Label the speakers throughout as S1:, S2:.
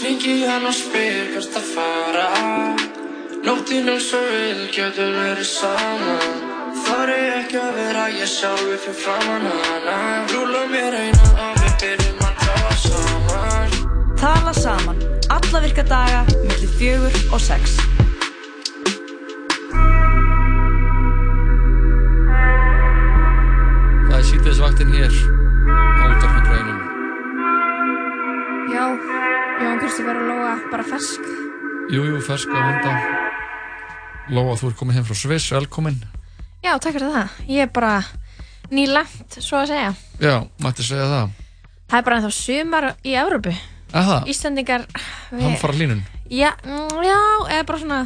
S1: hringi hann og spyr hvert að fara Nóttin er svo vil, getum verið saman Þar er ekki að vera ég sjálfur fyrir framan hana Rúla mér eina og við byrjum að tala saman
S2: Tala saman, alla virka daga, millir fjögur og sex.
S3: Það er síðdeisvaktin hér á útarfinn reynum.
S4: Já, Jóhann Kristófur og Lóa, bara fersk.
S3: Jú, jú, fersk á vanda. Lóa, þú ert komin heim frá Sviss, velkomin.
S4: Já, takk fyrir það. Ég er bara nýlæmt, svo að segja.
S3: Já, mætti segja það.
S4: Það er bara ennþá sumar í Európu.
S3: Aha,
S4: Íslandingar, við...
S3: hann fara línun.
S4: Já, mm, já, eða bara svona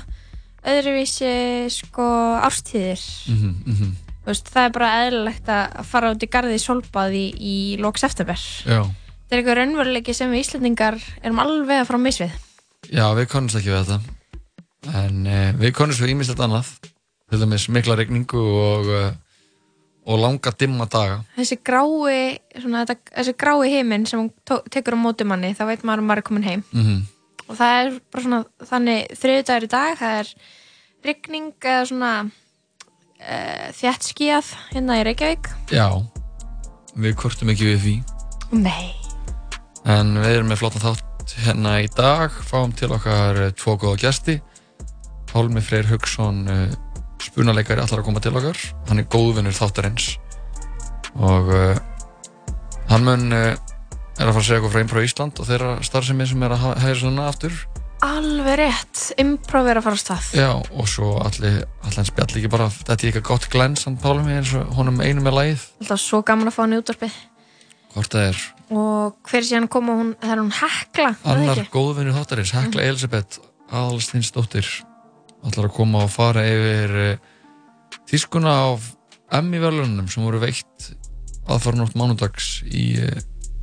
S4: öðruvísi, sko, ástíðir.
S3: Mhm, mhm,
S4: Þú veist, það er bara eðlilegt að fara út í garði í solbaði í lóks eftirber.
S3: já.
S4: Það er eitthvað raunveruleiki sem við Íslandingar erum alveg að fara á misvið.
S3: Já, við konumst ekki við þetta. En uh, við konumst við ímislegt annað. Til dæmis mikla regningu og, uh, og langa dimma daga.
S4: þessi grái svona, þetta, þessi grái heiminn sem hún tó- tekur á móti manni þá veit maður að maður er komin heim
S3: Mhm,
S4: og það er bara svona þannig þriðdagur í dag það er rigning eða svona uh, þjættskíað hérna í Reykjavík
S3: Já, við kortum ekki við því.
S4: nei
S3: En við erum með flottan þátt hérna í dag, fáum til okkar eh, tvo góða gesti. Pálmi Freyr Haugsson, eh, spunaleikari, allar að koma til okkar. Hann er góðvinnur þáttarins og uh, hann mun uh, er að fara að segja eitthvað frá Impro Ísland og þeirra starfsemi sem er að ha- hægja svona aftur.
S4: alveg rétt, improv er að fara á stað
S3: Já, og svo allir, allir hans bjall ekki bara, þetta er eitthvað gott glens hann Pálmi eins og honum einum er lagið.
S4: alltaf svo gaman að fá hann í útvarpið
S3: Hvort það er
S4: og hver sé hann koma hún, það er hún hekla er það
S3: annar
S4: ekki? Mm.
S3: góðvinnur þáttarins, Hekla Elisabeth Aðalstinsdóttir ætlar að koma og fara yfir eh, tískuna á Emmy verðlunum sem voru veitt aðfara nótt mánudags í eh,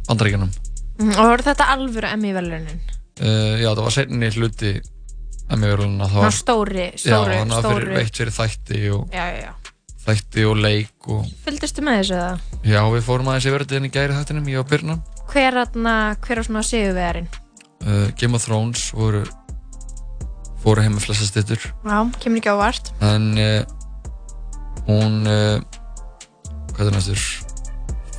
S3: Bandaríkjunum.
S4: Mm, og er þetta alvöru emmi velunin
S3: Uh, já, það var seinni hluti Emmy verðlununa.
S4: hann stóri, stóri,
S3: já, hann hafði fyrir,
S4: stóri
S3: veitt fyrir þætti og,
S4: já, já, já
S3: þætti og leik og
S4: fylgdistu með þessu eða?
S3: já, við fórum aðeins yfir þetta en í gæri þættinum, ég og Birna.
S4: hver, atna, hver er svona sigurvegarinn?
S3: Uh, Game of Thrones voru fóru heim með flesta stittur.
S4: Já, kemur ekki á vart.
S3: en uh, hún uh, hvað er næstur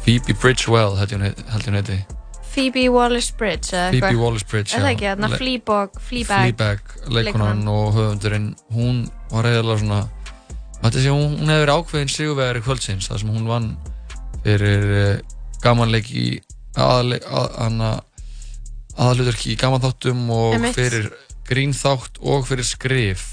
S3: Phoebe Bridgewell held ég hún hei- held ég hún heiti
S4: Phoebe Waller-Bridge eða
S3: Phoebe
S4: eitthvað.
S3: Waller-Bridge
S4: Er það ekki, þarna
S3: Le-
S4: Fleabag, Fleabag.
S3: Fleabag, leikonan
S4: leikonan.
S3: og höfundurinn hún var eiginlega svona þetta sé hún, hún hefur ákveðin sigurvegari kvöldsins þar sem hún vann fyrir uh, gamanleik í aðaleg, að, hana, aðaluturki í gamanþáttum og
S4: Einmitt.
S3: fyrir grínþátt og fyrir skrif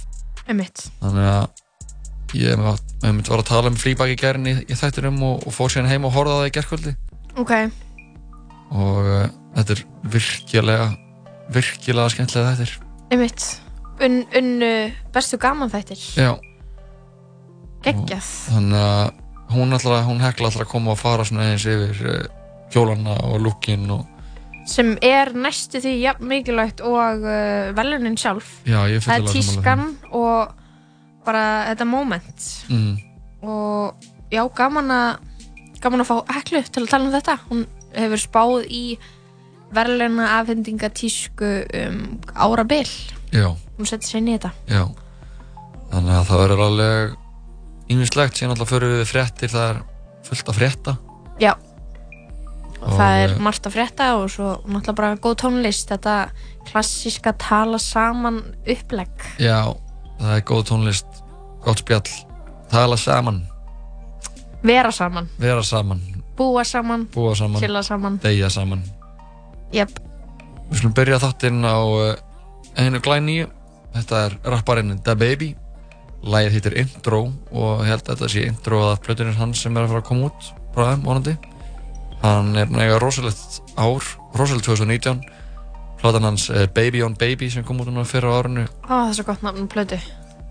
S4: Einmitt.
S3: þannig að ég var, ég myndi var að tala um flýbak í gerðin í, í þættinum og, og fór síðan heim og horfði á það í gerðkvöldi
S4: Ok,
S3: og uh, þetta er virkilega virkilega skemmtilega þættir
S4: einmitt. Un, unnu bestu gaman þættir.
S3: já,
S4: Geggjað.
S3: þannig að hún, allra, hún hekla alltaf að koma og fara svona eins yfir uh, kjólana og lukkin og
S4: Sem er næstu því jafn mikilvægt og uh, velunin sjálf.
S3: já, ég er
S4: Það er
S3: fyllilega
S4: tískan og bara þetta moment.
S3: mm,
S4: Og já, gaman að gaman að fá heklu til að tala um þetta. Hún hefur spáð í verðluna afhendinga tísku um árabil.
S3: já,
S4: Hún setti sér inn í þetta.
S3: já þannig að það verður alveg ýmislegt, síðan alltaf förum við fréttir það er fullt að frétta
S4: Já og það
S3: Og,
S4: er
S3: eh,
S4: margt að frétta og svo náttúrulega bara góð tónlist þetta klassíska tala saman upplegg
S3: Já, það er góð tónlist, gott spjall, tala saman,
S4: vera saman,
S3: vera saman,
S4: búa saman
S3: búa saman,
S4: chilla saman
S3: deyja saman.
S4: yep.
S3: Við skulum byrja þáttinn á uh, einu glænýju. Þetta er rapparinn Da Baby. Lægið heitir Intro og ég held að þetta sé intro að plötunir hans sem er að fara að koma út bráðum vonandi. Hann er nega rosalegt ár, rosalegt 2019. Platan hans er Baby on Baby sem kom út núna fyrra á árinu
S4: Ó, það er svo gott nafn og plötu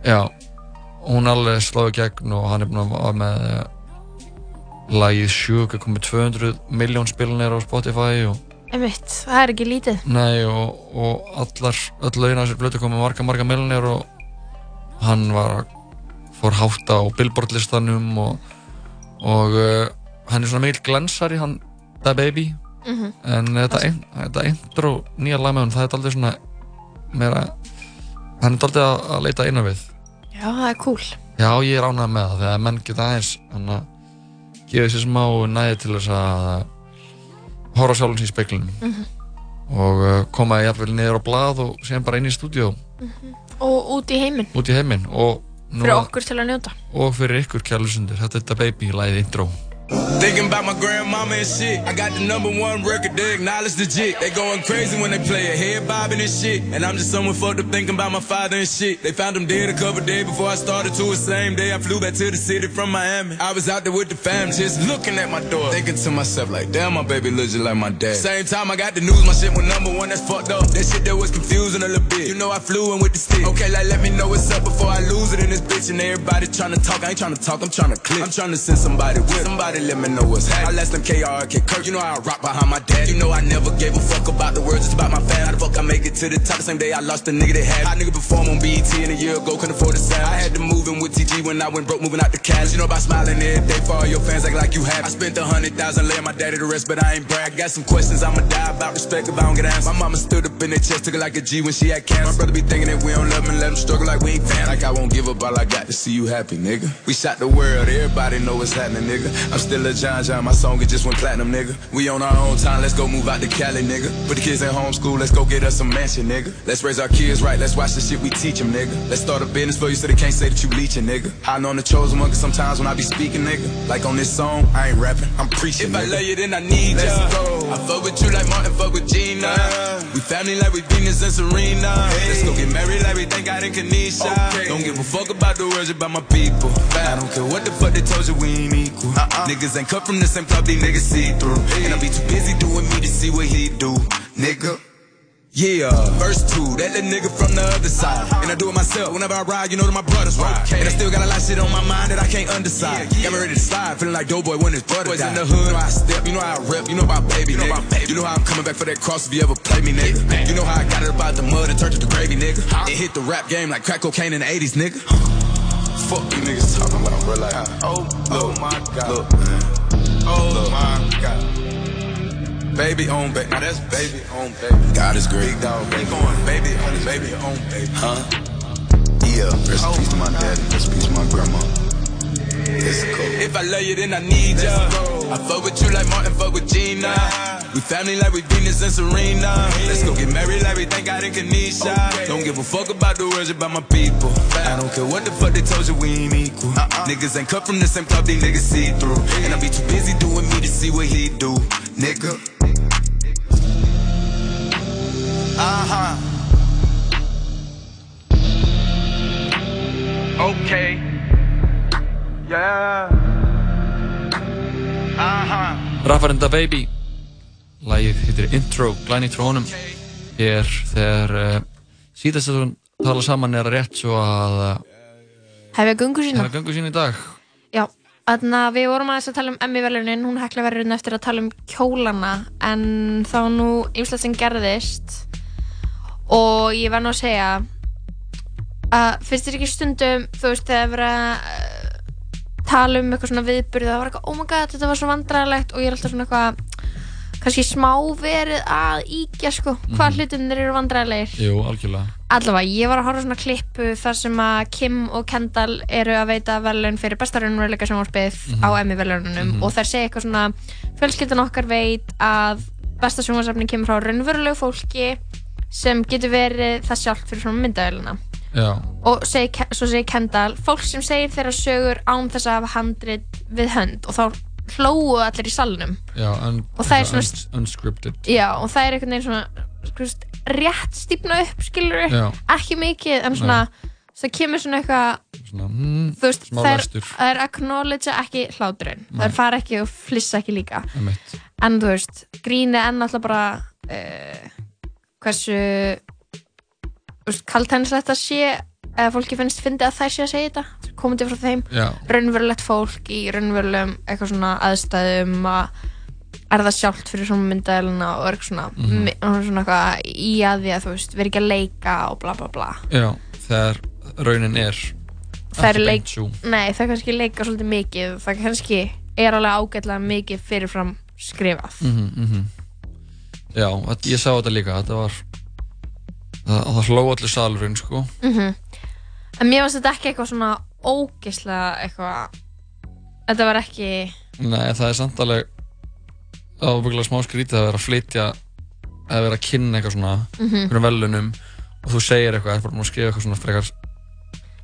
S3: Já, hún alveg slóði gegn og hann er búinn að vara með eh, lagið sjúk er komið 200 miljón spilunir á Spotify og,
S4: einmitt, það er ekki lítið
S3: nei, og, og allar, öll lögin að sér blötu komið marga, marga miljón og hann var að fór hátt á Billboard listanum og, og uh, hann er svona mikil glansari hann, Da Baby en þetta, ein, þetta intro nýja lag með hún, það er daldið svona meira, hann er daldið að, að leita inn á við
S4: Já, það er cool.
S3: já, ég er ánægð með það, þegar menn geta aðeins hann að gefa sér smá næði til þess að horfa sjálfum sér í speklinu
S4: Mhm,
S3: og uh, koma jafnvel niður á blað og séðan bara inn í stúdíó,
S4: mhm. Og út í heiminn,
S3: út í heiminn og nú,
S4: fyrir okkur til að njóta.
S3: og fyrir ykkur kjærlusundur, þetta er þetta baby lagið intro
S5: Thinking about my grandmama and shit. I got the number one record, they acknowledge the jit. They going crazy when they play it, head bobbing and shit. And I'm just someone fucked up thinking about my father and shit. They found him dead a couple days before I started to the same day. I flew back to the city from Miami. I was out there with the fam, just looking at my door. Thinking to myself, like, damn, my baby looks just like my dad. Same time I got the news, my shit went number one, that's fucked up. That shit that was confusing a little bit. You know I flew in with the stick. Okay, like, let me know what's up before I lose it in this bitch. And everybody tryna talk, I ain't tryna talk, I'm tryna click. I'm tryna send somebody with. Somebody let me know what's happening. I last them KRK Kirk, you know how I rock behind my dad. You know I never gave a fuck about the world, just about my fam. How the fuck I make it to the top the same day I lost the nigga that had. me. I nigga perform on BET and a year ago, couldn't afford the sound. I had to move in with TG when I went broke, moving out the cash. You know about smiling every day for all your fans, act like you have. it. I spent a hundred thousand laying my daddy to rest, but I ain't brag. Got some questions I'ma die about respect if I don't get answers. My mama stood up in the chest, took it like a G when she had cancer. My brother be thinking that we don't love him, let him struggle like we ain't fans. Like I won't give up all I got to see you happy, nigga. We shot the world, everybody know what's happening, nigga. I'm still a John John, my song it just went platinum, nigga. We on our own time, let's go move out to Cali, nigga. Put the kids in homeschool, let's go get us a mansion, nigga. Let's raise our kids right, let's watch the shit we teach them, nigga. Let's start a business for you so they can't say that you leeching, nigga. I know I'm the chosen one, cause sometimes when I be speaking, nigga, like on this song, I ain't rapping, I'm preaching. If I love you, then I need let's ya. Go. I fuck with you like Martin, fuck with Gina. We family like we Venus and Serena. Let's go get married like we thank God and Kanisha. Don't give a fuck about the words about my people. I don't care what the fuck they told you, we ain't equal. Niggas ain't cut from the same cloth, these niggas see through. And I be too busy doing me to see what he do, nigga. Yeah, verse two, that little nigga from the other side. And I do it myself. Whenever I ride, you know that my brothers ride. And I still got a lot of shit on my mind that I can't undecide. Got me ready to slide, feeling like Doughboy when his brother Boys in the hood, you know how I step, you know how I rep, you know about baby, you know nigga. You know how I'm coming back for that cross if you ever play me, nigga. You know how I got it about the mud and turned it to gravy, nigga. It hit the rap game like crack cocaine in the 80s, nigga. Fuck you niggas talking about, bro. Like, oh, oh my god. Look, oh my god. Baby on baby. Now that's baby on baby. God is great. Big dog. Baby going baby on baby on baby. Huh? Yeah. Rest in peace to my daddy. Rest in peace to my grandma. If I love you, then I need ya. I fuck with you like Martin, fuck with Gina. We family like we Venus and Serena. Let's go get married like we thank God and Kanisha. Don't give a fuck about the words about my people. I don't care what the fuck they told you, we ain't equal. Niggas ain't cut from the same cloth, these niggas see through. And I be too busy doing me to see what he do, nigga. Uh
S1: Uh-huh.
S5: huh. Okay. Yeah. Uh-huh.
S3: Raffarinn Da Baby Lægið heitir Intro, glæni frá honum Hér þegar uh, síðast að hún tala saman er rétt svo að uh,
S4: Hefja gungu sína.
S3: hefða göngu sín í dag
S4: Já, þannig að við vorum aðeins að tala um Emmy velunin, hún hekla verðurinn eftir að tala um kjólana en þá nú ymslega sem gerðist og ég var nú að segja að finnst þér ekki stundum þú veist þegar verið að eh, tala um eitthvað svona viðburði það var eitthvað, oh my god, þetta var svo vandræðalegt og ég er alltaf svona eitthvað kannski smá verið að íkja sko hvað mm. hlutinir eru vandræðalegir
S3: Jú, algjörlega
S4: allavega, ég var að horfa á svona klippu þar sem að Kim og Kendall eru að veita velun fyrir besta raunveruleika sjónvarpið á Emmy velunum og þær segja eitthvað svona fjölskyldan okkar veit að besta sjónvarsafni kemur frá raunverulegu fólki sem getur verið það sjálft fyrir svona myndavelina
S3: Já,
S4: og segi, svo segir Kendall fólk sem segir þeirra sögur án þess að hafa handrit við hönd og þá hlóu allir í salnum
S3: já un,
S4: Og það er svona-
S3: uns- Unscripted
S4: Já, og það er einhvern veginn svona skurst, rétt stífna upp, skilur
S3: Já.
S4: ekki mikið, en svona það kemur svona eitthvað,
S3: svona, mm,
S4: þú veist
S3: Smá
S4: þær-
S3: læstur.
S4: þær acknowledge ekki hláturinn, þær fara ekki og flissa ekki líka,
S3: emitt
S4: en þú veist gríni enn alltaf bara uh, hversu þú veist, kaltenslegt að sé eða fólki finnst fyndi að þær sé að segja þetta komandi frá þeim
S3: Já,
S4: raunverulegt fólk í raunverulegum eitthvað svona aðstæðum að er það sjálft fyrir svona myndaðelina og er svona, mm
S3: Mhm.
S4: -hmm. svona eitthvað í að því að þú veist, verið ekki að leika og bla bla bla.
S3: já, þegar raunin er
S4: Það er
S3: ekki
S4: leik,
S3: beint sú.
S4: nei það kannski leika svolítið mikið, það kannski er alveg ágætlega mikið fyrirfram skrifað.
S3: Mhm, mhm. Já, þetta- ég sá þetta líka, þetta var það, það hló allir salurinn sko
S4: Mhm. En mér finnst þetta ekki eitthvað svona ógeðslega eitthvað Þetta var ekki
S3: Nei, það er samt alveg það var búinlega smá skrítið að vera að flytja að vera að kynna eitthvað svona mm
S4: Mhm.
S3: -hmm. velunum og þú segir eitthvað, það er bara búin að skrifa eitthvað svona frekar
S4: eða
S3: sem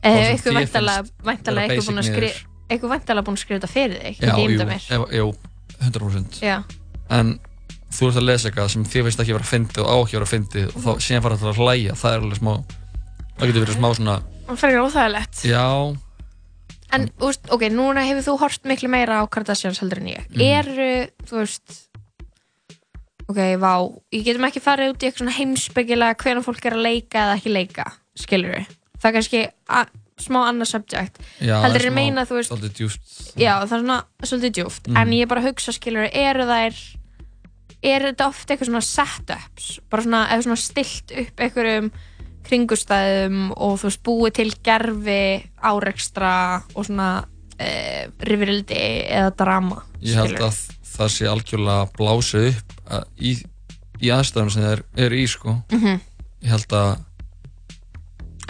S4: Eh,
S3: þér
S4: eitthvað væntalega
S3: finnst vera
S4: væntalega eitthvað búin að
S3: basic
S4: skrifa
S3: niður.
S4: eitthvað væntalega búin að skrifa þetta fyrir þig
S3: Já,
S4: ekki
S3: jú,
S4: ímynda mér
S3: ef, jú, 100%
S4: Já,
S3: en þú ert að lesa eitthvað sem þér finnst ekki vera að fyndi og á ekki að vera að fyndi og þá síðan fara allir að hlæja, það er alveg smá það getur verið smá svona,
S4: það fyrir óþægilegt
S3: já,
S4: En,
S3: Mm.
S4: þú veist, ok, núna hefur þú hort miklu meira á Kardashians heldur en ég
S3: Mhm.
S4: Eru, þú veist Ok, vá, ég getum ekki farið út í eitthvað svona heimsbyggilega hvenær fólk er að leika eða ekki leika, skilur við Það er kannski a- smá annað subject
S3: já það
S4: Heldur
S3: er
S4: en meina, þú veist,
S3: svolítið djúpt
S4: já, það er svona svolítið djúft, en
S3: Mm.
S4: ég er bara að hugsa skilur eru þær er þetta oft eitthvað svona setups bara svona, eða svona stilt upp einhverjum kringustæðum og þú veist búið til gerfi árekstra og svona e, rifirildi eða drama
S3: ég held
S4: skilurðu.
S3: að það sé algjörlega blásið upp að, í, í aðstæðum sem þeir eru í sko
S4: Mhm.
S3: ég held að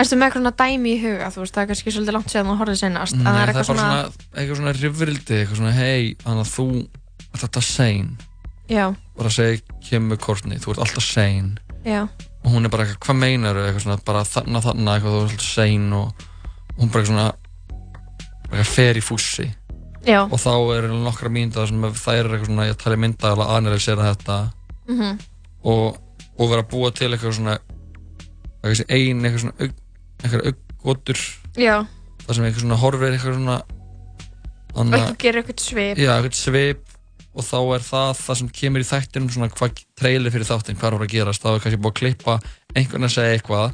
S4: Ertu með eitthvað svona dæmi í huga, þú veist, það er kannski svolítið langt séðan þú horfið senast, en það er
S3: bara
S4: eitthvað svona,
S3: svona, eitthvað svona rifrildi eitthvað svona hei, þannig að þú ert alltaf sein
S4: já,
S3: bara að segja kemur kortni, þú ert alltaf sein
S4: já,
S3: og hún er bara eitthvað, hvað meinar eitthvað svona, bara þarna, þarna, eitthvað, þú ert alltaf sein og hún bara eitthvað svona bara eitthvað fer í fússi
S4: já,
S3: og þá er nokkra mínútur sem þær eru eitthvað svona, ég tali mynda að analysera þetta
S4: mhm,
S3: og, og vera að búa til eitthvað svona eitthvað sem ein eitthvað svona aug, eitthvað auggotur
S4: já,
S3: þar sem eitthvað svona horfir eitthvað svona
S4: og
S3: anna,
S4: ekki gera eitthvað svip,
S3: já, eitthvað svip og þá er það það sem kemur í þættinum svona hvað trailer fyrir þáttinn, hvað er að fara að gerast þá er kannski búið að klippa einhvern að segja eitthvað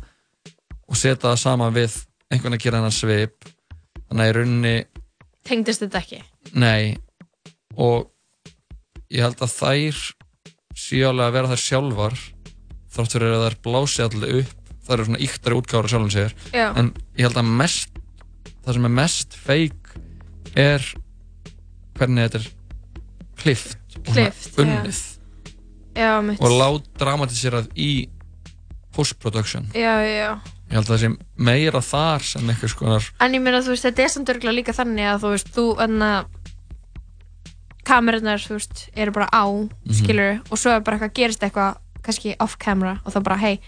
S3: og setja það saman við einhvern að gera hennar svip þannig að í rauninni
S4: tengdist þetta ekki,
S3: Nei og ég held að þær séu alveg að vera þær sjálfar þrátt fyrir að þær blási allir upp þær eru svona íktari útgára sjálfum sér
S4: já,
S3: en ég held að mest það sem er mest feik er hvernig þetta er klift og svona
S4: Klippt, já.
S3: unnið
S4: já, mitt,
S3: og lág dramatisirað í post-production
S4: já, já,
S3: ég held að það sé meira þar sem einhvers konar
S4: En ég meina, þú veist, þetta er samt örgulega líka þannig að þú veist, þú enna kamerunnar, þú veist, eru bara á, mm og svo er bara eitthvað, gerist eitthvað, kannski off camera og þá bara, hei,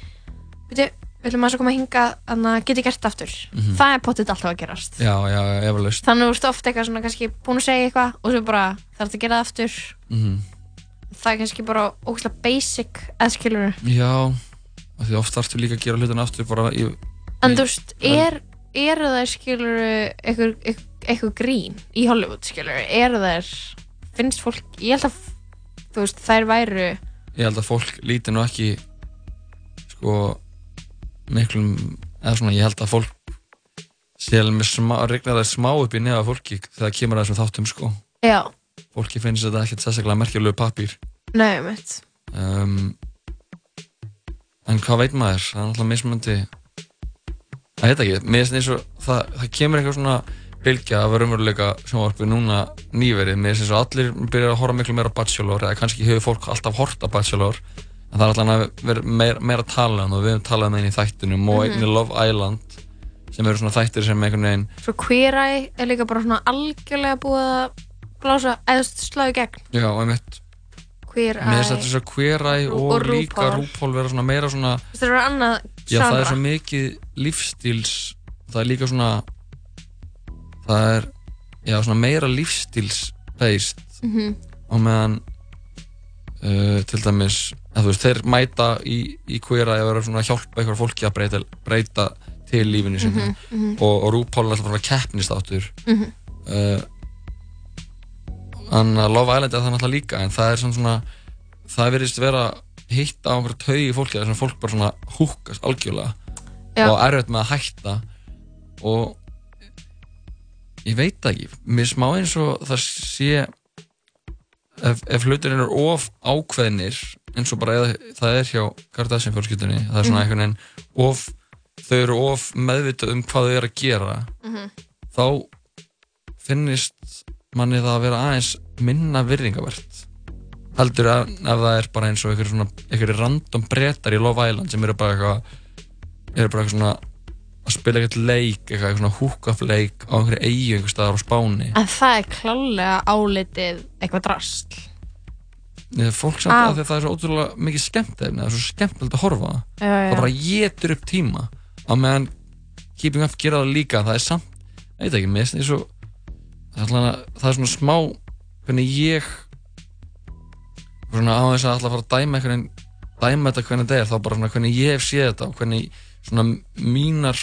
S4: veitu, viljum maður svo koma að hinga, en að geti gert það aftur. Það er potið alltaf að gerast.
S3: já, já, efalust
S4: Þannig þú veist ofta eitthvað svona, kannski búin að segja eitthvað og svo bara, þarf að gera það aftur.
S3: mm
S4: Það er kannski bara ógeðslega basic, eða skilur
S3: Já, af því oft þarftu líka að gera hlutin aftur bara í,
S4: En þú veist, er, eru þær skilur eitthvað, eitthvað grín í Hollywood skilur, eru þær finnst fólk, ég held að þú veist, þær væru
S3: ég held að fólk líti nú ekki sko miklum, eða svona ég held að fólk sé alveg með smá, regnar það smá upp í nefa fólki þegar kemur að þessum þáttum sko
S4: já,
S3: fólki finnst þetta ekkert sérstaklega merkjulegu pappír
S4: nei, mitt
S3: um, en hvað veit maður það er náttúrulega mismöndi það heit ekki, mér finnst eins og það, það kemur eitthvað svona bylgja af raunveruleika sjónvarpi núna nýverið mér finnst eins og allir byrjar að horfa miklu meira á Bachelor eða kannski hefur fólk alltaf hort á Bachelor en það er alltaf að vera meira, meira að tala um það og við höfum talað um það í þættinum og einnig Love Island sem eru svona þættir sem einhvern veginn
S4: svo queer eye er líka bara svona algjörlega búið að blása eða sláðu gegn
S3: já, einmitt,
S4: queer
S3: mér finnst
S4: eye,
S3: þetta svo queer eye og,
S4: Og
S3: líka
S4: RuPaul.
S3: RuPaul vera svona meira svona
S4: þetta er annað
S3: Já, það er
S4: genre.
S3: svo mikið lífstíls það er líka svona það er já, svona meira lífstíls based
S4: Mhm.
S3: og meðan uh, til dæmis að þú veist, þeir mæta í, í hverja að vera svona að hjálpa einhver fólki að breyta, breyta til lífinu sinni
S4: Mhm,
S3: og, og RuPaul er alltaf bara keppnist áttur mm en að Love Island er það náttúrulega líka en það er svona svona það virðist vera hitt á einhverju taugi í fólki þess að fólk bara svona húkast algjörlega
S4: Já.
S3: og erfitt með að hætta og ég veit það ekki mér smá eins og það sé ef, ef hlutin eru of ákveðnir eins og bara eða, það er hjá Kardashian fjölskyldunni það er svona einhvern veginn of þau eru of meðvitað um hvað þau eru að gera þá finnist manni það að vera aðeins minna virðingavert heldur að, ef það er bara eins og einhverjir svona, einhverjir random brettar í Love Island sem eru bara eitthvað eru bara eitthvað svona að spila eitthvað leik, eitthvað svona húkaf leik á einhverju eigu einhver staðar á Spáni
S4: En það er klálega álitið eitthvað drasl.
S3: Ég, fólk samt
S4: Ah.
S3: að því að það er svo ótrúlega mikið skemmt það er svo skemmtilegt að horfa á það.
S4: Já, já.
S3: það bara getur upp tíma á meðan Keeping Up gera það líka það er samt, ég veit ekki, mér finnst því svo það er allan að- það er svona smá hvernig ég svona á þess að alltaf fara að dæma hvernig, dæma þetta hvernig þetta er þá bara svona hvernig ég hef séð þetta og hvernig svona mínar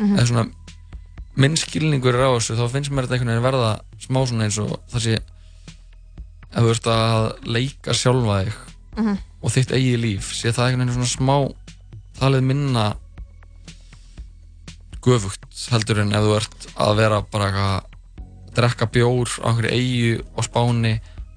S4: Mhm.
S3: eða svona minn skilningur er á þessu þá finnst mér þetta einhvern veginn verða smá svona eins og það sé að þú ert að leika sjálfa þig og þitt eigið líf sé það einhvern veginn svona smá talið minna gufugt heldur en ef þú ert að vera bara eitthvað að drekka bjór á einhverju eigu og spáni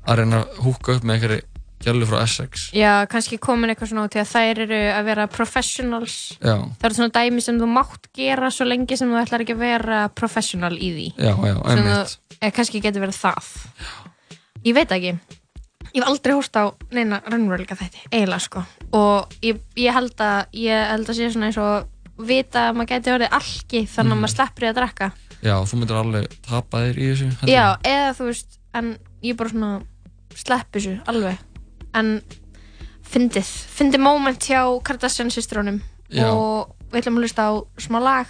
S3: að reyna að húka upp með einhverju gjölu frá Essex
S4: Já, kannski komin eitthvað svona út í að þær eru að vera professionals.
S3: já,
S4: Það eru svona dæmi sem þú mátt gera svo lengi sem þú ætlar ekki að vera professional í því.
S3: já, já,
S4: Sem
S3: einmitt
S4: þú, eða kannski getur verið það. Ég veit það ekki. Ég hef aldrei hórst á neina raunveruleika þætti, eiginlega sko. Og ég, ég held að, ég held að sé svona eins og vita að maður geti orðið algi
S3: Mhm.
S4: þannig að maður sleppur í að drekka.
S3: já, þú myndir alveg tapa þér í þessu heldur
S4: Já,
S3: en-
S4: eða þú veist, en ég bara svona slepp þessu alveg en fyndið, fyndið moment hjá Kardashian systrónum
S3: Já.
S4: og við ætlum að hlusta á smá lag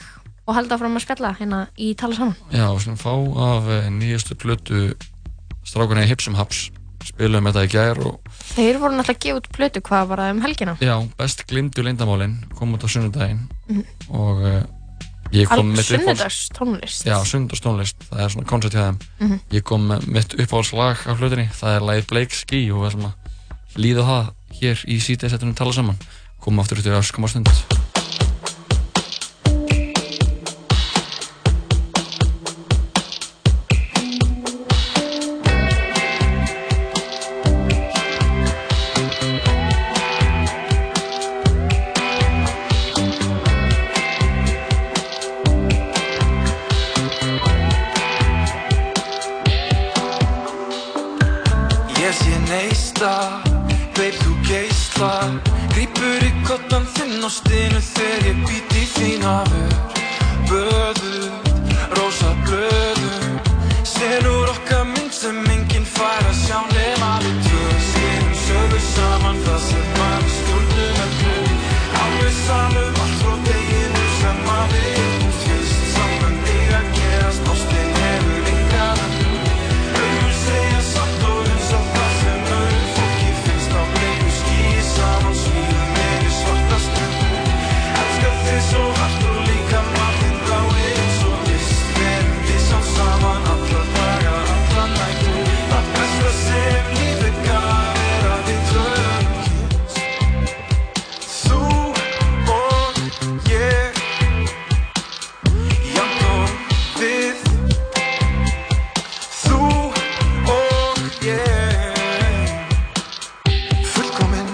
S4: og halda áfram að spjalla hérna í tala saman
S3: já, sem fá af eh, nýjustu plötu strákunni Hipsum Haps spilum þetta í gær og
S4: Þeir voru náttúrulega að gefa út plötu hvað var það um helgina
S3: Já, best glimdu leyndamálin kom út á sunnudaginn og uh, ég kom
S4: Al-
S3: mitt uppáhalds
S4: Sunnudags tónlist
S3: Já, sunnudagstónlist, það er svona koncept hjá þeim Ég kom með mitt uppáhaldslag á hlutinni það er lagið Blake Ski og við ætlum að líða á það hér í síðdegsettunum tala saman komum aftur út í öskama stund
S1: Ég sé neista, veip þú geisla Grípur í kottan þinn og stinu þegar ég být í þín afur Böðut, rósa blöðum Senur okkar mynd sem enginn fær að sjá nema við tvö Skrifum sögur saman það sem var í stundum að blöð Alveg samum allt frá deginu sem að við Fyrst saman þig að gerast, ástin hefur engan að blöð Auður segja satt og eins og það sem öðru fólki finnst á bleiku skýi saman smíðum er í svarta stund. Elskar þig svo hart og líka matinn dáið eins og list. Verðum við sá saman alla daga, alla nætur. Það besta sem lífið gaf er að við tvö höfum kynnst. Þú og ég, jafn og við Þú og ég Fullkomin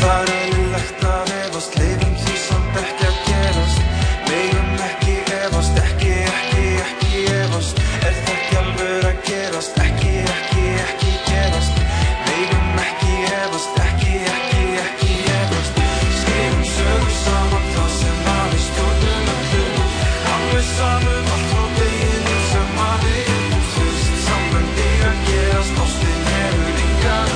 S1: Það er eðlilegt að efast Leifum því samt ekki að gerast Megum ekki efast Ekki, ekki, ekki efast Er það ekki alveg að gerast Ekki, ekki, ekki gerast Megum ekki efast Ekki, ekki, ekki efast Skrifum sögur saman Það sem að við stjórnum öllum Alveg samum allt frá deginu sem að við Fyrst saman þig að gerast Ástin hefur engan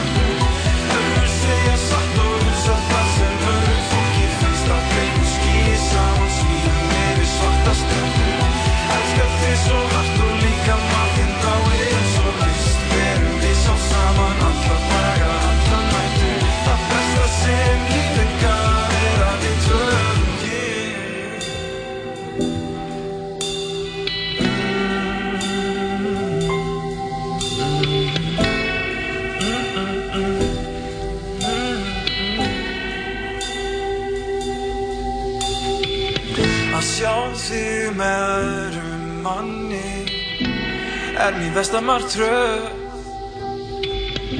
S1: Öður segja satt og hugsa það sem öðru fólki finnst Að bleiku skýi saman svíðum yfir svarta stundu Elskar þig svo hart og líka matinn dáið eins og list Verum við sá saman alla daga, alla nættu Það besta sem lífið gaf er að við tvö höfum kynst. Að sjá þig með öðrum manni Er mér besta margt tröð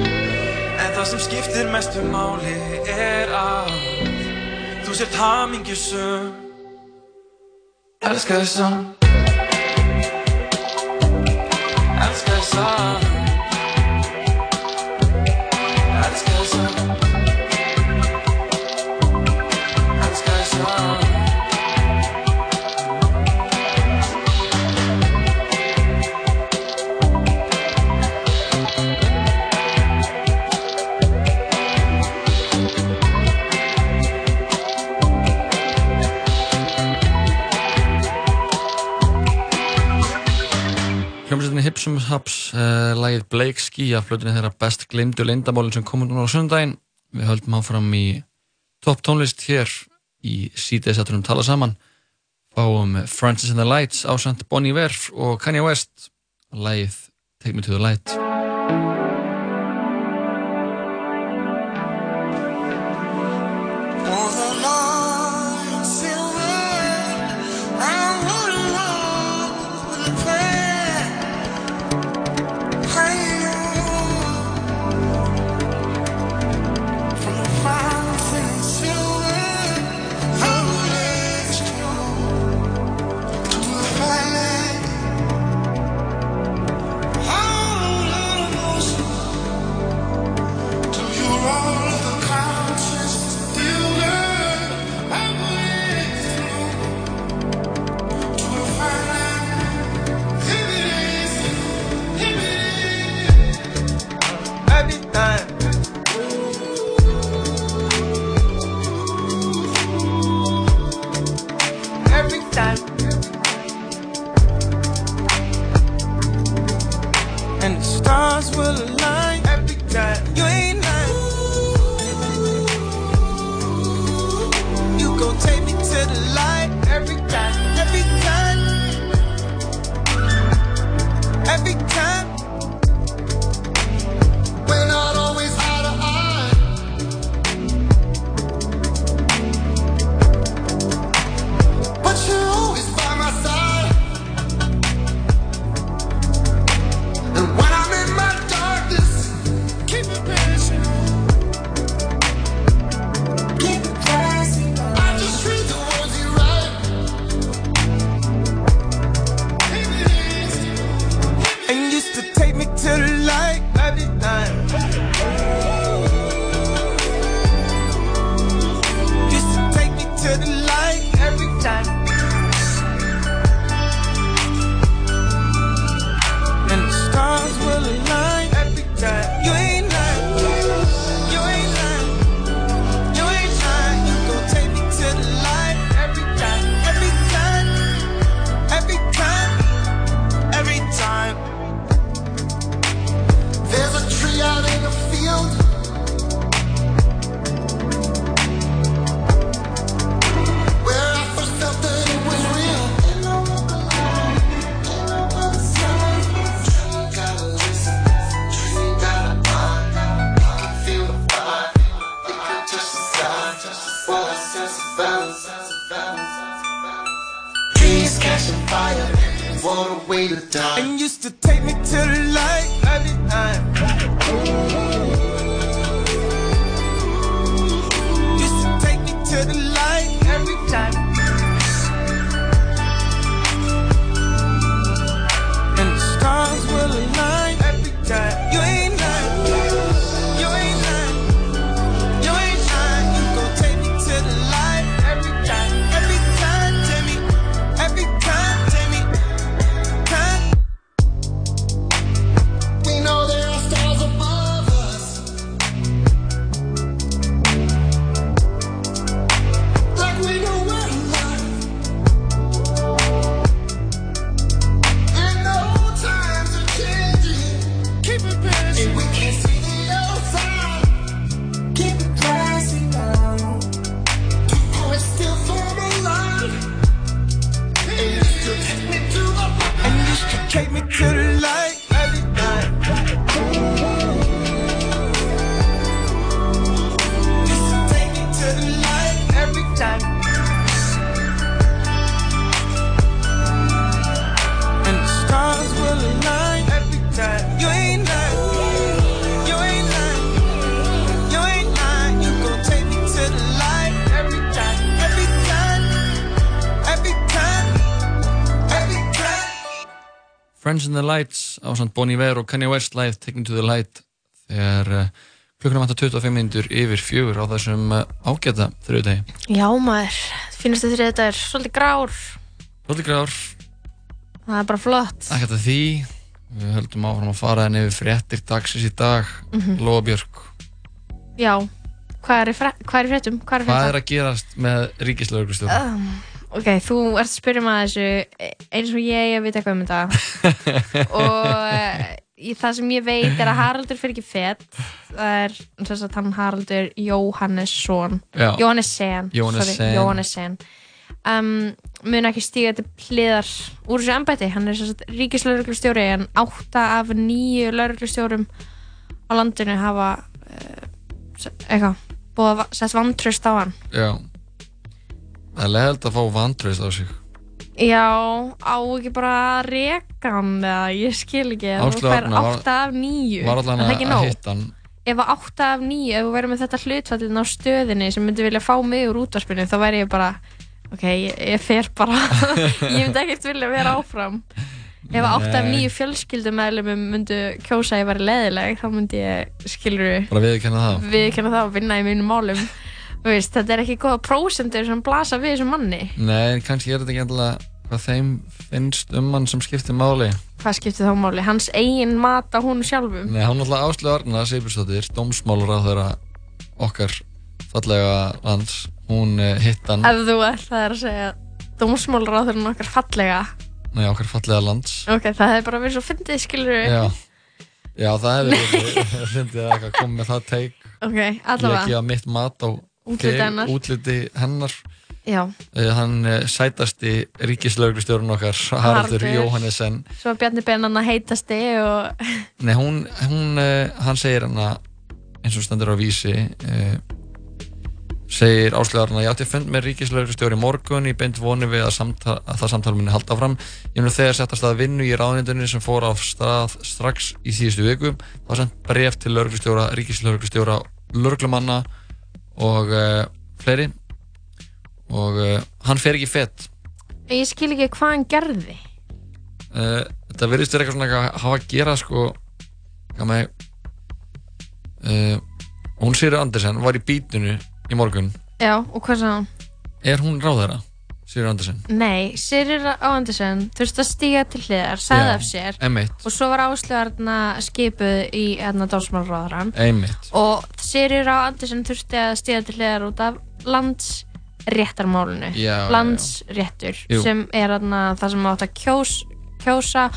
S1: En það sem skiptir mestu máli er að Þú sért hamingjusum Elskar þig samt Elskar þig samt Blossom Hubs uh, lagið Blake Ski af flutinu þeirra best glimdu lindamálin sem komum núna á sundaginn við höldum áfram í topp tónlist hér í síðdeis að um tala saman fáum Francis and the Lights ásand Bonnie Verf og Kanye West lagið Take Me to the Light Friends in the Lights á samt Bonnie Ware og Kanye West live Taking to the Light þegar uh, klukkunum hættar 25 minnur yfir fjögur á þessum uh, ágæta þrjöðdegi.
S4: Já maður, finnst þið þrjöðdegi þetta er svolítið grár.
S1: Svolítið grár.
S4: Það er bara flott.
S1: Ekkert að því, við höldum áfram að fara en yfir fréttir dagsins í dag, mm
S4: Mhm.
S1: -hmm. Lóa Björk.
S4: Já, hvað er, hvað er fréttum?
S1: Hvað er, hvað er að gerast með ríkislaugurstöðum? Um,
S4: Ah, Ok, þú ert að spyrja maður þessu e- eins og ég ég veit eitthvað um þetta og eh, í, það sem ég veit er að Haraldur fyrir ekki fett það er þess að hann Haraldur Jóhannesson
S3: Já.
S4: Jóhannessen
S3: Jóhannessen.
S4: sorry, Jóhannessen um, mun ekki stíga til pliðar úr þessu embætti hann er þess að ríkislauruglustjóri en átta af nýju lauruglustjórum á landinu hafa uh, eitthvað búið að va- sett vantröst á hann
S3: Já Það er leðild að fá vantraust á sig
S4: Já, á ekki bara að reka hann eða ég skil ekki ef
S3: Áslaug
S4: þú fær
S3: Arna var-
S4: 8 af 9
S3: Var allan
S4: það
S3: að,
S4: er ekki
S3: að
S4: nóg,
S3: hitta hann
S4: ef að 8 af 9 ef þú verður með þetta hlutfallin á stöðinni sem myndi vilja fá mig úr útvarpinu þá væri ég bara, ok, ég, ég fer bara ég myndi ekkert vilja vera áfram ef að 8 af
S3: Nei.
S4: 9 fjölskyldumæðlum myndu kjósa að ég væri leðileg þá myndi ég, skilur
S3: Bara viðkenna það
S4: við kemur það að vinna í mínum málum Þú veist, þetta er ekki góða prósendur sem blasa við þessum manni
S3: Nei, en kannski er þetta ekki endilega hvað þeim finnst um hann sem skiptir máli
S4: hvað skiptir þá máli, hans eigin mat á hún sjálfum
S3: Nei, hann alltaf Áslu Arna Sigursdóttir, dómsmálur á þeirra okkar fallega lands hún eh, hitt hann,
S4: ef þú ætlaðir að segja dómsmálaráðurinn okkar fallega
S3: nei okkar fallega lands
S4: ok, það hefði bara verið svo fyndið skilur við
S3: Já, já það hefur verið fyndið að eitthvað komið með það teik
S4: ok, allavega,
S3: leggja mitt mat á
S4: Útliti
S3: þig,
S4: hennar.
S3: útliti hennar.
S4: já,
S3: Eh, hann eh, sætasti ríkislauglistjórun okkar Haraldur
S4: Haraldur.
S3: Jóhannesson
S4: svo að Bjarni Benanna heitasti og
S3: Nei, hún, hún, eh, hann segir hann að eins og stendur á vísi eh, segir áslöðarinn að ég átti fund með ríkislauglistjóri morgun ég beint vonu við að, samtal, að það samtal minni halda fram ég mun þegar settast að vinnu í ráðnindunni sem fór á stað strax í síðustu viku þá sendt bref til lauglistjóra ríkislauglistjóra, lauglumanna og uh, fleiri og uh, hann fer ekki fett
S4: ég skil ekki hvað hann gerði
S3: uh, þetta verðist verið eitthvað svona að hafa að gera sko hvað með uh, hún Sýri Andersen var í bítinu í morgun
S4: já, og hvað sagði hann?
S3: er hún ráðara Sýri Andersen
S4: nei, Sirir Áandersen þurfti að stíga til hliðar, sagði
S3: Já.
S4: af sér
S3: M1
S4: og svo var áslöðarna skipuð í hérna dómsmálaráðurann
S3: M1
S4: og Sirir á Andersen þurfti að stíða til hliðar út af landsréttarmálinu
S3: Já, já, já.
S4: landsréttur
S3: Jú.
S4: sem er þarna það sem átt að kjós, kjósa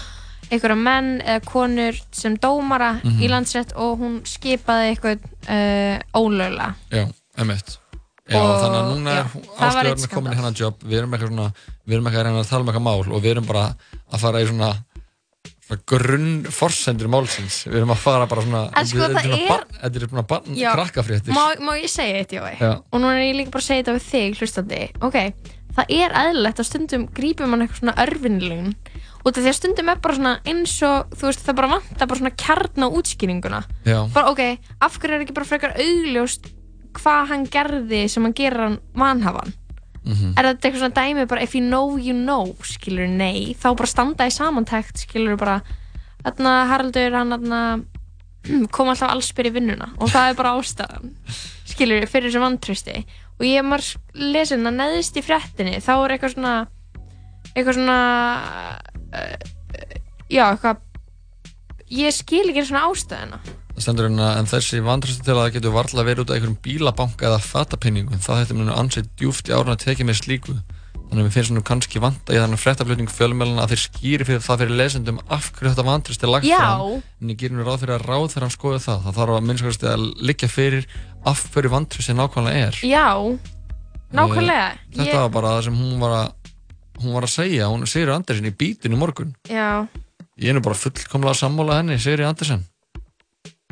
S4: einhverja menn eða konur sem dómara í
S3: Mhm.
S4: landsrétt og hún skipaði eitthvað uh, ólögla
S3: já M1 Já,
S4: Og-
S3: þannig að núna
S4: já,
S3: er
S4: það var eitt
S3: áslöðurinn komin í
S4: skandal.
S3: hennar jobb við erum eitthvað svona, við erum eitthvað að reyna að tala um eitthvað mál og við erum bara að fara í svona, svona grunnforsendur málsins, við erum að fara bara svona
S4: En sko,
S3: þetta
S4: það
S3: svona
S4: er-
S3: barn- þetta er svona barn,
S4: Já.
S3: krakkafréttir
S4: má, má ég segja eitt Jói?
S3: Já.
S4: og núna er ég líka bara að segja þetta við þig hlustandi ok, það er eðlilegt að stundum grípum mann eitthvað svona örfinlun út af því að stundum er bara svona eins og þú veist það bara vantar bara svona kjarn á útskýringuna
S3: já,
S4: bara ok, af hverju er ekki bara frekar augljóst hvað hann gerði sem hann gerir hann vanhafan er þetta eitthvað svona dæmi bara if you know you know, skilur nei þá bara standa í samantækt, skilur bara þarna Haraldur hann þarna kom alltaf allsbyr í vinnuna og það er bara ástæðan skilur fyrir þessu vantrösti og ég er maður lesin að neðist í fréttinni þá er eitthvað svona eitthvað svona uh, já, eitthvað ég skil ekki svona ástæðina
S3: Það stendur hérna, en þessi vantrastu til að það getur varla verið út af einhverjum bílabanka eða fatapinningum, það þetta munu ansið djúft í árun að tekið með slíku. Þannig að mér finnst nú kannski vanta í þannig fréttaflutning fjölmjöluna að þeir skýri fyrir það fyrir lesendum af hverju þetta vantrist er lagt
S4: Já.
S3: fram. En ég gerir nú ráð fyrir að ráð þegar hann skoði það. Það þarf að minnskvæmst að liggja fyrir af hverju vantrist nákvæmlega er.
S4: Já, nákvæmlega
S3: Þetta
S4: ég,
S3: var bara það sem hún var að, hún var að segja, hún Sigri Andersen í bítinu morgun.
S4: Já,
S3: Ég er nú bara fullkomlega sammála henni, Sigri Andersen.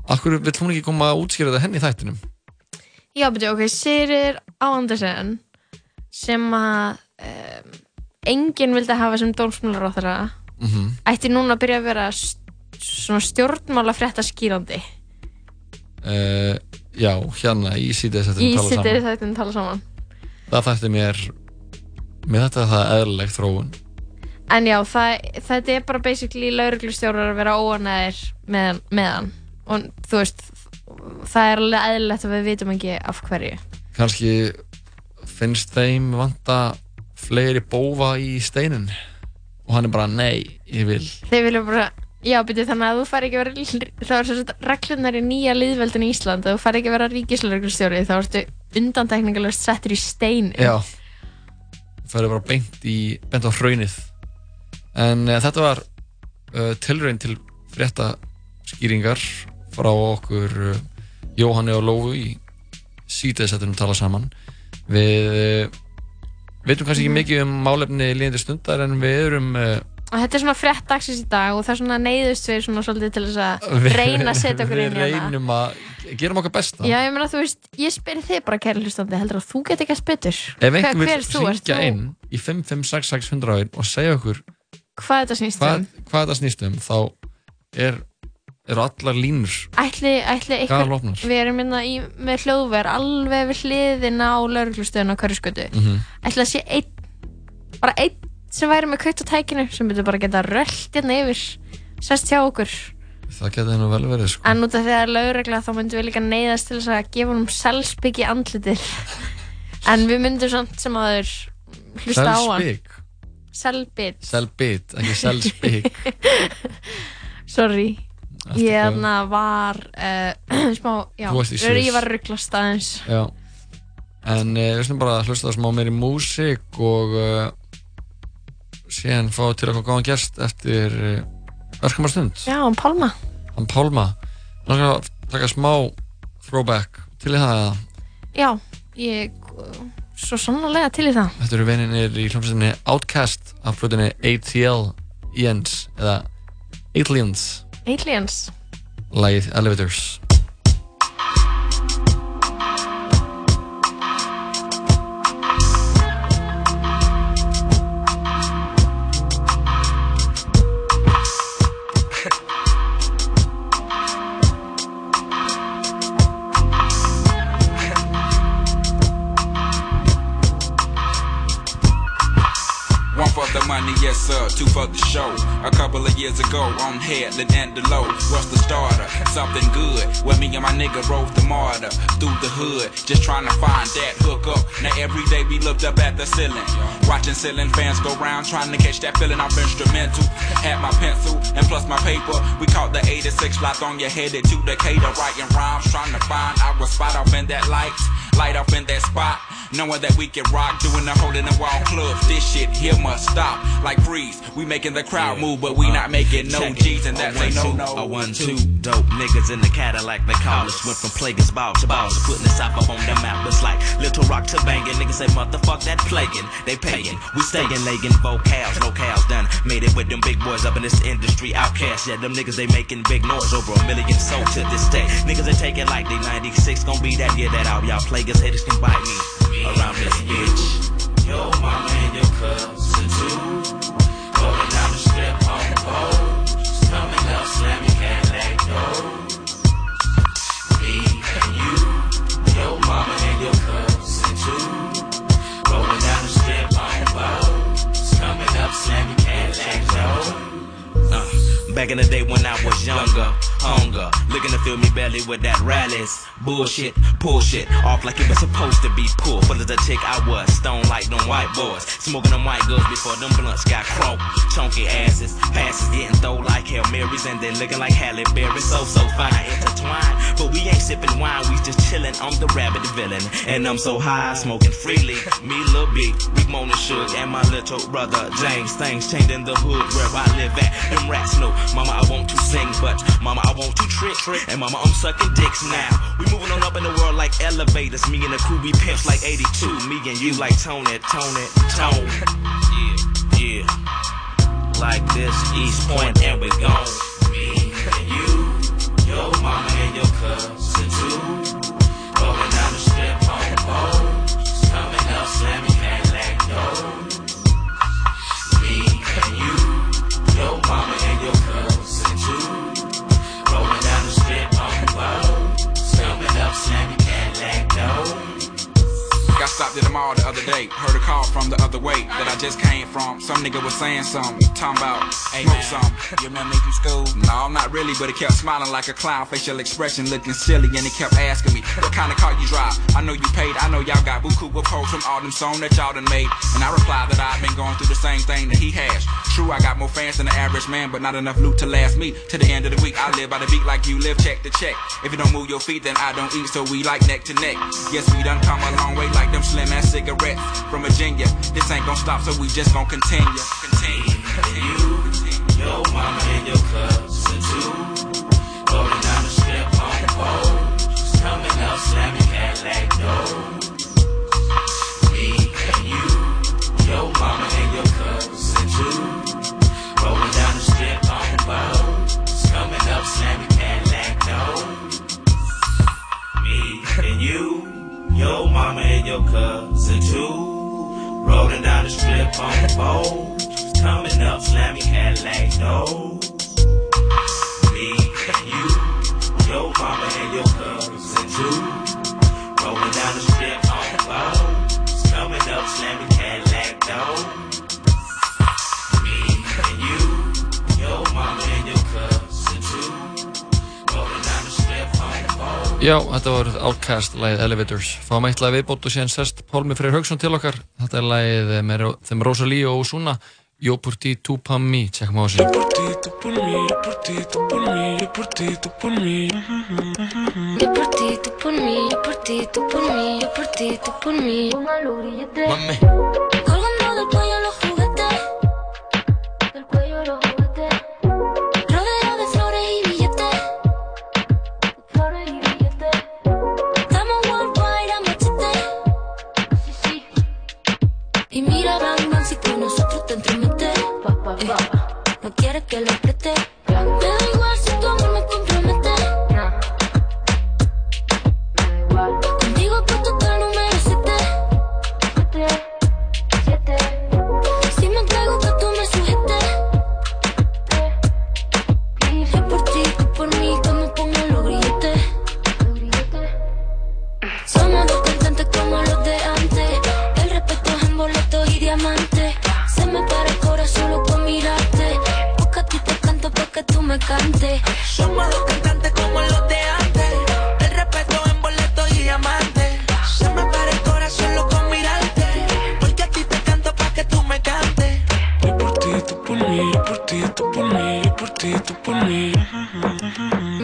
S3: Akkur vill hún ekki koma að útskýra þetta henni í þættinum?
S4: já betur, ok, Sirir Áandersen sem að um, enginn vildi hafa sem dómsmálaráþara
S3: Mm -hmm.
S4: ætti núna að byrja að vera st svona stjórnmála frétta skýrandi
S3: Eh, já, hérna í síðið
S4: í
S3: setjum tala
S4: sittir
S3: saman.
S4: þættin tala saman
S3: Það þætti mér, mér þetta er það eðlileg þróun.
S4: En já, það, þetta er bara basically lauruglustjórar að vera óanæðir með, með hann og þú veist, það er alveg eðlilegt að við vitum ekki af hverju
S3: Kanski finnst þeim vanta fleiri bófa í steinin og hann er bara nei, ég vil.
S4: Þeir vilja bara, já byrju þannig að þú fari ekki að vera, þá er svo reglunar í nýja liðveldin í Ísland, að þú fari ekki að vera ríkislauglustjóri, þá ertu undantekningalust settur í steinu.
S3: Já. ferðu bara beint, í, beint á hraunið en uh, þetta var uh, tilraun til frétta skýringar frá okkur uh, Jóhanni og Lóu í síðaðsettunum tala saman við uh, veitum kannski
S4: Mhm.
S3: ekki mikið um málefni líðandi stundar en við erum uh,
S4: og þetta er svona frétt dagsins í dag og það er svona neyðust við svona svolítið til þess að
S3: við,
S4: reyna að setja okkur inn í
S3: við
S4: hana
S3: reynum að gerum okkar besta
S4: Já, ég meina, þú veist, ég spyr þig bara, kæri hlustandi, heldur að þú get ekki að spytur?
S3: Ef einhver vil
S4: þú? Ert
S3: syngja
S4: þú-
S3: inn í 5566100 og segja okkur
S4: Hvað þetta snýst
S3: hvað,
S4: um?
S3: hvað það snýst um þá er, eru allar línur
S4: Ætli, ætli einhver,
S3: galopnar
S4: við erum minna í, með hljóðver alveg við hliðina á lauruglustöðun á hverju skötu.
S3: mm
S4: Ætli að sé einn, bara einn sem væri með kveikt á tækinu sem byrju bara að geta röllt hérna yfir, sest hjá okkur.
S3: Það geti nú vel verið sko
S4: En út af því að það er laurugla þá myndum við líka neyðast til þess að gefa honum selspik í andlitið. en við myndum samt sem aður hlusta á hann.
S3: Selspik,
S4: Selbit.
S3: selbit, ekki selspik
S4: Sorry.
S3: Allt
S4: Ég
S3: eitthvað.
S4: þarna var uh, smá, já,
S3: Þú varst í sjós.
S4: ég var rugglast aðeins.
S3: Já En eh, við slum bara að hlusta smá meiri músík og uh, síðan fá til okkur góðan gest eftir uh, örkumar stund
S4: Já, um Pálma.
S3: Hann Pálma Hann að taka smá throwback til í það að
S4: Já, ég eh, svo sannlega til í það.
S3: Þetta eru vininir í hljómsveitinni Outcast af flutinni ATL Jens eða Aliens
S4: Aliens.
S3: lagið Elevators
S6: One for the money, yes sir, two for the show. A couple of years ago, on Headland and the low. What's the starter? Something good. Where me and my nigga rode the martyr through the hood, just trying to find that hook up. Now every day we looked up at the ceiling, watching ceiling fans go round, trying to catch that feeling off instrumental. Had my pencil and plus my paper. We caught the 86 lock on your head to Decatur, writing rhymes, trying to find our spot off in that light, light off in that spot. Knowing that we can rock, doing the hole in the wall clubs. This shit here must stop. Like freeze, we making the crowd move, but we not making no G's, and that's a no no.
S7: Uh, A one two dope niggas in the Cadillac they call us. Went from plaguers ball to balls, putting us up up on the map. It's like Little Rock to bangin'. Niggas say motherfuck that plaguing, they paying. We stayin' legging vocals, locales done. Made it with them big boys up in this industry outcast. Yeah, them niggas they making big noise over a million sold to this day. Niggas they taking like they 96 gon' be that year that all y'all plaguers haters can bite me around this bitch. Yo, mama and your cousin too. Going down the strip on poles. Coming up, slamming Cadillac doors. Me and you, your mama and your cousin too. Rolling down the strip on poles. Coming up, slamming Cadillac doors. Uh, Back in the day when I was younger, hunger, looking to fill me belly with that rallies. Bullshit, pull shit, off like it was supposed to be pulled. Full of the tick I was, stone like them white boys. Smoking them white girls before them blunts got croaked. Chunky asses, passes getting thrown like Hail Marys and then looking like Halle Berry. So, so fine, intertwined. But we ain't sipping wine, we just chilling. I'm the rabbit villain, and I'm so high, smoking freely. Me, Lil B, Rick Mona Suge, and my little brother James. Things changed in the hood where I live at. Them rats know, Mama, I want to sing, but Mama, I want to trick. And Mama, I'm sucking dicks now. We moving on up in the world like elevators. Me and the crew, we pimps like 82. Me and you like Tony, Tony, Tone. Yeah, yeah like this East Point and we gone. Me and you, your mama and your cousin too. Rolling down the strip on boats, coming up slamming Cadillac doors. Me and you, your mama and your cousin too. Rolling down the strip on boats, coming up slamming Cadillac doors.
S6: Got stopped at the mall the other day. Heard a call from the other way that I just came from. Some nigga was saying something, talking about smoke some. You remember me from school? No, not really, but he kept smiling like a clown. Facial expression looking silly, and he kept asking me, What kind of car you drive? I know you paid, I know y'all got buku with posts from all them songs that y'all done made. And I replied that I've been going through the same thing that he has. True, I got more fans than the average man, but not enough loot to last me. To the end of the week, I live by the beat like you live, check to check. If you don't move your feet, then I don't eat, so we like neck to neck. Yes, we done come a long way like them slim ass cigarettes. back from Virginia. This ain't gonna stop, so we just gonna continue. Continue. continue.
S8: Your mama and your cousin too. Rolling down the strip on poles. Coming up slamming Cadillac doors. Me and you. Your mama and your cousin too. Rolling down the strip on poles. Coming up slamming Cadillac doors. Me and you. Your mama and your cousin too. Rolling down the strip on poles. Coming up slamming Cadillac doors me and you, your mama and your cousin too. Rolling down the strip on bones, coming up slamming Cadillac doors. Me and you, your mama and your cousin too. Rolling down the strip on bones.
S3: Já, þetta var Outcast, lagið Elevators. Fáum eitt lag viðbót og síðan sest Pálmi Freyr Haugsson til okkar. Þetta er lagið með Ro- þeim Rosalie og Osuna, Yo por ti, tú pa mí, tjekkum á þessu.
S9: Por ti, tú por mí, yo por ti, tú por mí, yo por ti, tú por mí.
S10: Yo por ti, tú por mí, yo por ti, tú por mí, yo por ti, tú por mí.
S8: Mami.
S10: Colgando del cuello los juguetes. Del cuello los juguetes. Rodeado de flores y billetes. Flores y billetes. Estamos worldwide a machete. Sí, sí. Y mira, Bang Bang, si con nosotros te entrometes. Eh, No quieres que lo preste. Me da igual si tu amor me compromete. Contigo puesto hasta el número 7. Si me entrego que tú me sujetes Es por ti, tú por mí, que me pongo los grilletes Somos dos cantantes como los de antes El respeto es en boletos y diamantes Se me para el corazón solo con mirarte Busca a ti te canto pa' que tú me cantes
S11: Somos dos cantantes como los de antes. El respeto en boletos y diamantes. Se me para el corazón loco con mirarte. Porque a ti te canto pa' que tú me cantes.
S9: Yo por ti, tú por mí, yo por ti, tú por mí, yo por ti, tú por mí.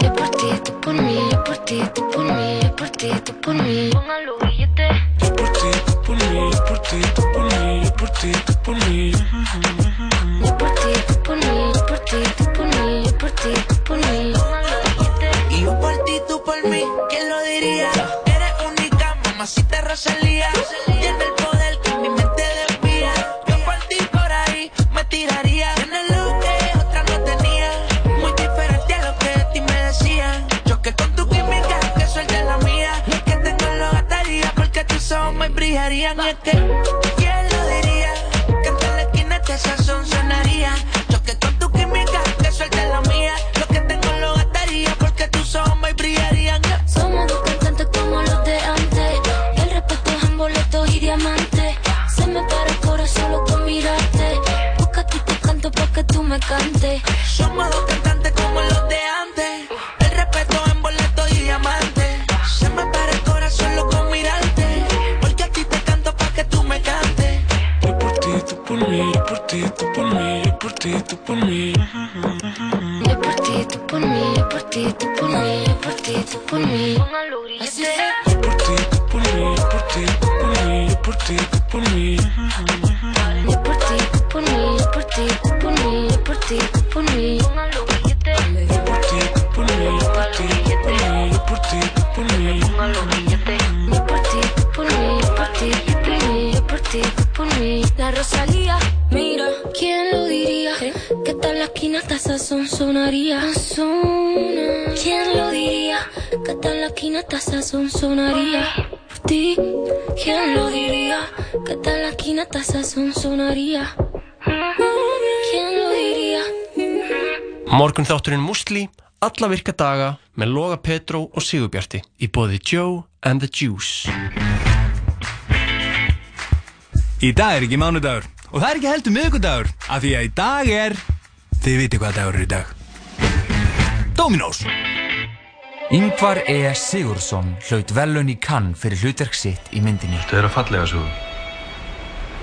S10: Yo por ti, tú por mí, yo por ti, tú por mí, yo por ti, tú por mí Pongan los grilletes
S9: Yo por ti, tú por mí, yo por ti, tú por mí, yo por ti, tú por mí.
S10: Yo por ti, tú por mí, yo por ti, tú por mí, yo por ti, tú por mí.
S11: Y yo por ti, tú por mí, ¿quién lo diría? Eres única, mamacita Rosalía. Tiene el poder que mi mente desvía. Yo por ti por ahí me tiraría. En el look que otra no tenía. Muy diferente a lo que de ti me decían. Yo que con tu química, que suelte la mía. Que tengo lo gastaría porque tus ojos me brillarían. Y es que, ¿quién lo diría? Que en la esquina este sazón sonaría. Yo que con tu química, que suelte la mía. Lo que tengo lo gastaría porque tus ojos me brillarían. Y es
S10: Somos dos cantantes como los de antes. El respeto es en boletos y diamantes. Se me para el corazón solo con mirarte. Busca a ti te canto pa' que tú me cantes.
S11: Somos dos cantantes como los de antes. El respeto en boletos y diamantes. Se me para el corazón loco con mirarte. Porque a ti te canto pa' que tú me cantes.
S9: Yo por ti, tú por mí, yo por ti, tú por mí, yo por ti, tú por mí.
S10: Yo por ti, tú por mí, yo por ti, tú por mí, yo por ti, tú por mí. Así es.
S9: Yo por ti, tú por mí, yo por ti, tú por mí, yo por ti, tú por mí.
S10: Yo por ti, tú por mí, yo por ti, tú por mí, yo por ti, tú por mí.
S9: Yo por ti, tú por mí, yo por ti, tú por mí, yo por ti, tú por mí.
S10: Yo por ti, tú por mí, yo por ti, tú por mí, yo por ti, tú por mí. La Rosalía, mira, ¿quién lo diría? Que tal la esquina hasta sazón sonaría. Sazona. ¿Quién lo diría? Que tal la esquina hasta sazón sonaría. Por ti, ¿quién lo diría? Que tal la esquina hasta sazón sonaría. ¿Quién lo diría?
S12: Morgun þátturinn Musli, alla virka daga með Loga Petró og Sigurbjarti í bóði Joe and the Juice.
S13: Í dag er ekki mánudagur og það er ekki heldur miðugudagur af því að í dag er Þið viti hvað dagur er í dag Dominós
S14: Yngvar E. Sigurðsson hlaut velun í kann fyrir hlutverk sitt í myndinni
S15: Þetta er að fallega svo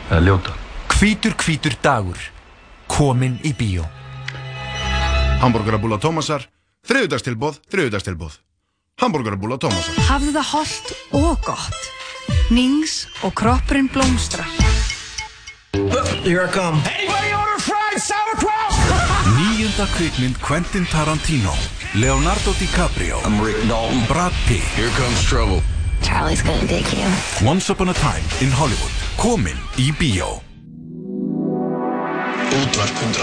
S15: Eða ljóta
S14: Hvítur hvítur dagur Komin í bíó
S16: Hamburgerabúla Tómasar, þriðudagstilbóð, þriðudagstilbóð. Hamburgerabúla Tómasar.
S17: Hafðu það holdt og gott.
S18: nings og kroppurinn blómstrar.
S19: Here I come
S18: Anybody order fried sauerkraut?
S20: Nýjunda kvikmynd Quentin Tarantino Leonardo DiCaprio I'm Rick Dalton Brad Pitt Here comes trouble
S10: Charlie's gonna dig you
S20: Once upon a time in Hollywood Komin í bíó
S3: Útvarp.1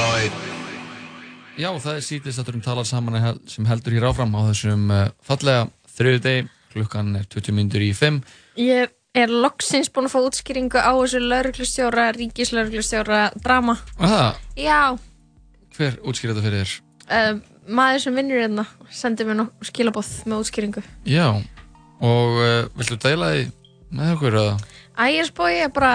S3: Já, það er sítistátturinn talar saman er hel- sem heldur hér áfram á þessum uh, fallega þriðudegi, klukkan er 20 myndur í 5
S4: Ég er loksins búin að fá útskýringu á þessu lauruglustjóra, ríkislauruglustjóra drama.
S3: Það,
S4: Já,
S3: hver útskýrði þetta fyrir þér?
S4: uh, maður sem vinnur hérna sendi mér nokkuð skilabóð með útskýringu.
S3: Já, og uh, viltu deila því með okkur að
S4: Ægir spói er bara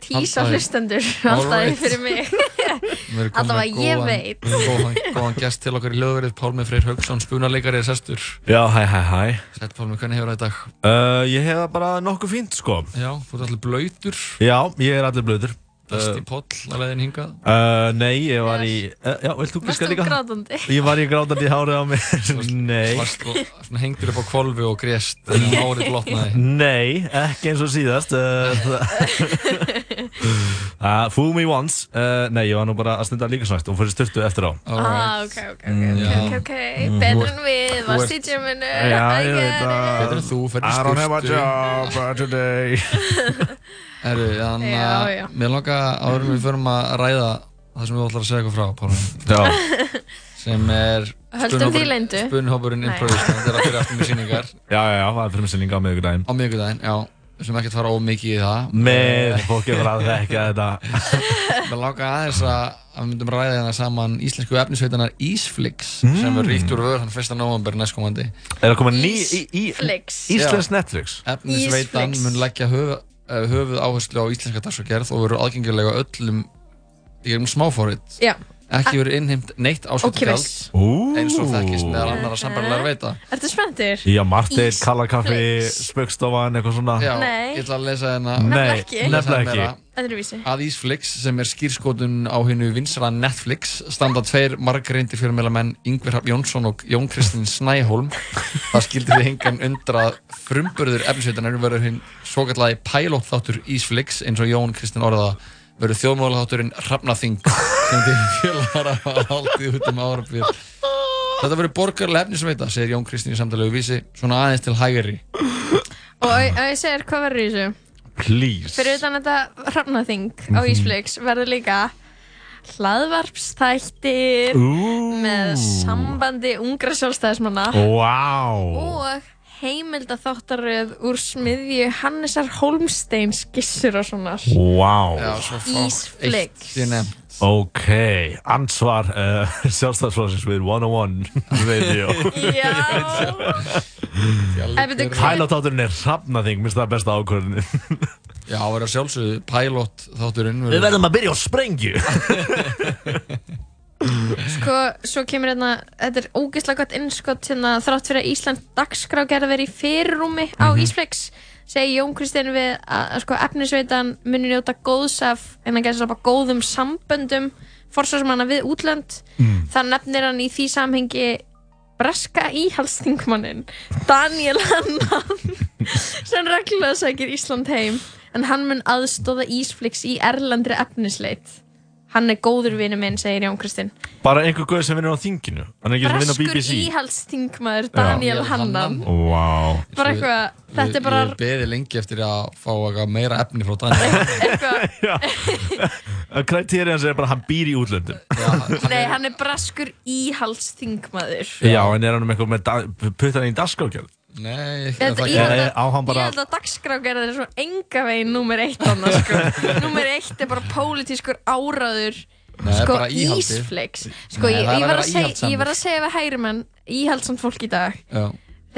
S4: tísa
S3: Alltaf í-
S4: hlustendur
S3: All
S4: alltaf right.
S3: right.
S4: fyrir mig.
S3: við erum komin
S4: Allavega
S3: með
S4: ég
S3: góðan-
S4: veit.
S3: góðan, góðan gest til okkar í lögverið Pálmi Freyr Haugsson, spunarleikari er sestur
S21: Já, hæ, hæ, hæ
S3: Sætt Pálmi, hvernig hefur það í dag?
S21: uh, Ég hef það bara nokkuð fínt, sko
S3: Já, þú ert allir blöytur,
S21: Já, ég er allir blöður
S3: besti poll að leiðin hingað
S21: Uh, nei, ég var í uh, Já, vilt þú
S4: Varstu
S21: giska líka?
S4: grátandi?
S21: Ég var í grátandi í hárið á mér Nei
S3: varst svona hengdur upp á kvolfi og grést en hárið blotnaði.
S21: Nei, ekki eins og síðast uh, uh, Fool me once uh, Nei, ég var nú bara að snunda líka snægt og fyrir styrtu eftir á
S4: Ah, ok, ok, ok,
S21: Mm,
S4: ok,
S21: já.
S4: ok, ok,
S21: Mm. Þú
S4: betur
S21: ert-
S4: en við,
S21: þú
S4: varst í
S21: ert-
S4: gyminu,
S21: Já, ég veit að
S3: Betur en þú, ferð í
S21: I don't have a
S3: sturtu.
S21: job uh, today
S3: Herru, þannig
S4: Já, já.
S3: að mér langa áður en við förum að ræða það sem við ætlar að segja eitthvað frá, Pálmi.
S4: Já.
S3: Sem er
S4: Höldum því leyndu.
S3: Spunhópurinn
S4: Nei.
S3: Improvist, þetta er að fyrir aftur með síningar.
S21: Já, já, já, það er fyrir mig sinninga á miðvikudaginn
S3: Á miðvikudaginn, já. Við sem ekkert fara ómikið í það.
S21: Með fólk er bara að þekka þetta
S3: Mér langa aðeins að að við myndum ræða hérna saman íslensku efnisveitanar Ísflix sem verður ríkt úr vöður hann 1. november næstkomandi.
S21: Hmm. Er það komið ný í, í, Íslensk Netflix
S3: Efnisveitan mun leggja höf, höfuð áherslu á íslenska dagsverkgerð og verður aðgengilega öllum í um smáfórið.
S4: Já.
S3: Ekki verður innheimt neitt
S4: Ókeypis.
S3: áskiptigjald eins og þekkist meðal annara sambarilega veita.
S4: Ertu spenntur?
S21: Já, Marteinn,
S4: Ísflix.
S21: Kallakaffi, Spaukstofan, eitthvað svona
S3: Já,
S4: Nei.
S3: ég ætla að lesa hérna
S21: Nefnilega Nei, ekki. nefnilega
S3: Lesa meira.
S21: ekki.
S4: Öðruvísi.
S3: Að Ísflix, sem er skýrskotun á hennu vinsala Netflix, standa tveir margrindi fjölmjölamenn Yngvar Hrafn Jónsson og Jón Kristinn Snæholm. Það skildi þið engan undra að frumburður efnisveitanar verður hinn svo kallagi pælótþáttur Ísflix, eins og Jón Kristinn orðaða, verður þjóðmálaþátturinn Hrafnaþing, sem þið fjölar hafa haldið út um árafjörð. Þetta verður borgarlega efnisveita, segir Jón Kristinn í samtalegu vísi, svona aðeins til hægri.
S4: Og og ég segir, hvað verður í þessu?
S21: Please.
S4: Fyrir utan þetta hrafnaþing á
S21: Mhm.
S4: Ísflix verður líka hlaðvarpstættir með sambandi ungra sjálfstæðismanna
S21: Vá
S4: og heimilda þáttaröð úr smiðju Hannesar Holmsteins gissur og svona
S21: Vá
S4: Ísflix
S21: Ok, ansvar uh, sjálfstæðsflóðsins við 101 radio
S4: En veitu hver-
S21: Hælátáturinn er hrafnaþing, minnst það er besta ákvörðin
S3: Já, það verður að sjálfsögðu pælót þátturinn
S21: Við verðum að byrja á sprengju
S4: Sko, svo kemur hérna, þetta er ógeðslega gott innskott hérna þrátt fyrir að Ísland dagskrá gerði verið í fyrirrúmi á Ísflex segi Jón Kristinn við að, að sko, efnisveitan muni njóta góðs af en að gæsa bara góðum samböndum forsvarsmanna við útlönd
S10: Mm.
S4: það nefnir hann í því samhengi breska íhalstingmannin Daniel Hannan sem reglulega sækir Ísland heim en hann mun aðstóða Ísflix í erlandri efnisleit hann er góður vinur minn, segir Jón Kristinn
S21: Bara einhver guð sem vinnur á þinginu Hann er ekki sem vinnur á
S4: Breskur
S21: BBC
S4: íhaldstingmaður Daniel
S3: Já.
S4: Hannan
S21: Vá
S4: Bara eitthvað, þetta er bara
S3: Ég beði lengi eftir að fá eitthvað meira efni frá Daniel
S21: Kriterjans er bara að hann býr í útlöndum
S4: Nei, hann er braskur íhaldstingmaður
S21: Já, en er hann um eitthvað með da- puttan í dagskákjörð?
S3: Nei,
S4: Þetta-
S21: það
S4: ég held að-
S21: ekki Á hann
S4: Ég
S21: bara
S4: held að dagskrágerðir er svo enga veginn númer eitt annars sko. Númer eitt er bara pólitískur áráður
S3: Nei, það er
S4: sko,
S3: bara íhaldið.
S4: ísflex Sko,
S3: Nei,
S4: ég,
S3: það er
S4: ég,
S3: að
S4: var að
S3: vera
S4: seg,
S3: íhaldssamur.
S4: ég var að segja við hægrimenn íhaldsamt fólk í dag
S3: Já.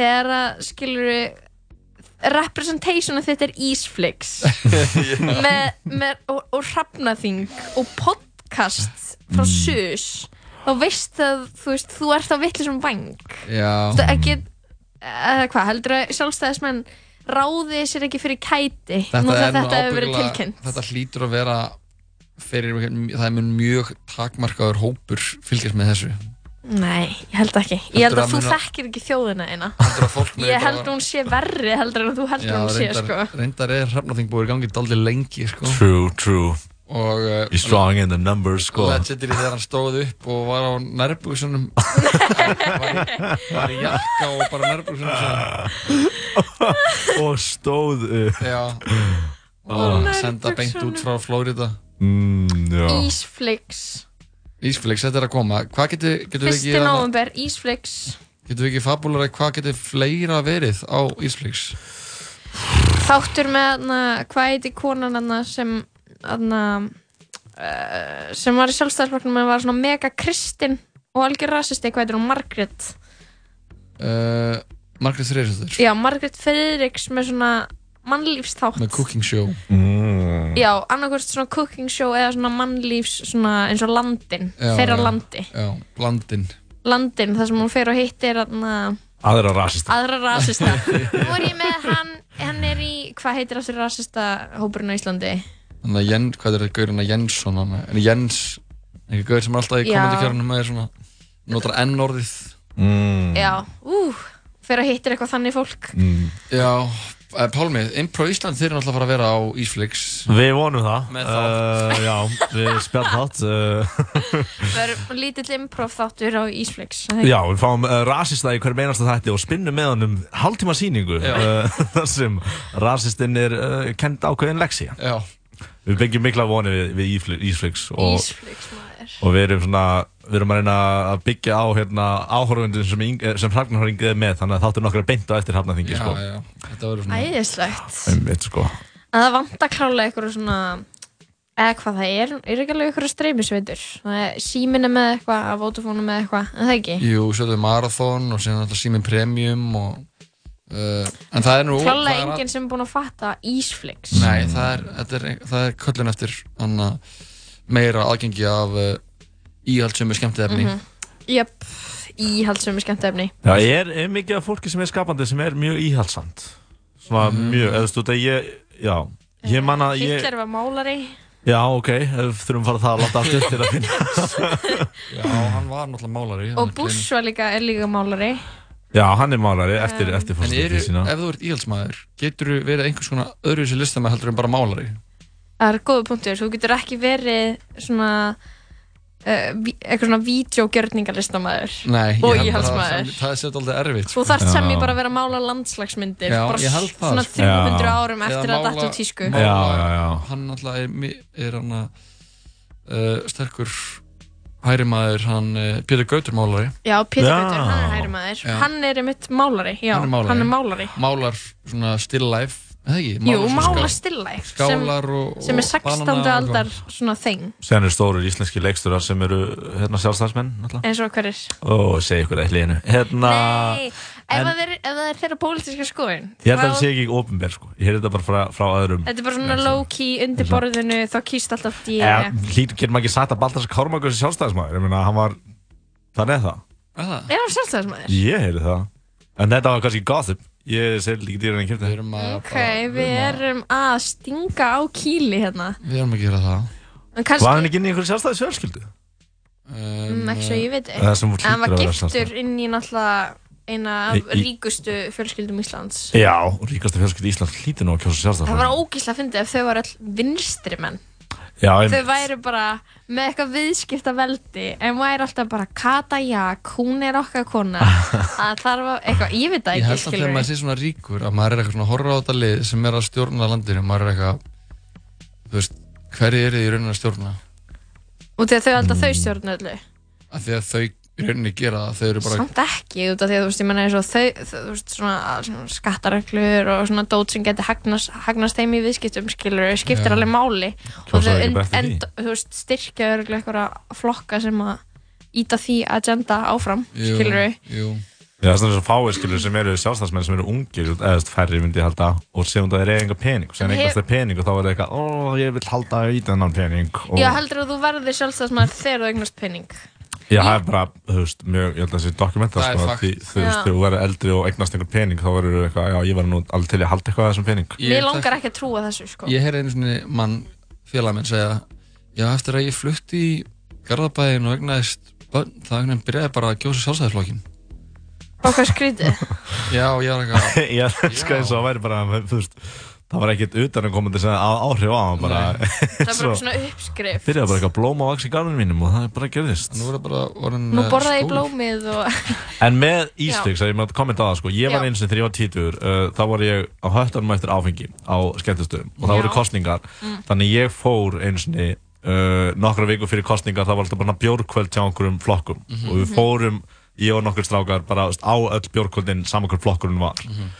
S4: Þegar að, skilur representationu þetta er ísflex með, með, og, og hrafnaþing og podcast
S3: Mm.
S4: frá SUS þá veist að þú veist þú ert á vitlisum vang
S3: Já,
S4: Þú ekki, eða hvað, heldur að sjálfstæðismenn ráði sér ekki fyrir kæti nú þegar
S3: nú
S4: þetta hefur verið
S3: ábyggilega-
S4: tilkynnt
S3: Þetta hlýtur að vera fyrir, það er mun mjög takmarkaður hópur fylgjast með þessu
S4: Nei, ég held ekki Ég held
S3: Heldurðu
S4: að
S3: að
S4: þú
S3: muna-
S4: þekkir ekki þjóðina eina
S3: muni
S4: Ég
S3: bara-
S4: held hún sé verri heldur en þú heldur hún sé sko
S3: reyndar, reyndar er hrefnaþing búið í gangi daldið lengi sko.
S21: True, true
S3: Og, uh,
S21: He's strong in the numbers, sko
S3: Legendary þegar hann stóð upp og var á nærbúsunum var, í- var í jakka og bara nærbúsunum
S21: Ah. Og stóð upp
S3: Já
S21: Á
S3: og senda beint út frá Flórida
S21: mm, já.
S4: Ísflix
S3: Ísflix, þetta er að koma Hvað getur getu við ekki hérna-
S4: Fyrsti nóvumber, Ísflix
S3: Getur við ekki fabúlar að hvað getur fleira verið á Ísflix
S4: Þáttur með hana, hvað heiti konan hana sem hana, uh, sem var í sjálfstæðsflokknum en var svona mega kristin og algjör rasisti, hvað heitir hún, Margrét
S3: uh, Margrét Þriðsöður
S4: Já, Margrét Friðriks með svona mannlífsþátt
S3: Með cooking show mm.
S4: Já, annarkvist svona cooking show eða svona mannlífs svona eins og landin, þeirra landi
S3: Já, landin
S4: landin, þar sem hún fer og hittir hana,
S21: Aðra rasist
S4: aðra rasista Nú er ég með hann, hann er í hvað heitir aftur rasista hópurinn á Íslandi
S3: Þannig að Jens, hvað er þetta gaurinn að Jensson hann En Jens, einhver gaur sem er alltaf í
S4: Já.
S3: komendikjörnum er svona, notar enn orðið mm.
S4: Já, ú, fyrir að hittir eitthvað þannig fólk
S3: mm. Já, eh, Pálmi, Impro Ísland þeir eru náttúrulega að fara að vera á Ísflix
S21: Við vonum það
S3: Með þátt.
S21: uh, Já, við spjall þátt uh,
S4: Það er lítill improv þáttur á Ísflix
S21: Já, við fáum uh, rasista í hverjum einasta þætti og spinnum með honum halvtíma sýningu uh, þar sem rasistinn er uh, kend ákveðin leksi
S3: Já.
S21: Við byggjum mikla voni við, við Ífl- Ísflix og,
S4: Ísflix, maður
S21: og við erum svona við erum að reyna að byggja á hérna, áhorfundin sem, yng- eh, sem Hrafnarhöringið er með þannig að þáttur nokkra beint á eftir Hrafnarþingi
S3: Já,
S21: sko.
S3: já, þetta verður svona
S4: Æðislegt
S21: Einmitt, sko.
S4: En það vantar klálega eitthvað svona eða hvað það er, er ekki alveg eitthvað streymisveitur það er síminni með eitthvað, að vótafónu með eitthvað en það ekki
S3: Jú, svo þetta er Marathon og síðan alltaf Simi Premium og, uh, En það er nú það
S4: Klálega
S3: er
S4: enginn sem er búin að fatta Ísflix
S3: Nei, það er, þetta er, það er köllun eftir hana, meira aðgengi af uh, íhaldsömu skemmtiðefni.
S4: Mhm. Jöp, íhaldsömi skemmtefni
S21: Já, er, er mikið af fólki sem er skapandi sem er mjög íhalsand svona mjög, eða þú veit að ég já, ég man að ég,
S4: Hitler var málari
S21: já, ok ef þurfum að fara það að láta allt upp til að finna
S3: Já, hann var náttúrulega málari.
S4: og Bush var líka, er líka málari
S21: Já, hann er málari eftir,
S4: Um,
S21: eftir
S3: En eru,
S21: fórstuðið sína
S3: ef þú ert íhaldsmaður, getur þú verið einhvers konar öðru sér listamæð heldur en bara málari?
S4: Það er góða punktur, þú getur ekki verið svona uh, ví- eitthvað svona vídeogjörningarlistamæður
S3: Nei, ég
S4: og
S3: held að
S4: íhaldsmaður
S3: Það, það er sér alltaf erfitt. sko.
S4: Þú þarft sem ég bara að vera að mála landslagsmyndir
S3: Já,
S4: bara
S3: ég held það,
S4: svona
S3: sko.
S4: 300
S3: Já.
S4: árum eftir
S3: Eða
S4: að datt
S3: mála-
S4: úr tísku
S3: mála-
S21: Já, já, já.
S3: Hann alltaf er, mi- er hann að uh, sterkur hærimaður, hann uh, Pétur Gautur málari.
S4: Já, Pétur Gautur, hann er hægri maður
S3: Já.
S4: Hann er einmitt málari, já,
S3: hann er málari.
S4: málari.
S3: Málar svona still life, eða ekki?
S4: Jú,
S3: svona
S4: mála
S3: skál-
S4: stilla
S3: Skálar og, og
S4: sem er 16.
S3: banana og
S4: aldar svona þeng
S21: Sen eru stórir íslenski leiksturar sem eru hérna sjálfstæðsmenn náttúrulega.
S4: eins og hverjir
S21: Ó, segi ykkur eitthvað í hennu Hérna,
S4: Nei, ef,
S21: en-
S4: það er, ef það er þeirra pólitíska skoðun
S21: ég held að
S4: þá-
S21: það sé ekki ofinber sko. Ég heyrði þetta bara frá, frá öðrum
S4: Þetta er bara svona low-key undir borðinu, þá kýst alltaf D.
S21: yeah. Hlýtur getur maður ekki sagt að Baltas Kármakur sé sjálfstæðsmaður Ég meina, hann var, þannig er það
S3: Ah.
S4: Er hann sjálfstæðismæður?
S21: Ég heyrði það En þetta var kannski gothum Ég segir líka dýran en kjöfti
S3: Við erum að
S4: Ok, við erum að stinga á kýli hérna.
S3: Við erum að gera það
S4: En kannski,
S21: Var hann ekki inn í einhverju sjálfstæðis fjölskyldu?
S4: mm, ekki svo ég veit ekki.
S21: Það sem hún
S4: En hann var
S21: hlýtur að vera
S4: giftur inn í náttúrulega eina af
S21: Í- í-
S4: ríkustu fjölskyldum Íslands.
S21: Já, ríkasta fjölskyldu í Ísland hlýtur nú að kjósa
S4: Það
S21: sjálfstæðsmaður
S4: var ógíslega að fyndi ef þau var all vinstri menn.
S21: Já,
S4: Þau
S21: einmitt.
S4: væri bara með eitthvað viðskipta veldi en væri alltaf bara Kata Jak, hún er okkar kona. Það þarf að, eitthvað, ég veit það
S3: Ég
S4: ekki,
S3: held að þegar maður sé svona ríkur að maður er eitthvað svona að horfa á þetta lið sem er að stjórna landinu maður er eitthvað þú veist, hverju eru þið í rauninni að stjórna
S4: Og þegar þau alltaf
S21: Mm.
S4: þau stjórnu öllu.
S3: af því að þau í rauninni gera það þau eru bara
S4: samt ekki út af því að þú veist, ég menna eins og þau, þau þú veist, svona, svona skattareglur og svona dót sem getur hagnast, hagnast þeim í viðskiptum skilur, skiptir
S21: Já.
S4: alveg máli og
S21: Kjósa
S4: þau
S21: ekki
S4: en,
S21: bara eftir
S4: en,
S21: því.
S4: þú veist, styrkja örgulega eitthvað flokka sem að íta því agenda áfram,
S21: Jú,
S4: skilur
S3: jú.
S21: Já, það er svona svo fáir skilur sem eru sjálfstæðsmenn sem eru ungir, eða þú veist, færri myndi ég halda og sem það er eiginlega pening, sem
S4: En hef-
S21: eiginlega það er pening og þá er það eitthvað, ó, ég vil halda í þennan pening og
S4: Já, heldur að þú verðir sjálfstæðsmaður þegar þú eignast penning
S21: ég hef bara, þú veist, mjög, ég held að það sé dokumentar,
S3: Það er
S21: sko,
S3: fakt.
S21: því, þú veist,
S4: Já.
S21: þegar þú verður eldri og eignast einhver pening, þá verður þú eitthvað, já, ég verður nú alveg til í að halda eitthvað af þessum pening.
S4: Mér langar ekki að trúa þessu, sko
S3: ég heyrði einu svona mann félag minn segja já, eftir að ég flutti í Garðabæðin og egnaðist börn, það einhvern veginn byrjaði bara að gjósa sjálfstæðisflokkin
S4: Okkar skrítið
S3: Já, ég var eitthvað
S21: Já, sko eins og það væri bara, þú veist, það var ekkert utan að koma til að áhrif á hann bara
S4: Það er bara svona uppskrift
S21: Byrjaði bara eitthvað blóma á vaks í garðinu mínum og það er bara gerðist
S3: Nú er það bara orðin
S4: Nú borðaði ég blómið og
S21: En með Ísbyggs, að ég maður kommenta á það sko, ég var
S4: Já.
S21: eins og þegar ég var títur, uh, þá var ég á höttanum eftir áfengi á skemmtistöðum og það
S4: Já.
S21: voru kostningar,
S4: Mm.
S21: þannig ég fór eins og uh, nokkra viku fyrir kostningar, það var alltaf bara bjórkvöld hjá einhverjum flokkum
S22: Mhm.
S21: og við
S22: Mhm.
S21: fórum, ég og nokkur strákar, bara þú veist, á öll bjórkvöldin saman hver flokkurinn var
S4: Mhm.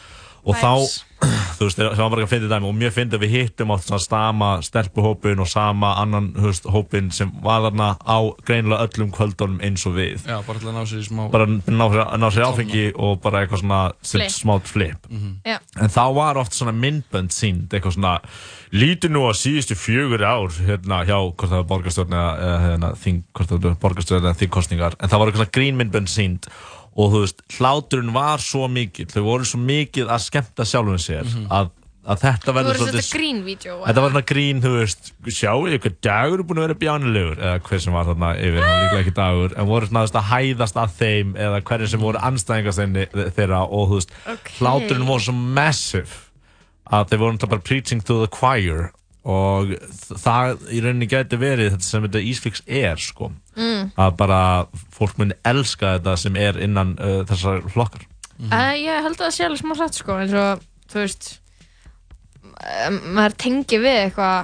S21: og þá, þú veist, það var bara að finna dæmi og mjög fyndi að við hittum á þess að sama stelpuhópin og sama annan þú veist, hópin sem var þarna á greinilega öllum kvöldunum eins og við
S3: Já, bara til að ná sér í smá
S21: bara ná, sér- ná sér áfengi og bara eitthvað svona sem
S3: Flip.
S21: smátt flip
S3: Mhm.
S4: Já.
S21: en þá var oft svona myndbönd sínd eitthvað svona, lítur nú að síðustu fjögur ár hérna hjá hvort það var borgarstjórn eða eða, hérna, þing, hvort það var borgarstjórn eða þingkostningar en það var eitthvað svona grínmyndbönd sínd og þú veist, hláturinn var svo mikill þau voru svo mikið að skemmta sjálfum sér að, að þetta
S4: Þú
S21: verður
S4: voru svolítið grínvídeó
S21: Þetta var svona grín, þú veist, sjáu þið hvað dagur er búin að vera bjánulegur eða hver sem var þarna yfir, hann var líklega ekki dagur en voru svona þú veist, að hæðast að þeim eða hverjir sem voru anstæðingast einni- þeirra og þú veist,
S22: Ok.
S21: hláturinn voru svo massive að þeir voru náttúrulega bara preaching to the choir og þ- það í rauninni gæti verið þetta sem þetta Ísfix er sko
S4: Mm.
S21: að bara fólk muni elska þetta sem er innan uh, þessar flokkar
S4: Eh, Ég held að það sé alveg smá satt sko eins og þú veist eh, maður tengi við eitthvað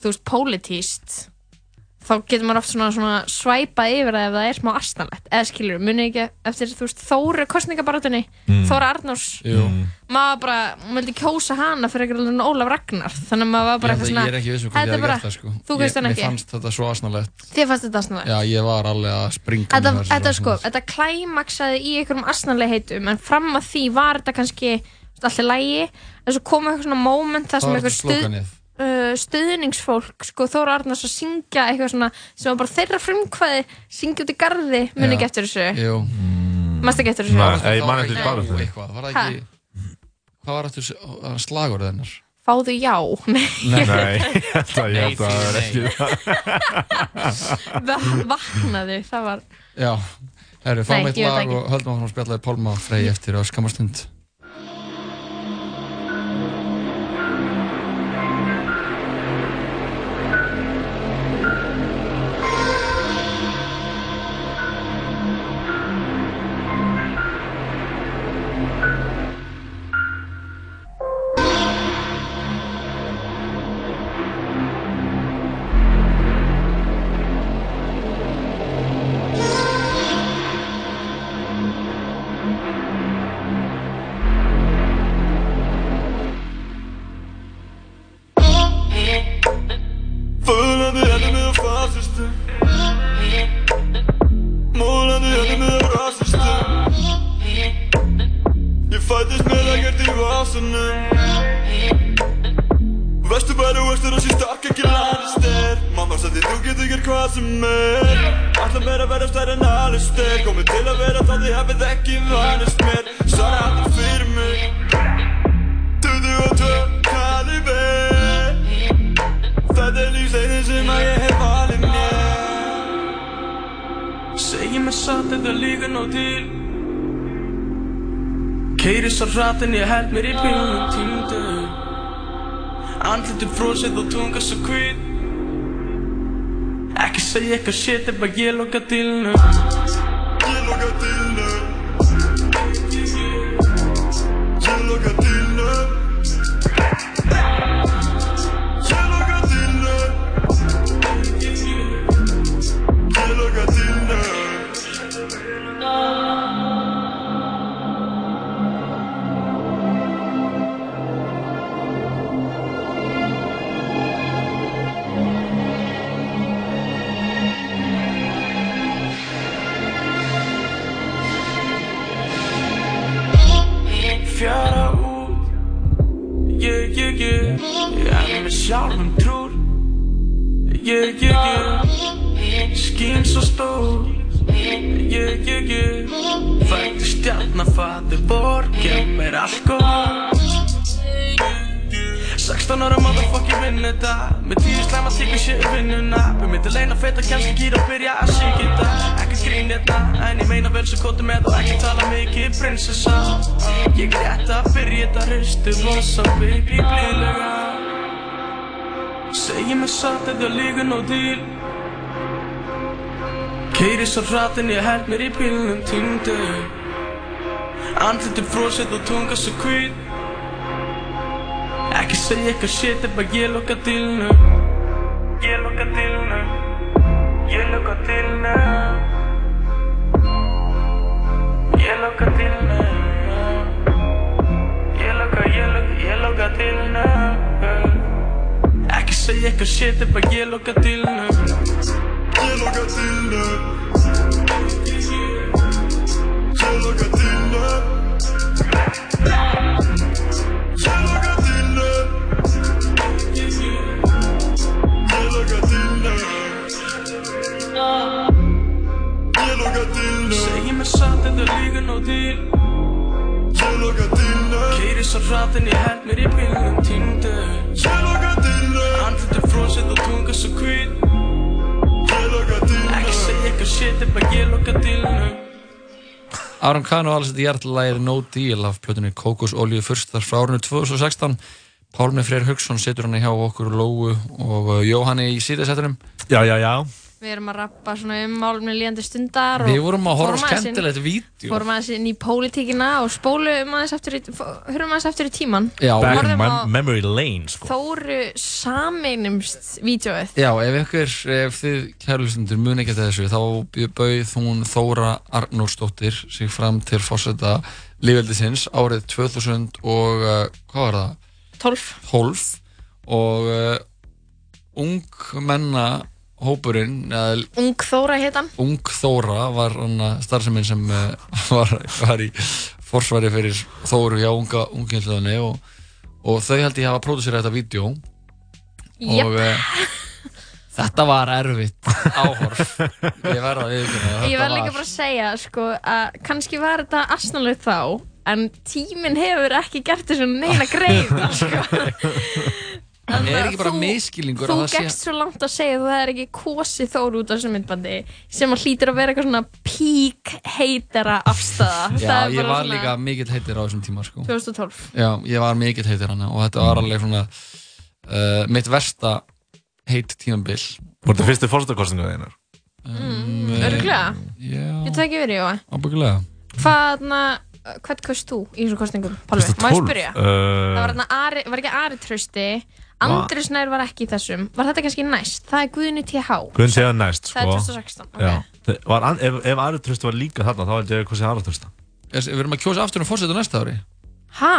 S4: þú veist, pólitíst þá getur maður oft svona, svona svæpað yfir það ef það er smá astanlegt eða skilur, muni ekki eftir þú veist Þóru kostningabaratunni,
S22: Mm.
S4: Þóra Arnús
S3: Jú.
S21: Mm.
S4: maður bara, maður vildi kjósa hana fyrir eitthvað en Ólaf Ragnar þannig að maður var bara
S3: ég,
S4: eitthvað
S3: svona,
S4: svona
S3: ég er ekki viss um
S4: þetta
S3: hvað ég
S4: er
S3: hef
S4: bara-
S3: gert það sko
S4: þú
S3: Ég-
S4: veist hann
S3: Mér
S4: ekki,
S3: fannst þetta svo asnalegt
S4: þið fannst þetta astanlegt
S3: Já, ég var alveg að springa
S4: Þetta,
S3: með þessu
S4: þetta
S3: svo
S4: sko, þetta klæmaksaði í einhverjum asnalegheitum en fram að því var þetta kannski allir lægi en svo kom eitthvað svona moment þar
S3: Það
S4: sem
S3: var
S4: eitthvað
S3: þetta
S4: stuð,
S3: slókanið.
S4: uh, stuðningsfólk sko Þóra Arnars að syngja eitthvað svona sem var bara þeirra frumkvæði syngja út í garði, muni
S3: Já.
S4: ekki eftir þessu
S3: Jú
S4: Manstu ekki eftir þessu?
S21: Mm. Nei, ég man eftir
S3: Nei,
S21: bara því.
S3: eitthvað, Var það ekki, hvað var aftur s- slagorðið hennar?
S4: Fáðu já Nei,
S21: Nei, ég held að- ég held að það er ekki
S4: Va- Vaknaðu, það var
S3: Já, herru,
S4: Nei,
S3: fáum eitt
S4: ég veit
S3: lag
S4: ekki.
S3: og höldum áfram að spjalla í Pálma Frey eftir að skamma stund
S22: Fölandi henni með fasistum Mólandi henni með rasistum Ég fættist með ekkert í vasunum Vestu bæri vestur og síst okk ekki lærist er Mamma sagði þú getur gert hvað sem er Ætla meira að vera stærri en alist er Komið til að vera það þið hafið ekki vanist mér Svara alltaf fyrir mig 22 kaliber Þetta er lífsleiðin sem að ég hef valið mér Segir mér satt þetta líka nóg til Keiri svo hratt en ég held mér í bílunum tímdum Andliti frosið og tunga svo hvít Ekki segja eitthvað shit ef að ég loka dilnum Ég loka dilnum Ég loka dilnum Ég loka dilnum Ég loka dilnum fjara út Yeah, yeah, yeah Ég er með sjálfum trúr Yeah, yeah, yeah Skín svo stór Yeah, yeah, yeah Fættu stjarnar, fættu borg Gef mér allt góð
S23: 16 ára motherfucking vinnu þetta Með tíu slæma sigur séu vinnuna Við myndum leina feta kannski gýra og byrja að síkja þetta Ekki skrín hérna En ég meina vel svo kóti með og ekki tala mikið prinsessa Ég er rétt að byrja þetta hristu Vossa baby blíðlega Segji mér satt þetta líka nóg til Keiri svo hratt en ég held mér í bílnum týndu Andlitið frosið og tunga svo hvít Ekki segja eitthvað shit ef að ég loka dilnu Ég loka dilnu Ég loka dilnu Ég loka dilnu Ég loka, ég loka, ég loka dilnu Ekki segja eitthvað shit ef að ég loka dilnu Ég loka dilnu Ég loka dilnu Ég loka dillu Ég loka dillu Ég loka dillu Segji mér satt þetta líka nóg til Ég loka dillu Keiri svo hratt en ég held mér í bílnum týndu Ég loka dillu Andlitið frosið og tunga svo hvít Ég loka dillu Ekki segja eitthvað shit ef að ég loka dillu
S3: Aron Kahn og Alice Jarlægir No Deal af plötunni Kókosolíu fyrstar frá árinu 2016 Pálmi Freyr Haugsson setur hann hjá okkur Lóu og uh, Jóhanni í síðasettunum
S21: Já, já, já
S4: Við erum að rappa svona um málumni líðandi stundar og
S3: Við vorum að horfa á
S4: fórum aðeins inn-
S3: skemmtilegt vídeo.
S4: Fórum aðeins inn í pólitíkina og spólum aðeins eftir í, hörum aðeins eftir í tíman
S3: Já.
S21: Back in
S4: Horfðum á-
S21: mem memory lane sko.
S4: Þóru sameinumst vídjóið
S3: Já, ef ykkur, ef þið kærlustundur mun ekki eftir þessu, þá bauð hún Þóra Arnórsdóttir sig fram til fórseta lífveldisins árið 2000 og uh, hvað var það?
S4: 12
S3: 12 og uh, ungmenna hópurinn, eða
S4: Ung Þóra hét hann
S3: Ung Þóra var hann starfseminn sem eh, var, var í forsvari fyrir Þóru hjá unga unginslöðinni og, og þau held ég hafa pródusera þetta vídeo
S4: Jep.
S3: og eh, þetta var erfitt áhorf ég verða að viðkynna
S4: Ég verð líka bara að segja sko að kannski var þetta asnalegt þá en tíminn hefur ekki gert þessu neina greið sko.
S3: En er
S4: Þannig að
S3: ekki bara
S4: þú-
S3: misskilningur
S4: Þú
S3: að það sé-
S4: gegst svo langt að segja að það er ekki kosið þóru út af þessu myndbandi sem að hlýtir að vera eitthvað svona pík heitara afstæða
S3: Já,
S4: Það er
S3: ég
S4: bara
S3: var
S4: svona
S3: líka mikill heitir á þessum tíma sko.
S4: 2012
S3: Já, ég var mikill heitir hana og þetta var alveg svona uh, mitt versta heit tímabil
S21: Voru þetta fyrstu fórstakostingu þeinar?
S4: Mm,
S3: Um,
S21: Eh,
S3: eh,
S4: Örglega,
S3: Já,
S4: ég tek yfir í Jóa
S3: ábyggulega
S4: Hvaðna, hvern kaust þú í þessum kostningum? Pálmi, má ég
S21: 2012?
S4: spyrja?
S21: Uh,
S4: Það var, þarna Ari, var ekki Ari Trausti Andri Snær var ekki í þessum Var þetta kannski næst? Það er Guðni TH
S21: Guðn séða næst sko.
S4: Það er 2016, ok.
S21: Já. Var, an- ef, ef Ari Trösta var líka þarna þá held ég að hvað sé Ari Trösta
S3: Við erum að kjósa aftur um fórsetu næsta ári
S4: Ha?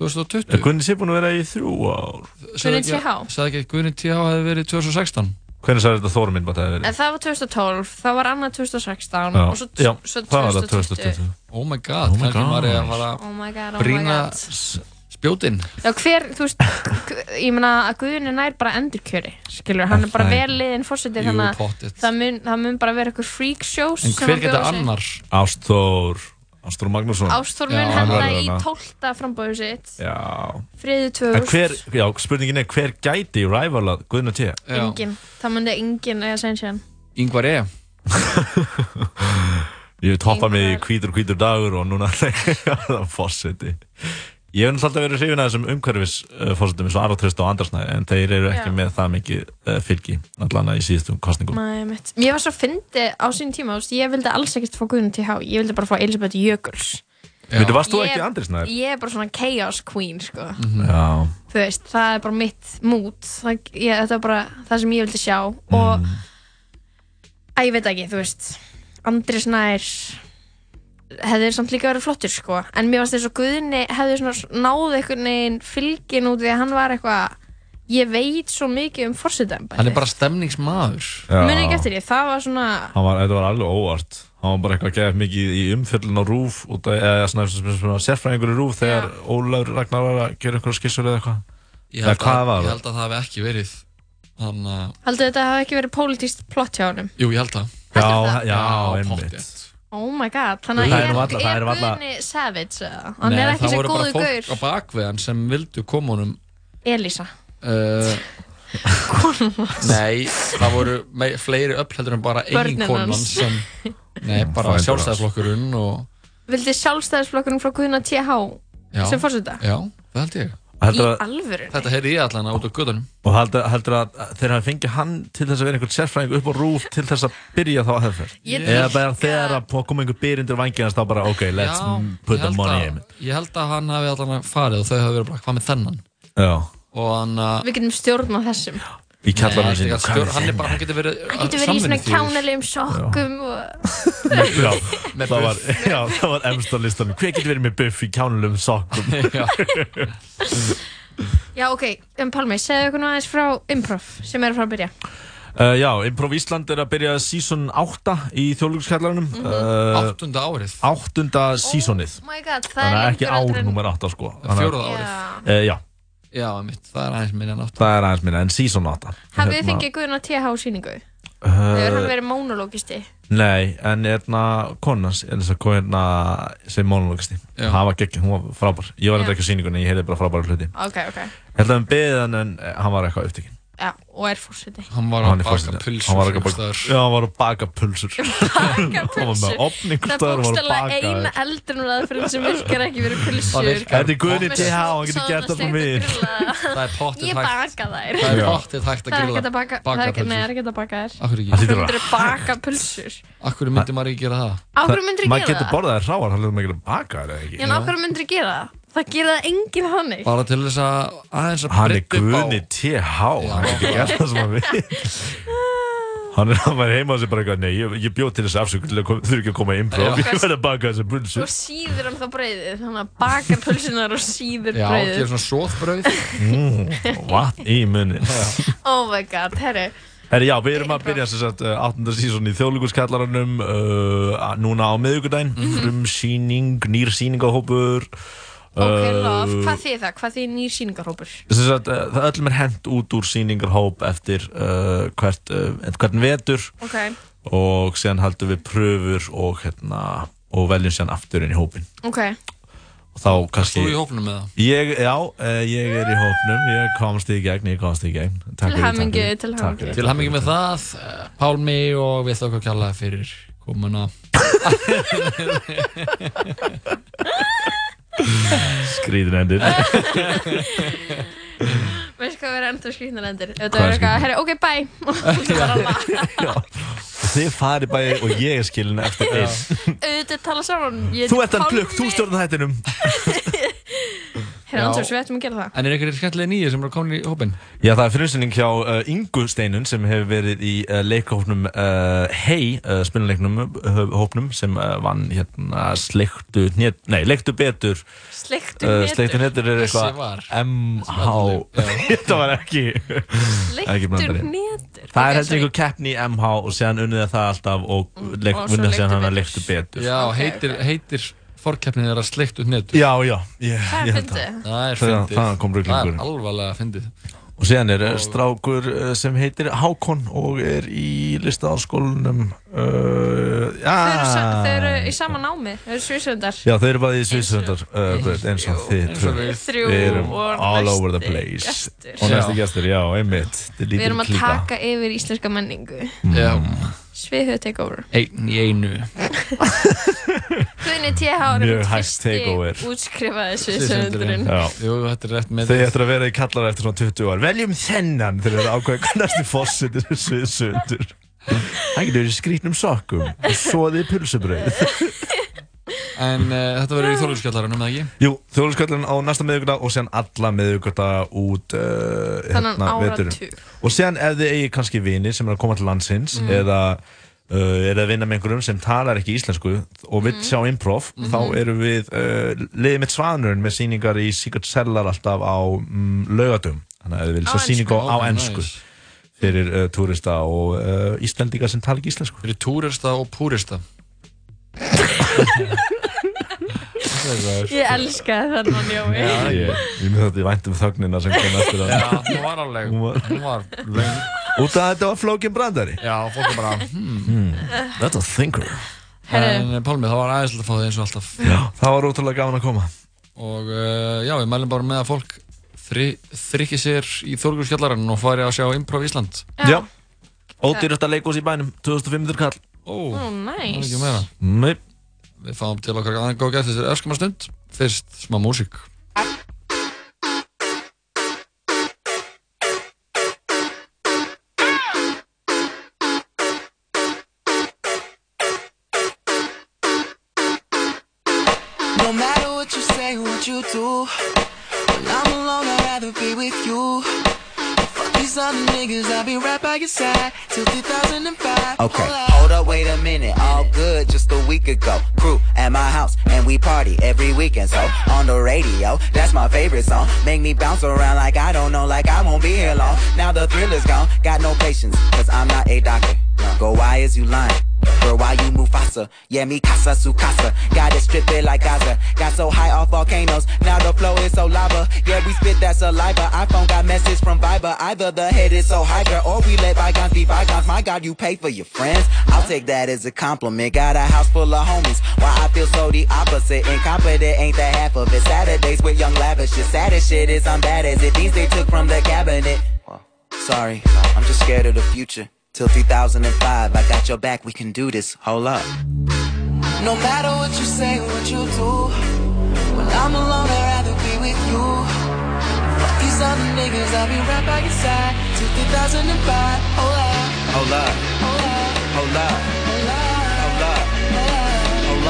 S3: 2020
S21: Guðni sé búin að vera í þrjú ár
S4: Guðni TH
S3: Sæði ekki að Guðni TH hefði verið 2016
S21: Hvernig sagði þetta Þóra minn bara það
S4: En það var 2012, það var annað 2016
S21: Já,
S4: og svo,
S21: já,
S4: svo
S21: það var það
S4: 2020
S3: Oh my god,
S21: my
S3: kannski
S21: god.
S3: var ég að fara
S4: Oh my god, oh my
S3: brýna
S4: god.
S3: s- spjótin
S4: Já, hver, þú veist, gu- ég meina að Guðni nær bara endurkjöri, skilur, hann er bara
S3: Það er-
S4: vel liðin fórsetið
S3: Jú,
S4: þannig að
S3: pottþétt.
S4: það mun, það mun bara vera eitthvað freak shows
S21: En
S4: sem
S21: hver
S4: hann
S21: geta
S4: bjóðar sig.
S21: annar? Ástór Ástór Magnússon
S4: Ástþór
S21: Já,
S4: mun
S21: hann
S4: henda
S21: verður
S4: í
S21: þarna.
S4: 12. frambóðu sitt
S21: Já
S4: Friði
S21: En
S4: 2000
S21: hver, já, spurningin er hver gæti í rævalað Guðna T?
S4: Engin, það myndi engin eiga sæn sér
S3: Yngvar E
S21: Ég vil hoppa mig í hvítur hvítur dagur og núna er það fórseti Ég hef náttúrulega alltaf verið hrifin að þessum umhverfis uh, fórsetum eins og Aratrist og Andarsnæði en þeir eru ekki
S4: Já.
S21: með það mikið uh, fylgi allan að í síðustum kostningum
S4: Nei, mitt. Mér var svo fyndi á sín tíma, þú veist, ég vildi alls ekkert fá Guðun TH, ég vildi bara fá Elisabeth Jökuls.
S21: Veitu, varst þú
S4: Ég-
S21: ekki Andarsnæði?
S4: Ég er bara svona chaos queen, sko.
S3: Mhm.
S21: Já,
S4: Þú veist, það er bara mitt mút, það, ég, þetta er bara það sem ég vildi sjá og,
S3: Mm.
S4: æ, ég veit ekki, þú veist, Andri Snær hefði samt líka verið flottur, sko, en mér varst þess að Guðni hefði svona s- náð einhvern veginn fylgin út því að hann var eitthvað, ég veit svo mikið um fórsetambi.
S3: Hann er bara stemningsmaður
S4: Muni ekki eftir því, það var svona,
S21: hann var, þetta var alveg óvart hann var bara eitthvað að gefa mikið í umfjöllun á rúf út af, eða svona, svona, svona sérfræðingur í rúf þegar Ólafur Ragnar var að gera einhverja skissur eða eitthvað
S3: Ég
S21: eða
S3: held,
S21: hvað
S3: að,
S21: var
S3: ég
S21: það?
S3: held að það hef ekki verið Hann að,
S4: Haldið þetta hafi ekki verið pólitískt plott hjá honum?
S3: jú ég held það
S21: Já, já,
S3: pottþétt.
S21: einmitt
S4: Oh my god, þannig
S3: Það
S4: að
S3: er
S4: er,
S3: nú alla- það
S4: er
S3: er nú alla-
S4: Guðni savage eða? Hann
S3: Nei,
S4: er ekki
S3: það
S4: svo
S3: voru bara
S4: góðu
S3: fólk
S4: gaur
S3: á bakveðan sem vildu koma honum
S4: Elisa
S3: uh, Nei, það voru mei- fleiri öll heldur en bara
S4: Börnin
S3: ein konan
S4: hans.
S3: sem Nei, bara
S21: frændur
S3: sjálfstæðisflokkurinn og
S4: Vildi sjálfstæðisflokkurinn frá Guðna TH
S3: Já.
S4: sem fórseta?
S3: Já, það held ég
S4: Í alvöru?
S3: Þetta heyrði ég allan út á gödunum
S21: Og heldur, heldur að þeir hafi fengið hann til þess að vera einhvern sérfræðing upp á rúf til þess að byrja þá að hefðferð?
S3: Ég
S21: Eða
S3: líka-
S21: bara þegar að koma einhver byr undir vanginans þá bara ok, let's
S3: Já,
S21: put
S3: ég
S21: the
S3: held
S21: money
S3: að-
S21: in
S3: Ég held að hann hafi allan farið og þau hafi verið bara hvað með þennan
S21: Já
S3: Og hann að
S4: Við getum stjórn á þessum
S21: Í kjallarum
S3: Nei,
S21: sínum,
S3: þetta er
S21: hvað
S3: ekki
S21: með
S3: að stjórn- Hann er
S21: þennan?
S3: bara, hann getur verið uh,
S4: Hann getur verið í svona kjánalegum sokkum og...
S21: Já,
S3: Með
S21: það var,
S3: buff.
S21: já, það var emst á listanum Hver getur verið með buff í kjánulum sokkum?
S4: Já, ok, um Palmi, segðu okkur nú aðeins frá improv sem er að fara að byrja
S21: Uh, já, Improv Ísland er að byrja season 8 í þjóðlugskjallarunum mm
S3: Mhm. Áttunda árið
S21: Áttunda seasonið
S4: Oh my god, það
S21: Þannig
S4: er
S21: að ekki
S4: lengur
S21: ár
S4: heldur en-
S21: nummer 8 sko
S3: Fjórða
S4: árið.
S21: uh, Já,
S3: Já, mitt, það er aðeins minna nátt
S21: það er aðeins minna en season 8
S4: Hafið þið
S21: Hérna,
S4: fengið Guðna TH síningu? Hefur hann
S21: uh,
S4: verið monologisti?
S21: Nei, en hérna konans, Elisa Kona hérna, sem monologisti,
S3: Já.
S21: það var gegn hún var frábær, ég
S4: Já.
S21: var eitthvað ekki á sýningunni ég heyrði bara frábæra hluti
S4: Ok, ok,
S21: Ég held að hann beðið hann en eh, hann var eitthvað upptekinn
S4: já, og er fórseti
S3: Hann var
S21: Hann
S3: að
S21: er
S3: baka
S21: forsetinn.
S3: pulsur
S21: Hann var ekki að
S3: einhvers
S21: baka,
S3: staðar.
S21: já, hann var að baka pulsur Hann var með opning
S4: Það er
S21: einhvers staðar og var að
S4: bókstæðlega
S21: baka
S4: eina eldrunaraðferðin sem virkar ekki verið
S21: Það
S4: pulsur
S21: virkar. Þetta er Guðni
S4: Með
S21: TH, hann getur
S4: soðna
S21: gert það frá
S4: steikta
S21: mér.
S4: grillaða.
S3: Það er pottið
S4: Ég
S3: hægt.
S4: baka þær
S3: Það er pottið hægt að
S4: Það er
S3: grilla-
S4: ekki að baka, það er ekki, nei, það er ekki að baka þær
S3: Af hverju
S21: Það
S3: ekki?
S21: hlýtur að
S4: Myndir baka pulsur
S3: Akkur myndi maður ekki gera það?
S4: Af hverju myndirðu
S21: Maður
S4: gera
S21: getur
S4: það?
S21: borðað þær hráar, hann leður maður ekki að baka þær eða
S4: Já, en af hverju myndir gera það? Það gera það enginn þannig
S3: Bara til þess að aðeins að
S21: Hann er
S3: brydda upp á-
S21: Guðni TH, hann getur gert það sem hann vil Hann er hann var heima og sér bara eitthvað, nei, ég, ég bjóð til þessi afsökun til að kom- þurfi ekki að koma í improv,
S4: Já.
S21: ég verð að baka þessi pulsur
S4: Og síður hann þá brauðið Þannig að baka pulsunar og síður
S21: Já,
S4: brauðið
S21: gera
S3: svona sóðbrauð
S21: mm, Vatn í munni
S4: Oh my god, herri
S21: Herri, já, við erum að byrja sem sagt uh, 8. sísón í þjóðlíkurskallaranum uh, að- núna á miðvikudaginn mm
S4: Mhm.
S21: frumsýning, nýr sýningahópur Eh,
S4: Ok, lof, hvað þið það? Hvað þið nýr síningarhópur?
S21: Sem sagt, uh, það öllum er hent út úr sýningarhóp eftir uh, hvert, uh, hvern vetur
S4: Ok,
S21: og síðan haldum við pröfur og, hérna, og veljum síðan aftur inn í hópin
S4: ok
S21: og þá kannski
S3: Þú í hópnum með það?
S21: Ég, já, eh, ég er í hópnum, ég komst í gegn, ég komst í gegn
S4: Til
S21: Takk fyrir, takk
S4: hamingju,
S21: fyrir,
S4: til
S21: takk
S4: hamingju.
S21: fyrir,
S3: Til
S21: takk
S3: hamingi
S21: fyrir.
S3: með það, eh, Pálmi og við þókkum kjallaði fyrir komuna
S21: Skrýðin endir
S4: Veist hvað verður endur skrýtnar endur Ef
S21: Hvað
S4: Þetta
S21: er
S4: verður eitthvað,
S21: skrýtnar?
S4: herri, ok, bye Og þú bara la-
S21: Þið farið bæði og ég er skilin eftir einn
S4: Auðvitað tala saman Ég
S21: Þú ert hann
S4: Pálmi.
S21: plugg, þú stjórnar hættinum
S4: Herra,
S21: Já.
S4: Andrés, við ættum að gera það
S3: En er einhverjir skemmtilega nýjir sem eru komin í hópin?
S21: Já, það er frumsynning hjá uh, Ingu Steinun sem hefur verið í uh, leikhópnum uh, Hey, uh, spiluleiknum uh, hópnum sem uh, vann hérna sleiktu, net, nei, leiktu betur
S4: Sleiktu
S21: uh,
S4: hnetur.
S21: Sleiktu netur er
S4: Þessi
S21: eitthvað MH Þetta var ekki ekki blandari.
S4: hnetur.
S21: Það er heldur einhver keppni í MH og síðan unnið það alltaf og leik,
S3: og svo
S21: vinnið síðan
S3: leiktu
S21: hann að leiktu betur
S3: Já, heitir, heitir fórkeppnið þeirra sleikt út netur
S21: Já, já, ég,
S3: Það er
S21: ég held
S3: fyndið.
S21: það.
S3: Það er
S21: Þaðan-
S3: fyndið.
S21: þaðan kom ruglingurinn.
S3: Það er alvarlega fyndið
S21: Og síðan er og... strákur uh, sem heitir Hákon og er í listaháskólanum uh,
S4: Þau eru, sa
S21: já,
S4: þau eru í sama námi, þau eru svísöndar
S21: Já, þau eru bara í Svísundar uh, braut, eins og þið
S3: Eins og
S21: tvö.
S3: við
S4: þrjú
S21: Við erum
S4: og
S21: all
S4: næsti
S21: over the place
S4: gestur.
S21: Og næsti
S3: Já.
S21: gestur, já, einmitt
S4: Við
S21: Þetta er lítil
S4: erum að
S21: klíka.
S4: taka yfir íslenska menningu
S3: Já,
S4: Sviðhau takeover
S3: einn í einu
S4: Guðni TH er
S21: Mjög
S4: minn
S21: hægt
S4: fyrsti
S21: takeover.
S4: útskrifaði
S3: Svísöndurinn.
S4: sviðsöndurinn
S21: Já.
S3: Jú, þetta er rétt með
S21: Þau ættir að vera í kallara eftir svona 20 ár Veljum þennan þegar það ákveða hvað næsti fósitir Svísundur Það getur verið í skrýtnum sokkum og soðið pulsubröð
S3: En uh, þetta verður í þóluskjallaranum, eða ekki?
S21: Jú, þjóðlíkskvöldin á næsta miðugudag og síðan alla miðuguda út uh,
S3: Þennan
S21: veturinn.
S3: áratug.
S21: Og síðan ef þið eigi kannski vini sem er að koma til landsins
S3: Mm.
S21: eða uh, er að vinna með einhverjum sem talar ekki íslensku og
S3: Mm.
S21: vil sjá improv
S3: Mm-hmm.
S21: þá erum við uh, liðið mitt svanurinn með sýningar í Secret Cellar alltaf á um, laugadum þannig að ef þið vil
S3: Á
S21: sjá
S3: ensku.
S21: sýningu á
S3: Ó,
S21: ennsku
S3: nice.
S21: fyrir uh, túrista og uh, íslendingar sem tala ekki íslensku
S3: Fyrir túrista og púrista
S4: Ég elska þennan Jói
S21: Já, ég, ég myndi þetta í væntum þögnina sem kom eftir að
S3: Já, hún var alveg, hún var löng
S21: Út af að þetta var flókin brandari
S3: Já, fólk er bara, hmm
S21: That's a thinker
S3: En eh, Pálmi, það var aðeinslega að fá þig eins og alltaf
S21: Já, það var ótrúlega gaman að koma
S3: eh, Og uh, já, við mælum bara með að fólk þrykki sér í Þorgurskjallarann og fari að sjá Improv Ísland
S21: Já, ódýrasta leikús í bænum 2500 kall
S3: Ó,
S4: Ó, næs.
S3: það er ekki meira
S21: Nei
S3: Við fáum til okkar aðeins góð gætt þessir öskama stund Fyrst smá músík
S24: No matter what you say, what you do, when I'm alone, I'd rather be with you. Fuck these other niggas, I'll be right by your side till 2005.
S25: Okay, hold up, wait a minute. All good, just a week ago. Crew at my house, and we party every weekend. So on the radio, that's my favorite song. Make me bounce around like I don't know, like I won't be here long. Now the thrill is gone, got no patience, cause I'm not a doctor. Go, why is you lying? Girl, why you Mufasa? Yeah, me casa su casa. Got it stripped it like Gaza. Got so high off volcanoes, now the flow is so lava. Yeah, we spit that saliva. iPhone got message from Viber. Either the head is so high, girl, or we let bygones be bygones. My God, you pay for your friends. I'll take that as a compliment. Got a house full of homies. Why I feel so the opposite. Incompetent ain't the half of it. Saturdays with young lavish. The saddest shit is I'm bad as it. These they took from the cabinet.
S24: Sorry,
S25: I'm just scared of the future. Till 2005, I got your back, we can do this. Hold up.
S24: no matter what you say, what you do, when I'm alone, I'd rather be with you. Fuck these other niggas, I'll be right by your side till 2005. Hold up,
S25: Hold up.
S24: hold up,
S25: Hold up. Hold up. Hold up. Hold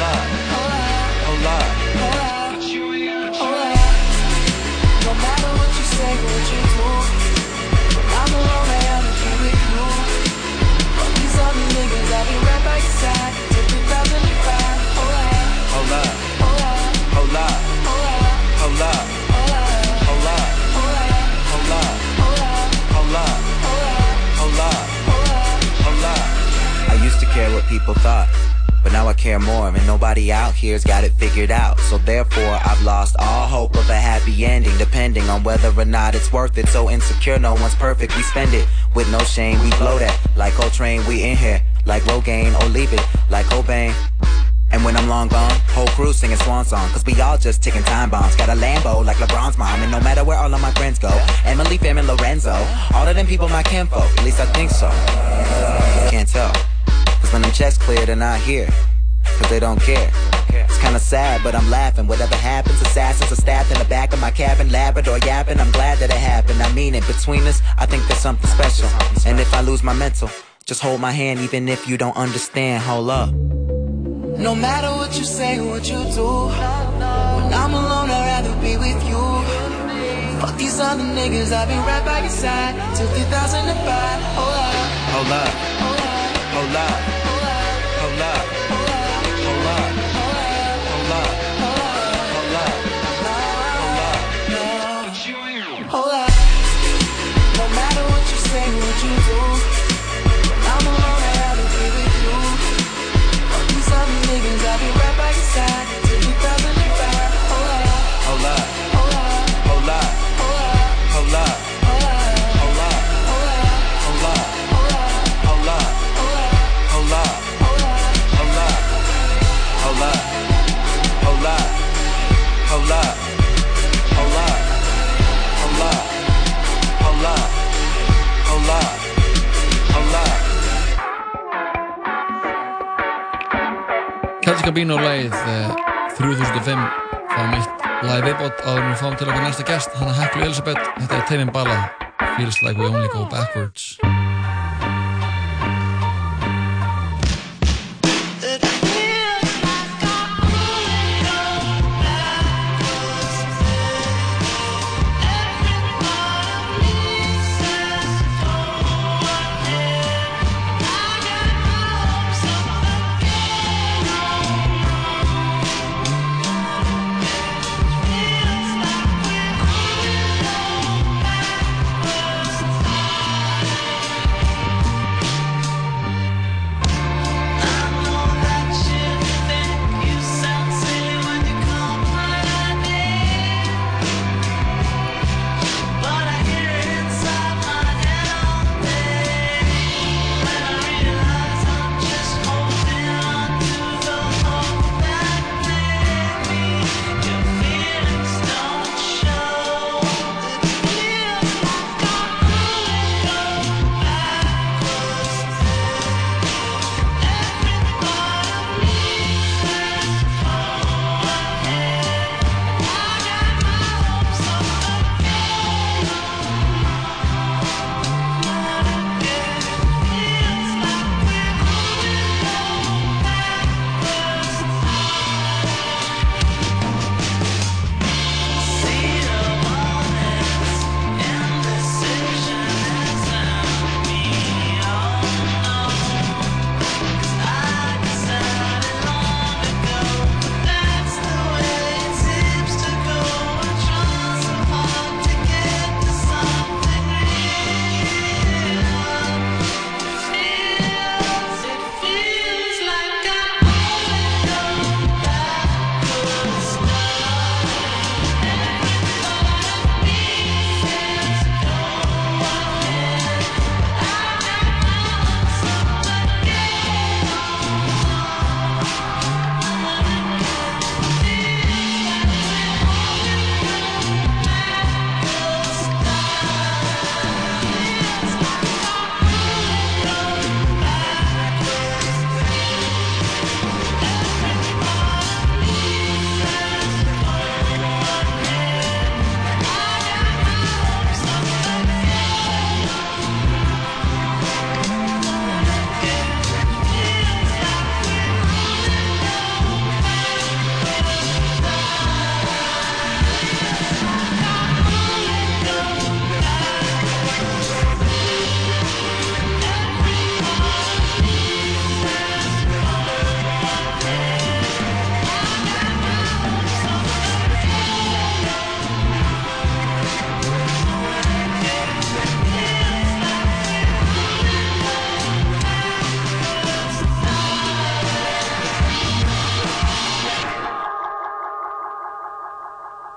S25: up. Hold up. Hold up.
S24: hold up. No matter what you say, what you do, when I'm alone, I'd rather be with you. Fuck these other niggas, I'll be right by your side till 2005. Hold up.
S25: Hold up. Hold up. Hold up. Hold up. Hold up. Hold up. Hold up. Hold up. I used to care what people thought. But now I care more, and nobody out here's got it figured out. So therefore, I've lost all hope of a happy ending, depending on whether or not it's worth it. So insecure, no one's perfect. We spend it with no shame. We blow that like Coltrane. We in here like Rogaine or leave it like Cobain. And when I'm long gone, whole crew singing swan song. Cause we all just ticking time bombs. Got a Lambo like LeBron's mom. And no matter where all of my friends go, Emily, fam, and Lorenzo. All of them people my kinfolk. At least I think so. Can't tell. Cause when them checks clear, they're not here. Cause they don't care. It's kinda sad, but I'm laughing. Whatever happens, assassins are staffed in the back of my cabin. Labrador yapping, I'm glad that it happened. I mean it, between us, I think there's something special. And if I lose my mental, just hold my hand, even if you don't understand. Hold up.
S24: No matter what you say, what you do, when I'm alone, I'd rather be with you. Fuck these other niggas, I'll be right by your side till 2005. Hold up,
S25: Hold up. Hold up. Hold up. Hold up. Hold up. Hold up.
S24: hold up. No matter what you say, what you do, when I'm alone, I'd rather be with you. Fuck these other niggas, I'll be right by your side till 2005. Hold up.
S25: Hold up. Hold up. Hold up. Hold up. Hold up. Hold up. Hold up. Hold up. Hold up. Hold up. Hold up. Hold up. Hold up. Hold up. Hold up. Hold up.
S3: Celtica Bino leið eh, 3005 fáum eitt live viðbót áður en við fáum til okkar næsta gest hann er Heklu Elisabeth, þetta er Teimin Bala Feels like we only go backwards
S17: Feels like we're going backwards.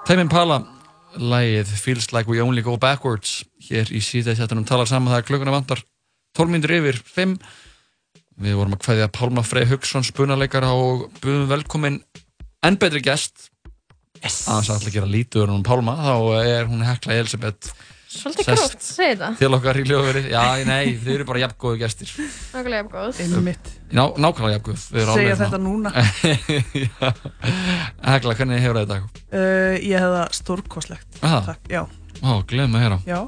S3: Tæmin Pala, lagið Feels Like We Only Go Backwards hér í síðan þettunum talar saman það að klukkuna vantar 12 minnir yfir 5 við vorum að kveðja Pálma Frey Hugson spunaleikara og buðum velkomin enn betri gest yes. að það ætla að gera lítið um Pálma þá er hún Hekla Elisabeth
S4: Svolítið
S3: sest
S4: gróft, segir það.
S3: til okkar í lögveri, já nei, þau eru bara jafngóðu gestir
S4: Nákvæmlega góð.
S3: Einmitt. Ná, nákvæmlega jafngóð þau eru
S17: Segja
S3: alveg
S17: þetta núna.
S3: Já. Hekla, hvernig hefur þetta?
S17: Uh, ég hef það stórkoslegt.
S3: Aha.
S17: Takk, já.
S3: Ó, glemma að heyra
S17: Já,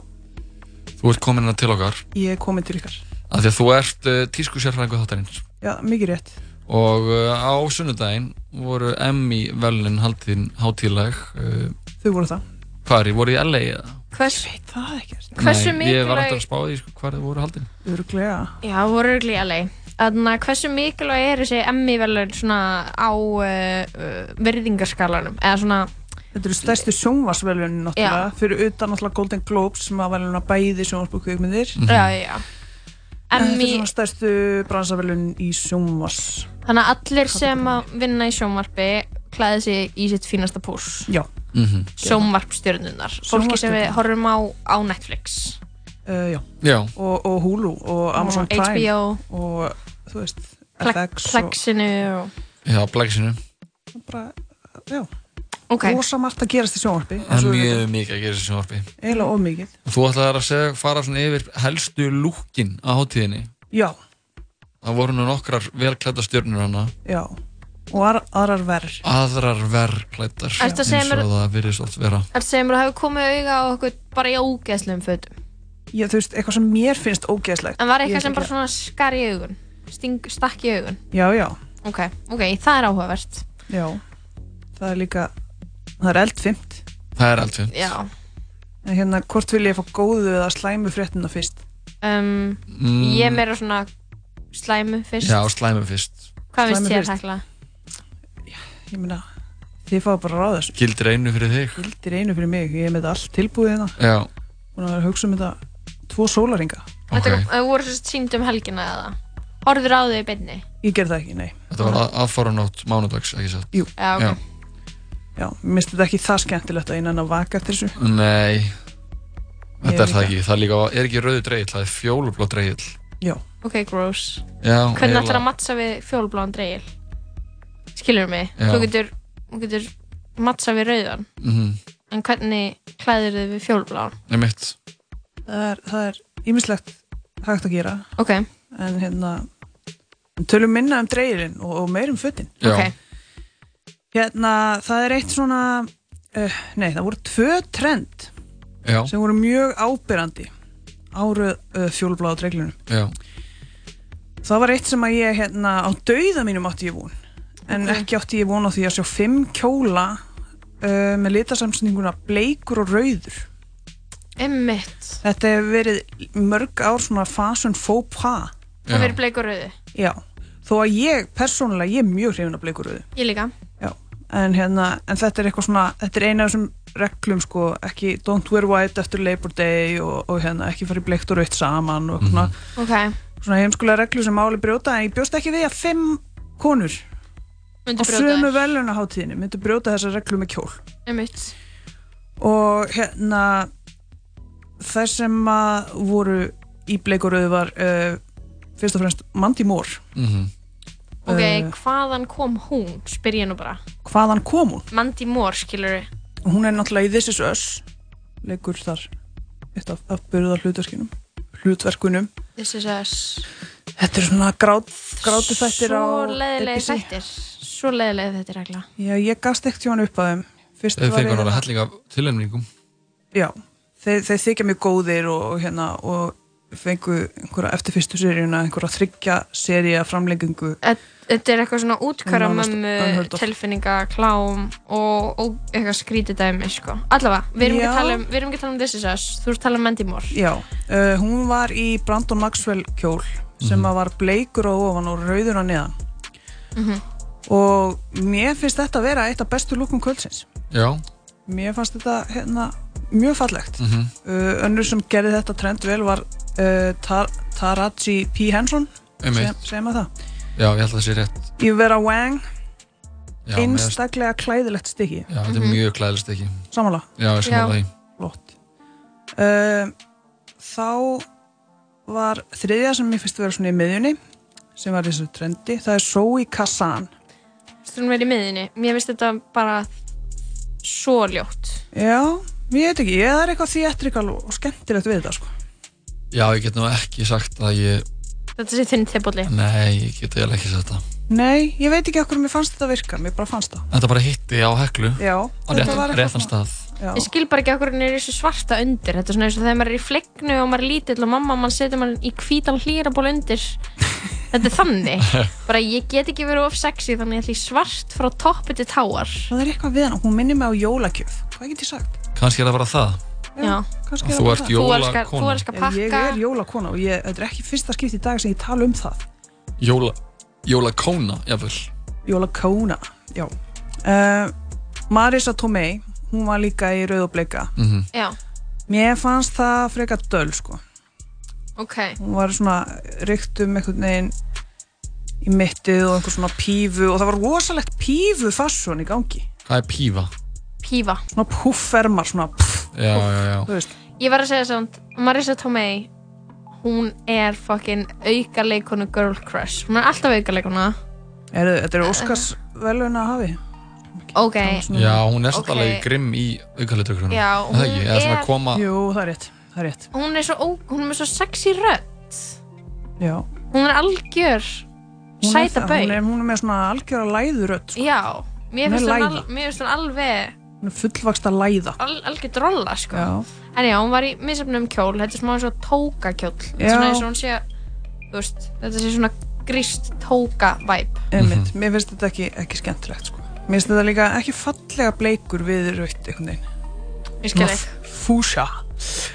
S3: Þú ert komin hérna til okkar
S17: ég er komin til ykkar.
S3: af því að þú ert uh, tísku sérfræðingu þáttarins
S17: Já, mikið rétt.
S3: og uh, á sunnudaginn voru Emmy velin haldin hátíðleg uh,
S17: Þau voru það.
S3: hvar, voru í LA eða?
S4: Hvers,
S17: ég veit það ekkert.
S4: Hversu
S3: Nei, Ég var alltaf að
S4: mikilvæg,
S3: spá því sko, hvar þau voru haldin
S17: Örglega.
S4: já, voru örgli LA. Þannig að hversu mikilvæg er þessi Emmy velun svona á uh, uh, virðingarskalanum? Eða svona,
S17: Þetta eru stærstu sjónvarsvelunin náttúrulega, fyrir utan náttúrulega Golden Globes sem að veluna bæði sjónvarsbúkveikmyndir.
S3: Mhm.
S4: já, já, já.
S17: Þetta er
S4: Emmy,
S17: svona stærstu bransavelun í sjónvars.
S4: þannig að allir sem að vinna í sjónvarpi klæði sig í sitt fínasta pús.
S17: Já.
S3: Mhm.
S4: Sjónvarpstjörnunar, fólki sem við
S17: Sjónvarpsstjörnurnar.
S4: horfum á á Netflix.
S17: Uh, já.
S3: Já.
S17: Og, og Hulu og Amazon
S4: Og
S17: Prime.
S4: HBO.
S17: Og þú veist, FX og...
S4: Plexinu og...
S3: Já, blæksinu
S17: Bara, já.
S4: Ok.
S17: Rosa margt að gerast í sjónvarpi. eins
S3: Það
S17: og
S3: er
S17: við
S3: mjög mikið að gera þessi sjónvarpi
S17: vitum. Eiginlega of mikið.
S3: Og Þú ætlaði að segja, fara svona yfir helstu lúkin á hátíðinni
S17: Já,
S3: Það voru nú nokkrar velklæta stjörnur hana
S17: já. Og ar aðrar verð.
S3: aðrar verklætar
S4: Ertu að segja
S3: eins og
S4: mér-
S3: það virðist oft vera
S4: Það segir mér að hafa komið auga á okkur bara í ógeðslegum fötum.
S17: Já, þú veist, eitthvað sem mér finnst ógeðslegt.
S4: En var
S17: Ég ætla
S4: eitthvað sem bara
S17: ekki að-
S4: svona skar í augun? Sting, stakk í augun?
S17: Já, já,
S4: Ok, ok, það er áhugavert.
S17: já. Það er líka, það er eldfimt.
S3: Það er allt fyrir
S4: Já.
S17: En hérna, hvort vil ég fá góðu eða slæmu fréttina fyrst?
S4: Um,
S3: Mm.
S4: Ég er meira svona slæmu fyrst.
S3: Já, slæmum fyrst
S4: Hvað
S17: Slæmu
S4: finnst þér
S17: fyrst.
S4: hekla?
S17: Ég meina, þið fáið bara að ráða þessu.
S3: Gildir einu fyrir þig
S17: Þetta er einu fyrir mig, ég er með þetta allt tilbúið hérna.
S3: Já,
S17: Búin að vera að hugsa um þetta tvo sólaringa.
S4: Þetta kom- þau voru svo sínd um helgina eða? Horður á þau í beinni?
S17: Ég ger það ekki, nei.
S3: þetta var aðfaranótt mánudags, ekki satt?
S17: Jú.
S4: Já, ok.
S3: Já.
S17: Já, mér finnst þetta ekki það skemmtilegt að einan að vaka eftir þessu.
S3: Nei,
S17: Ég
S3: þetta er
S17: líka.
S3: það ekki. Það er líka, er ekki rauðu dreigill, það er fjólublá dreigill.
S17: Já.
S4: Ok, gross.
S3: Já,
S4: Hvernig
S3: eiginlega.
S4: ætlar að mattsa við fjólbláan dreigil? Skilur mig?
S3: Já.
S4: Þú getur, þú getur mattsa við rauðan.
S3: Mhm.
S4: En hvernig klæðir þau við fjólbláan?
S3: Nei mitt.
S17: Það er, það er ýmislegt hægt að gera.
S4: Ok.
S17: En hérna, en tölum minna um dreigilinn og, og meir um fötin.
S3: Já. Ok.
S17: Hérna, það er eitt svona, uh, nei, það voru tvö trend
S3: Já,
S17: sem voru mjög ábyrrandi áruð uh, fjólubláðu dreiglunum.
S3: já,
S17: Það var eitt sem að ég hérna á dauða mínum átti ég von en ekki átti ég von á því að sjá fimm kjóla uh, með litasamsninguna bleikur og rauður
S4: Emmitt
S17: Þetta hefur verið mörg ár svona fasun faux pas
S4: Það verður bleik og rauði.
S17: Já, þó að ég persónulega, ég er mjög hrifin af bleikur og rauðu
S4: Ég líka.
S17: en, hérna, en þetta er eitthvað svona, þetta er eina af þessum reglum sko, ekki don't wear white eftir Labor Day og, og hérna, ekki fara í bleikt og rautt saman og svona,
S4: Ok.
S17: svona heimskulega reglu sem máli brjóta en ég bjóst ekki við að fimm konur
S4: Myndu
S17: á
S4: brjóta
S17: sömu velunaháttíðinni myndu brjóta þessa reglu með kjól
S4: Emmitt.
S17: og hérna þær sem að voru í bleikuröðu var uh, fyrst og fremst Mandy Moore
S3: mhm.
S4: Ok,
S17: Eh.
S4: hvaðan kom hún? Spyr ég nú bara.
S17: hvaðan kom hún?
S4: Mandy Moore, skilur þau.
S17: hún er náttúrulega í This Is Us leikur þar eitt af, af byrðar hlutverkinum hlutverkunum
S4: This is us.
S17: þetta er svona grát, grátu þættir á
S4: Svo leiðilegi
S17: ABC.
S4: þættir. Svo leiðilegi þættir, regla.
S17: já ég gafst ekkert hjá hann upp að þeim Fyrst
S3: Þau
S17: var ég
S3: fengur
S17: hérna-
S3: alveg helling af tilhengningum.
S17: Já, þeir, þeir þykja mjög góðir og, og hérna og fengu einhverja eftir fyrstu seríuna einhverja þryggja seríu framlengingu
S4: Þetta er eitthvað svona útkvara
S17: Nánast
S4: mömmu,
S17: unheard of.
S4: tilfinninga, klám og, og eitthvað skrítið dæmi, sko. Allavega, við erum, ekki að
S17: Já.
S4: tala um, við erum ekki að tala um This is us. Þú ert að tala um Mandy Moore.
S17: Já, uh, hún var í Brandon Maxwell kjól sem
S3: Mhm.
S17: að var bleikur á ofan og rauður á neðan
S4: Mhm.
S17: og mér finnst þetta að vera eitt af bestu lúkum kvöldsins
S3: Já.
S17: mér fannst þetta hérna mjög fallegt
S3: Mhm.
S17: uh, önnur sem gerði þetta trend vel var uh, Tar Taraji P. Henson
S3: Einmitt.
S17: sem, sem að það
S3: Já, ég held að það sé rétt.
S17: Yvera Wang
S3: Já,
S17: einstaklega klæðilegt stykki Mhm.
S3: Já, þetta er mjög klæðilegt ekki
S17: Sammála?
S3: Mhm. Já, ég samanlega því
S17: Flott uh, Þá var þriðja sem mér finnst að vera svona í miðjunni sem var í þessu trendi, það er Zoe Kazan
S4: Stundum verið í miðinni Mér finnst þetta bara svo ljótt
S17: Já, ég veit ekki, ég er eitthvað þéttrikal og skemmtilegt við þetta sko
S3: Já, ég get nú ekki sagt að ég
S4: Þetta sé þinn tebóli
S3: Mm. Nei, ég get eiginlega ekki sagt það
S17: Nei, ég veit ekki okkur mér fannst þetta virka, mér bara fannst það
S3: Þetta bara hitti á heklu
S17: Já, þetta
S3: Á
S17: var
S3: réttan,
S17: eitthvað
S3: réttan
S17: svona-
S3: stað
S17: Já.
S4: Ég skil bara ekki okkur hann er í þessu svarta undir Þetta er svona eins og þegar maður er í flegnu og maður er lítill og mamma mann setur mann í hvítan hlýraból undir Þetta er þannig Bara ég get ekki verið of sexy þannig ég ætla í svart frá toppi til táar
S17: Það er eitthvað við hann, hún minnir mig á jólakjöf Hvað get ég sagt?
S3: Kannski er það bara það
S4: Já,
S17: kannski
S3: Þú
S17: er það bara
S3: ert
S17: það.
S3: jólakona. Þú elskar- þú
S4: elskar
S17: Já, Ég
S4: pakka.
S17: er jólakona og ég, þetta er ekki fyrsta skipti í dag sem ég tala um það
S3: Jóla, jólakóna, jáfnvel
S17: Jólakóna, já uh, Marisa Tomei hún var líka í Rauðobleika
S3: Mhm.
S4: Já,
S17: mér fannst það frekar döl sko
S4: ok
S17: hún var svona reykt um einhvern veginn í mittið og einhver svona pífu og það var rosalegt pífu fasjón í gangi
S3: Hvað er pífa?
S4: Pífa
S17: svona puffermar svona pff,
S3: Já, já, já
S17: þú veist
S4: Ég var að segja samt, Marisa Tomei hún er fucking aukaleikonu girl crush hún er alltaf aukaleikona
S17: er, þetta er Óskars
S4: Uh-huh.
S17: velun að hafi
S4: ok,
S3: Já, hún er samt
S4: Mm. Ok.
S3: alveg grimm í aukalitökrunum
S4: Já, hún
S3: það ekki, eða svona
S4: er-
S3: koma
S17: jú, það er rétt, það er rétt
S4: hún er svo, ó, hún er með svo sexy rödd
S17: já
S4: hún er algjör
S17: Hún er
S4: sæta
S17: það,
S4: bau
S17: hún er, hún er með svona algjöra læðurödd sko.
S4: já,
S17: Hún
S4: mér
S17: er
S4: finnst hún, al,
S17: læða.
S4: mér finnst hún alveg
S17: hún er fullvaksta læða
S4: al, algjör drolla sko
S17: já,
S4: en já, hún var í misöfnum kjól þetta er smá eins og tóka kjól þetta
S17: Já.
S4: er svona eins og hún sé þú veist, þetta sé svona gríst tóka væp
S17: einmitt,
S3: Mhm.
S17: mér finnst þetta ekki, ekki skemmtilegt sko. mér finnst þetta líka ekki fallega bleikur við rautt einhvern veginn
S4: ég skil þig,
S17: Svona fúsja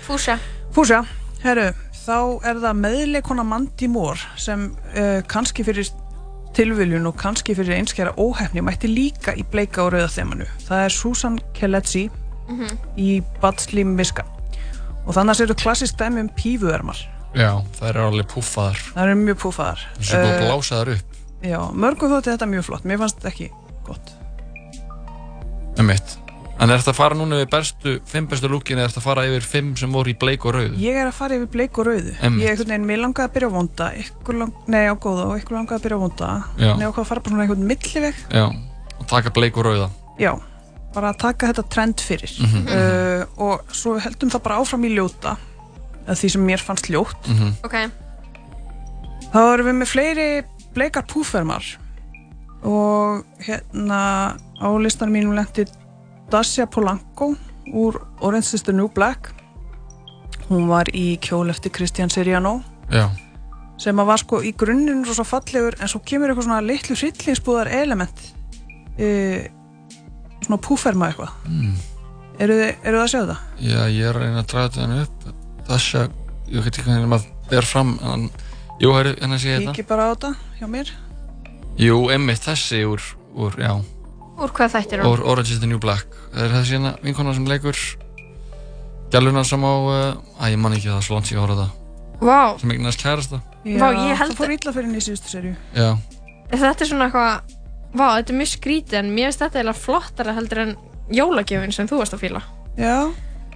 S4: fúsa
S17: Fúsja, herru, þá er það meðleikona Mandy Moore sem uh, kannski fyrir tilviljun og kannski fyrir einskjara óhefni mætti líka í bleika og rauða þemanu. Það er Susan Kelletsi
S1: Mm-hmm.
S4: Mhm.
S17: í Batsley Miska og þannig að það eru klassist dæmi um pífuermar.
S3: Já, það er alveg púffaðar
S17: Það eru mjög púfaðar.
S3: Það er búið að
S4: Uh.
S17: Eh,
S3: blása þar upp
S17: Já, mörgum þótti þetta mjög flott. Mér fannst þetta ekki gott.
S3: um mitt En er þetta að fara núna við bestu, fimm bestu lúkin eða er þetta að fara yfir fimm sem voru í bleik og rauðu?
S17: Ég er að fara yfir bleik og rauðu.
S3: Mm. Einmitt.
S17: Ég er einhvern veginn, mér langaði að byrja á vonda, ykkur lang, nei á góða og ykkur langaði að byrja á vonda.
S3: Já.
S17: Nei, ákvað að fara bara svona einhvern milliveg
S3: Já, og taka bleik og rauða
S17: já, bara að taka þetta trend fyrir
S3: Mhm.
S17: uh, og svo heldum það bara áfram í ljóta eða því sem mér fannst ljótt
S3: Mhm.
S4: ok,
S17: þá erum við með fleiri bleikar púfermar og hérna á listanum mínum lendi Dasha Polanco úr Orange is the New Black hún var í kjól eftir Christian Siriano
S3: Já,
S17: sem að var sko í grunninn rosa fallegur en svo kemur eitthvað svona litlu hryllingsbúðar element uh, svona púferma eitthvað
S3: mm.
S17: Eru þið, eru þið að sjá þetta?
S3: Já, ég er að reyna að draga þetta henni upp Dasha, ég veit ekki hvernig maður ber fram en, Jú, heru, henni sé ég
S17: Kíkji bara á þetta hjá mér.
S3: þetta Jú, emmitt þessi úr, úr já
S4: úr hvað þættir hún?
S3: Or, Orange is the New Black Er þessi hérna vinkona sem leikur Gjalluna sem á uh, Æ, ég man ekki það, svo langt sér að horfa á þetta
S4: Vá,
S3: Sem eignast kærasta
S4: Vá, ég held
S17: það fór illa fyrir henni í síðustu serju.
S3: Já,
S4: þetta er svona eitthvað Vá, þetta er mjög skrítið en mér finnst þetta eiginlega flottara heldur en jólagjöfin sem þú varst að fíla
S17: Já.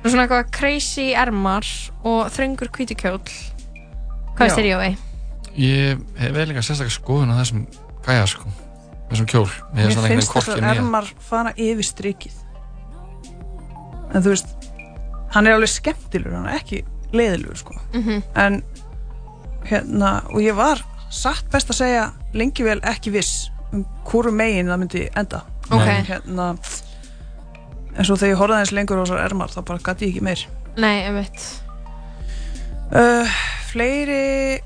S4: Og svona eitthvað crazy ermar og þröngur kvítikjóll Hvað
S3: Já.
S4: finnst þér Jói?
S3: ég hef vel eitthvað sérstaklega skoðun á þessum gæja sko Þessum kjól Mér
S17: Mér finnst
S3: þessar
S17: þessar ermar fara yfir strikið. En þú veist, hann er alveg skemmtilegur, hann er ekki leiðilegur sko.
S4: Mhm.
S17: En hérna, og ég var satt best að segja lengi vel ekki viss um hvoru megin það myndi enda.
S4: Ok.
S17: En hérna, en svo þegar ég horfði aðeins lengur á þessar ermar þá bara gæti ég ekki meir.
S4: Nei, einmitt
S17: Uh, fleiri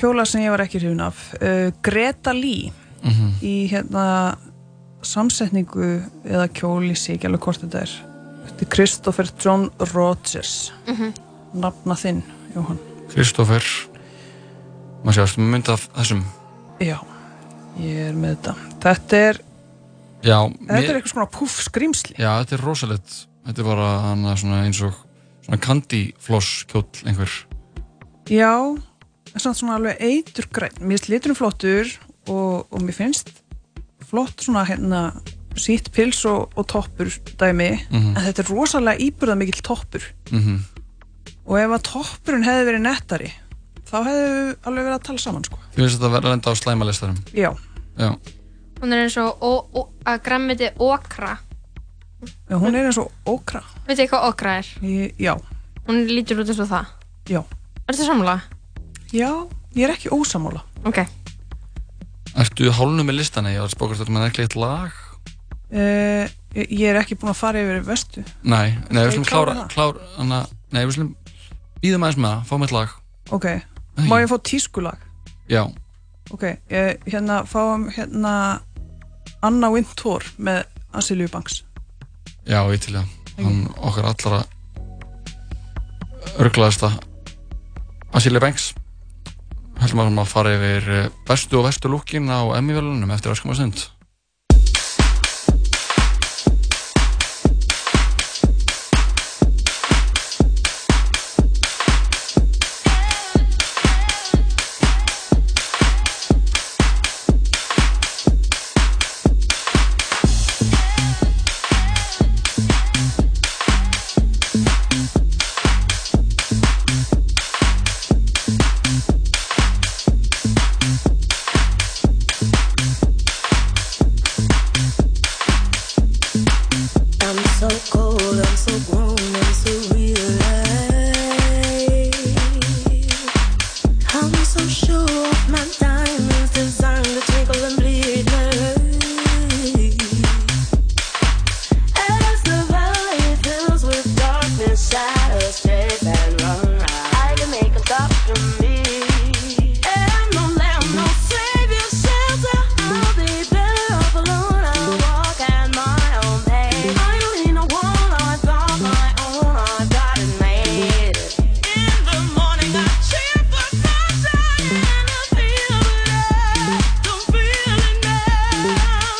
S17: kjóla sem ég var ekki hrifin af uh, Greta Lee
S3: Mhm.
S17: í hérna samsetningu eða kjól í sig ekki alveg hvort þetta er Þetta er Christopher John Rogers
S4: Mhm.
S17: nafna þinn, Jóhann
S3: Kristófer Maður séast, maður myndi af þessum
S17: Já, ég er með þetta Þetta er,
S3: Já,
S17: þetta er eitthvað svona puff skrýmsli
S3: Já, þetta er rosalegt Þetta er bara hana svona eins og svona candy floss kjóll einhver
S17: Já, en samt svona alveg eitur græn Mér finnst liturinn flottur og, og mér finnst flott svona hérna sítt pils og, og toppur dæmi
S3: Mhm.
S17: en þetta er rosalega íburða mikill toppur
S3: Mhm.
S17: og ef að toppurinn hefði verið nettari þá hefðu alveg verið að tala saman sko.
S3: Þú finnst þetta að vera að lenda á slæmalistarum
S17: Já,
S3: Já,
S4: Hún er eins og ó, ó, að grammiti okra.
S17: Já, hún er eins og okra.
S4: Veit þið hvað okra er?
S17: Ég, já,
S4: Hún lítur út eins og það.
S17: já,
S4: Er þetta samla?
S17: já, ég er ekki ósamála.
S4: Ok.
S3: ertu hálnum með listana? Ég var að spókast þetta með ekki eitt lag
S17: Uh, ég ég er ekki búin að fara yfir vestu.
S3: Nei,
S17: Skal
S3: nei, við
S17: ég
S3: slum
S17: klára
S3: klára,
S17: það?
S3: klára hana, Nei, við slum býðum aðeins með það, fáum eitt lag
S17: Ok, má ég fá tískulag?
S3: Já,
S17: Ok, ég, hérna fáum hérna Anna Wintour með Asilju Banks.
S3: já, ég til það Hann okkar allra örglaðasta Asilia Banks Heldum að hann að fara yfir eh, bestu og verstu lúkin á Emmy-velunum eftir öskama stund
S1: I'm so cold, I'm so grown, I'm so real life. I'm so sure of my diamonds designed to twinkle and bleed my As the valley fills with darkness, shadows straight and wrong. I can make a stop from me. And no lamb, no savior, shelter. I'll be better off alone. I'll walk at my own pace. I don't need no one. I've got my own. I've got it made. In the morning, I cheer for sunshine and I feel better. Don't feel it now.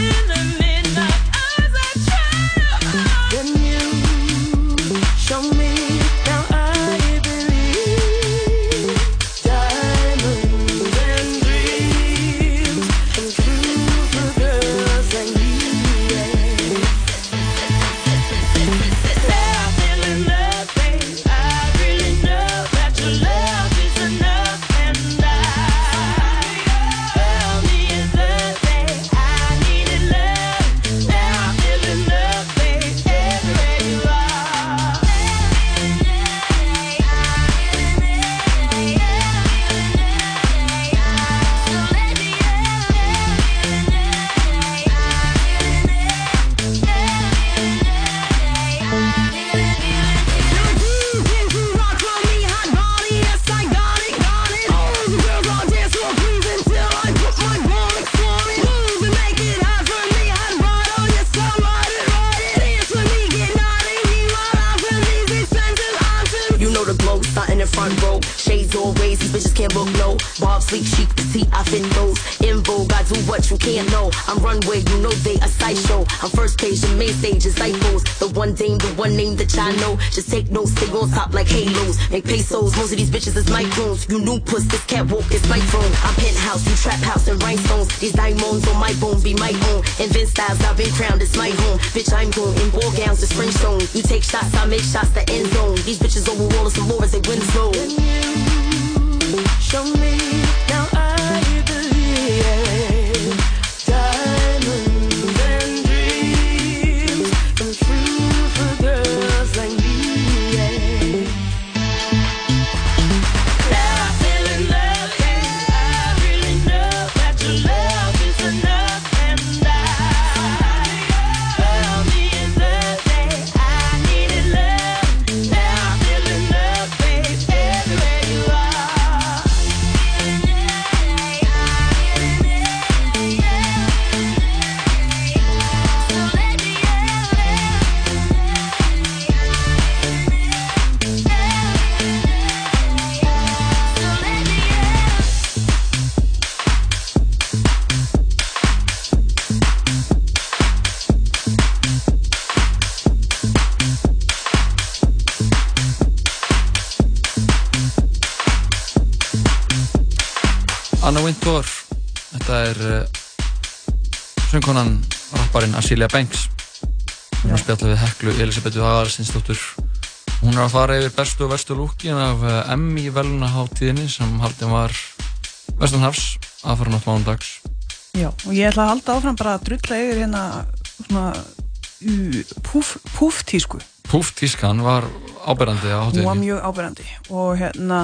S1: In the midnight hours, I try. When you show me, now I believe. Diamonds and dreams come true for girls like me. Nothing and nothing. I really know that your love is enough, and I owe me nothing. I needed love. Now I'm feeling nothing. Everywhere you are.
S26: You know the glow, starting in the front row. Shades always, these bitches can't look low. Bob, sleek, chic, petite, I fin those. In vogue, I do what you can't know. I'm runway, you know they a sideshow. I'm first page, the main stage, disciples. The one dame, the one name that y'all know. Just take notes, stay on top like halos. Make pesos, most of these bitches is microns. You new puss, this catwalk is my throne. I'm penthouse, you trap house and rhinestones. These diamonds on my bone be my own. Invent styles, I've been crowned, it's my home. Bitch, I'm going in ball gowns, it's French zone. You take shots, I make shots, the end zone. These bitches overall is some more as they win zone.
S1: Show me now I believe diamonds and dreams come true for girls like me. Now I feel in love, I really know that your love is enough, and I owe me nothing. I needed love, now I feel in love, babe, everywhere you are.
S3: Anna Wintour Þetta er uh, söngkonan, rapparinn Asilia Banks. Hún er að spjalla við Heklu Elisabethu Aðarsinsdóttur. Hún er að fara yfir bestu og verstu lúkin af eh, Emmy velunaháttíðinni sem haldin var Vestanhafs aðfaranótt mándags.
S17: Já, og ég ætla að halda áfram bara að drulla yfir hérna svona ú, púf, púftísku.
S3: Púf tískan var áberandi á
S17: Hún var
S3: hátíðinni.
S17: mjög áberandi og hérna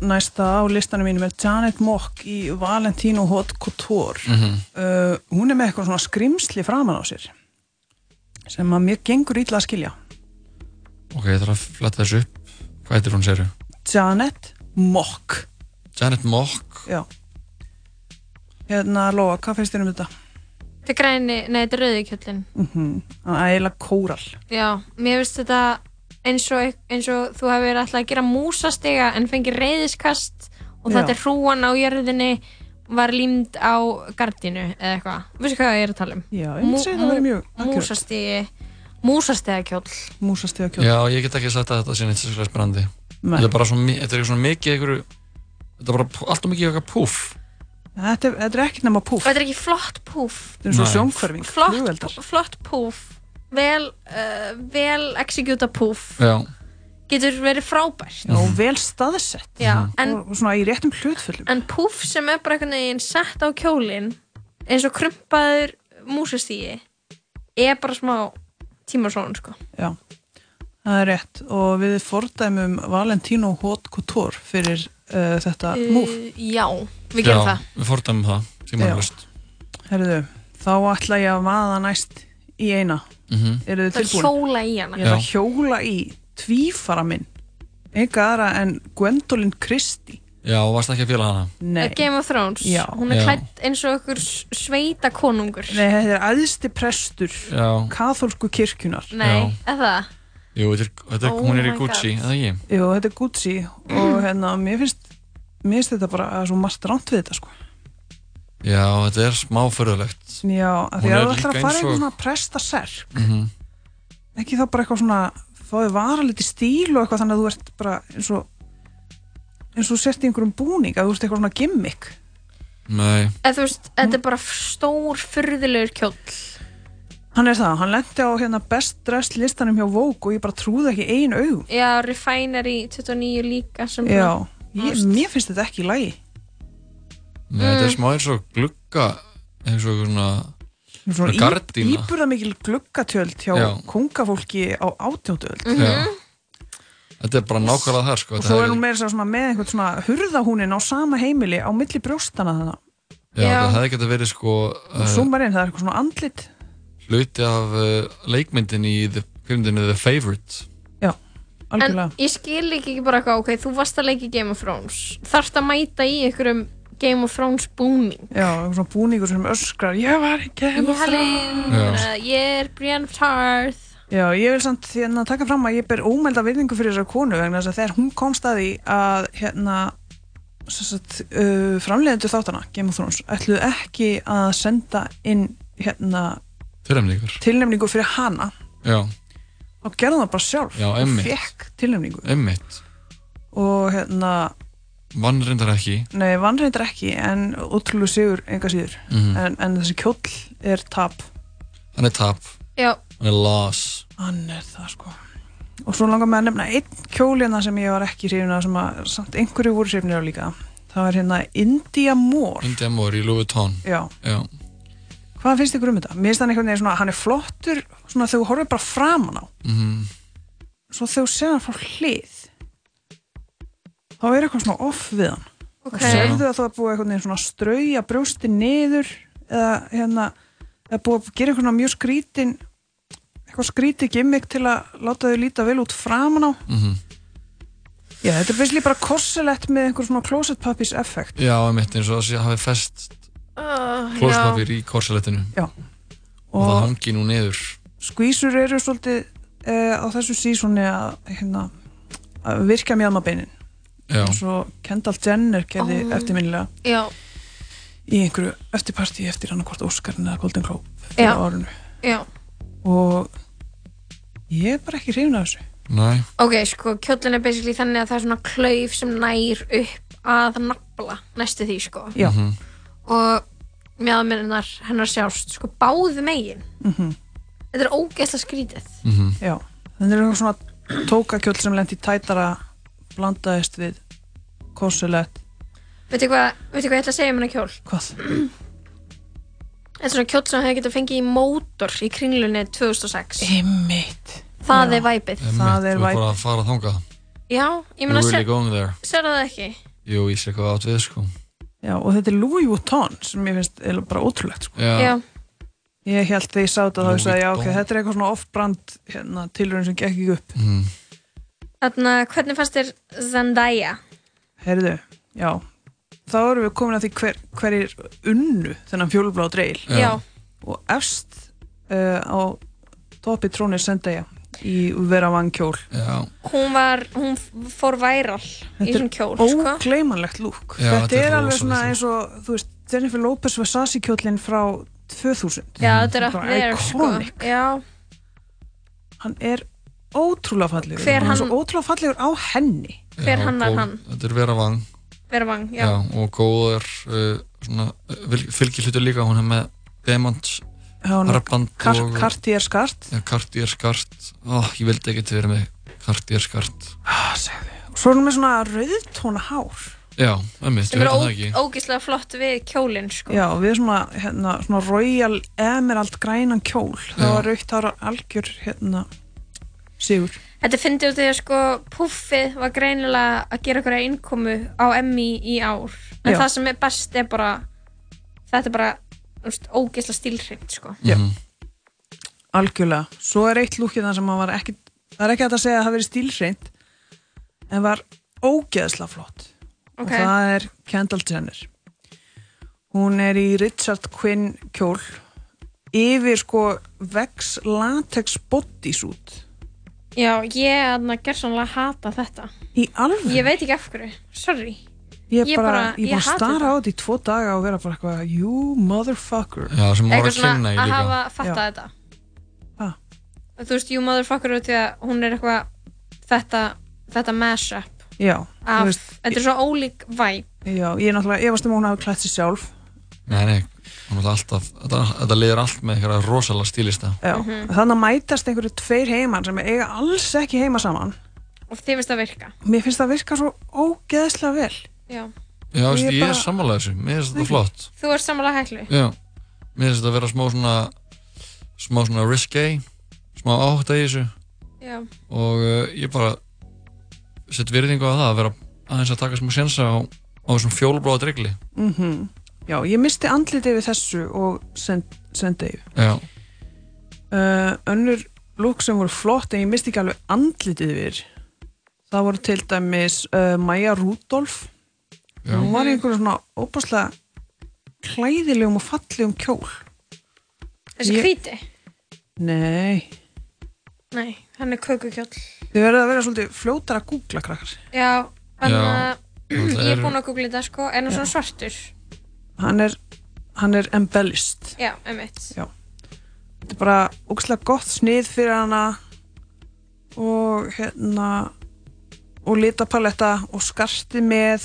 S17: næsta á listanum mínum er Janet Mock í Valentino Hot Couture.
S3: Mhm.
S17: uh, hún er með eitthvað svona skrimsli framan á sér sem að mér gengur ítla að skilja.
S3: Ok, ég þarf að fletta þessu upp. Hvað heitir hún, segir
S17: Janet Mock,
S3: Janet Mock.
S17: já. Hérna, Lóa, hvað finnst þér um þetta?
S4: Þetta er græni, nei þetta er rauði kjöllin
S17: Mm -hmm. Ægilega kóral.
S4: Já, mér finnst þetta eins og, eins og þú hefur alltaf að gera músastega en fengið reyðiskast og
S17: Já.
S4: þetta er hrúan á jörðinni var límd á gardinu eða eitthvað, veistu hvað ég er að tala um?
S17: Já, ég myndi segja það væri mjög akkurat.
S4: Músastegi, músastega kjóll
S17: Músastega kjóll
S3: Já, ég get ekki sagt að þetta sé neitt sérstaklega spennandi.
S17: Nei.
S3: Þetta er bara svo, mi- þetta er eitthvað svona mikið einhverju, þetta er bara pú- allt og mikið eitthvað púf.
S17: Þetta er, þetta er ekkert nema púf.
S4: Þetta er ekki flott púf
S17: Þetta er svo
S3: Nei.
S17: sjónkörfing,
S4: Flott, flott púf Vel, uh, vel executa púf
S3: Já.
S4: Getur verið frábært
S17: Já, og vel staðsett. Mhm.
S4: Já, en-
S17: og, og svona í réttum hlutföllum.
S4: En púff sem er bara einhvern veginn sett á kjólinn eins og krumpaður músastígi er bara smá tímarsón sko.
S17: Já, það er rétt. Og við fordæmum Valentino Hot Couture fyrir uh, þetta
S4: Uh,
S17: múf.
S4: Já, við gerum
S3: Já,
S4: það.
S3: Við fordæmum það, tímanlust.
S17: Herðu, þá ætla ég að vaða næst í eina.
S3: Mhm.
S17: Eru þið
S4: Það er
S17: tilbúin?
S4: hjóla í hana.
S17: Ég ætla að hjóla í tvífara minn. Enga aðra en Gwendolyn Christie.
S3: Já, og varst ekki að fjöla hana.
S17: Nei.
S4: Að Game of Thrones.
S17: Já.
S4: Hún er
S3: Já.
S4: klætt eins og okkur sveita konungur.
S17: Nei, þetta er aðsti prestur
S3: Já,
S17: katholsku kirkjunar.
S4: Nei, eða það?
S3: jú, þetta er, þetta er,
S4: Oh
S3: hún er í
S4: my
S3: Gucci,
S4: God. Mm.
S3: eða ekki?
S17: Jú, þetta er Gucci og hérna, mér finnst, mér finnst þetta bara að svo margt ránt við þetta, sko.
S3: Já, þetta er smá förðulegt.
S17: Já, af því
S3: Hún
S17: að
S3: er
S17: þú ætlar
S3: líka
S17: að fara
S3: eins
S17: einhvern
S3: og-
S17: svona prestaserk.
S3: Mm
S17: ekki þá bara eitthvað svona fáið vara liti stíl og eitthvað þannig að þú ert bara eins og eins og þú sért í einhverjum búning að þú ert eitthvað svona gimmick
S3: Nei,
S4: Eða þú veist, þetta
S17: Mm.
S4: er bara stór, furðulegur kjóll.
S17: hann er það, hann lendi á hérna best dress listanum hjá Vogue og ég bara trúði ekki einu augum
S4: Já, Refinery 29 líka sem
S17: já, ég, mér finnst þetta ekki í lagi
S3: nei þetta er
S4: Mm.
S3: smá eins og glugga, eins og svona,
S17: svona
S3: gardína.
S17: íburða mikil gluggatjöld hjá
S3: Já.
S17: kongafólki á átjóndöld
S4: Mhm.
S3: Já. Þetta er bara nákvæmlega þar, sko.
S17: og
S3: þetta
S17: svo
S3: hefði-
S17: er hún meira að segja svona með einhvern svona hurðahúnin á sama heimili á milli brjóstana þannig
S3: Já,
S17: Já.
S3: það hefði geta verið sko
S17: og
S3: uh,
S17: sumarinn það er eitthvað svona andlit
S3: hluti af uh, leikmyndin í the- kvikmyndinni The Favourite
S17: algjörlega
S4: En ég skil ekki ekki bara eitthvað, ok, þú varst að leika í Game of Thrones. Þarft að mæta í einhverjum Game of Thrones búning.
S17: Já, einhver svona búningur sem öskrar Ég var ekki
S4: Ég er Helen, uh, ég er Brienne of Tarth.
S17: Já, ég vil samt hérna, taka fram að ég ber ómelda virðingu fyrir þessar konu vegna þess að þegar hún komst að því að hérna sem sagt, uh, framleiðendur þáttana Game of Thrones ætluðu ekki að senda inn hérna,
S3: Tilhemningur
S17: tilnefningu fyrir hana
S3: Já,
S17: og gerði það bara sjálf
S3: Já,
S17: og
S3: einmitt.
S17: fekk tilnefningu
S3: einmitt
S17: og hérna,
S3: Vann reyndar ekki
S17: nei, vannreitar ekki en útrúlu sigur enga síður
S3: Mhm.
S17: en, en þessi kjóll er tap
S3: Hann er tap,
S4: Já,
S3: hann er las
S17: Hann er það sko Og svo langar mig að nefna einn kjólina sem ég var ekki hrifin af sem að samt einhverju voru hrifnir af líka Það var hérna India Moore
S3: Indi Amor í Louis Vuitton
S17: Já,
S3: Já,
S17: hvað finnst ykkur um þetta? Mér finnst hann einhvern veginn svona, hann er flottur svona þegar þú horfir bara framan á
S3: mhm.
S17: svo þegar þú sér hann frá hlið þá er eitthvað svona off við hann
S4: Ok.
S17: og sérðu að það er búið einhvern veginn svona að strauja brjósti niður eða hérna eða búið að gera einhvern mjög skrítin eitthvað skrítið gimmick til að láta þau líta vel út framan á
S3: Mhm.
S17: Já, þetta er visslíð bara kosselett með einhver svona closet puppies effekt
S3: Já, einmitt eins og það sé að hafi fest
S4: uh,
S3: klóspapir í korsalettinu
S17: Já.
S3: Og, það hangi nú niður
S17: skvísur eru svolítið uh, á þessu sísoni að, hérna, að virka mjöðmabeinin
S3: Já.
S17: og svo Kendall Jenner gerði
S4: Ó.
S17: eftirminnilega
S4: Já.
S17: í einhverju eftirparti eftir hann hvort Óskarinn eða Golden Globe
S4: Já.
S17: fyrir árinu
S4: já.
S17: og ég er bara ekki hrifin af þessu
S3: Næ
S4: Ok, sko, kjóllin er basically þannig að það er svona
S3: Mhm.
S4: klauf sem nær upp að nafla næstu því, sko.
S17: Já.
S4: Og mjáðmyndunar hennar sjást sko báðu megin
S17: mm -hmm.
S4: þetta er ógeðslega skrítið
S17: Já, þetta er eitthvað svona tókakjöld sem lendi tætara blandaðist við korsulett
S4: veitu hvað, veitu hvað ég ætla að segja um hennar kjól
S17: hvað?
S4: þetta er svona kjól sem hefði getað fengið í mótor í kringlunni 2006
S17: Einmitt.
S4: það er væpið
S3: Þú bara að fara að þanga
S4: já, ég meina
S3: You're really
S4: ser,
S3: going there.
S4: ser það ekki
S3: Jú, ég sé hvað átt við sko
S17: Já, og þetta er Louis Vuitton sem ég finnst eiginlega bara ótrúlegt sko.
S3: Já. Já.
S17: Ég held þegar ég sá þetta þá
S3: Louis
S17: ég sagði, já ok,
S3: Vuitton.
S17: þetta er eitthvað svona off-brand hérna, tilröðin sem gekk ekki upp
S3: mm.
S4: þarna, hvernig fannst þér Zendaya
S17: Herðu, já Þá erum við komin að því hver, hver er unnu þennan fjólublá dreil
S4: Já.
S17: Og efst uh, á topi trónir Zendaya í vera vann kjól
S3: Já,
S4: hún var, hún f- fór væral í
S17: Þetta er
S4: þessum kjól, sko
S17: ógleymanlegt lúk
S3: Já,
S17: Þetta
S3: þetta er
S17: er alveg
S3: rosalegt
S17: svona
S3: lúk.
S17: eins og þú veist, Jennifer Lopez Versace kjólinn frá 2000
S4: já, þetta er up
S17: Mm. Bara
S4: there, sko
S17: iconic.
S4: já,
S17: Hann er ótrúlega fallegur Hann
S4: Hver
S17: er
S4: hann-
S17: svo ótrúlega fallegur á henni
S4: hver
S3: Já,
S4: hann var
S3: góð-
S4: hann
S3: Þetta er Vera Vang
S4: vera vang, já,
S3: Já, og góður uh, svona, uh, fylgir hlutur líka hún er með demant
S17: Já, hún er
S3: Arband
S17: kar-
S3: og
S17: Cartier skart
S3: Já, Cartier skart Ó, ég vildi ekki til verið með Cartier skart
S17: ah, Svo er hún með svona rauðtóna hár
S3: Já, ömmið, þú
S4: sem er
S3: veit
S4: ó,
S3: það ekki
S4: ógislega flott við kjólinn, sko
S17: Já, við svona, hérna, svona royal emerald grænan kjól Það var raukt hár algjör hérna, sigur
S4: Þetta fyndi út í að sko puffið var greinilega að gera einhverja innkomu á Emmy í ár en
S17: Já.
S4: það sem er best er bara þetta er bara úst, ógeðslega stílhreint sko
S17: Já. Algjörlega Svo er eitt lúkið það sem hann var ekki Það er ekki hægt að segja að það hafi verið stílhreint En var ógeðslega flott Og
S4: Ok.
S17: það er Kendall Jenner Hún er í Richard Quinn kjól Yfir sko Vex latex bodysuit
S4: Já, ég aðna gerðsannlega hata þetta
S17: Í alveg?
S4: Ég veit ekki af hverju, sorry
S17: Ég, bara, ég bara
S4: hata
S17: stara
S4: þetta.
S17: á þetta í tvo daga og vera bara eitthvað You motherfucker
S3: Já, sem hún var að
S4: Eitthvað
S3: kynna í
S4: svona að
S3: líka
S4: hafa fattað þetta
S17: ah.
S4: Þú veist, you motherfucker út í að hún er eitthvað þetta, þetta mashup
S17: Já, þú
S4: af,
S17: veist,
S4: þetta er svo ólík væp
S17: já, ég er náttúrulega Ég varst um að hún hafi klætt sér sjálf
S3: Nei, nei, hún er alltaf Þetta, þetta liður allt með einhverja rosalega stílista
S17: Já,
S4: Mhm.
S17: þannig að mætast einhverju tveir heimann sem eiga alls ekki heima saman
S4: og þið finnst það virka
S17: mér finnst það virka svo ógeðslega vel
S4: Já.
S3: Já,
S17: Ég
S3: veist, ég
S17: bara-
S3: er sammála þessu, mér finnst þetta flott
S4: Þú ert samanlega hæklu
S3: Já, mér finnst þetta að vera smá svona smá svona risque smá áhætta í þessu
S4: Já.
S3: og uh, ég bara sett virðingu á það að vera aðeins að taka smá sjensa á, á þessum fjólubláða dregli
S17: mm Já, ég misti andlitið við þessu og send- sendeið
S3: Já,
S17: uh, önnur lúk sem voru flott en ég misti ekki alveg andlitið við það voru til dæmis uh, Maja Rudolf
S3: Já.
S17: hún var í einhverju svona óbáslega klæðilegum og fallegum kjól
S4: Þessi
S17: Ég-
S4: hvíti
S17: Nei,
S4: Nei, hann er kökukjóll
S17: þið verður að vera svolítið fljótar að googla krakkar
S4: Já, hann uh,
S17: Já,
S4: ég
S17: það
S4: er
S17: eru-
S4: búin að googla þetta sko Er hann svona svartur?
S17: hann er, hann er embellist
S4: Já, emitt
S17: Já. þetta er bara ógæslega gott snið fyrir hana og hérna og litapaletta og skarti með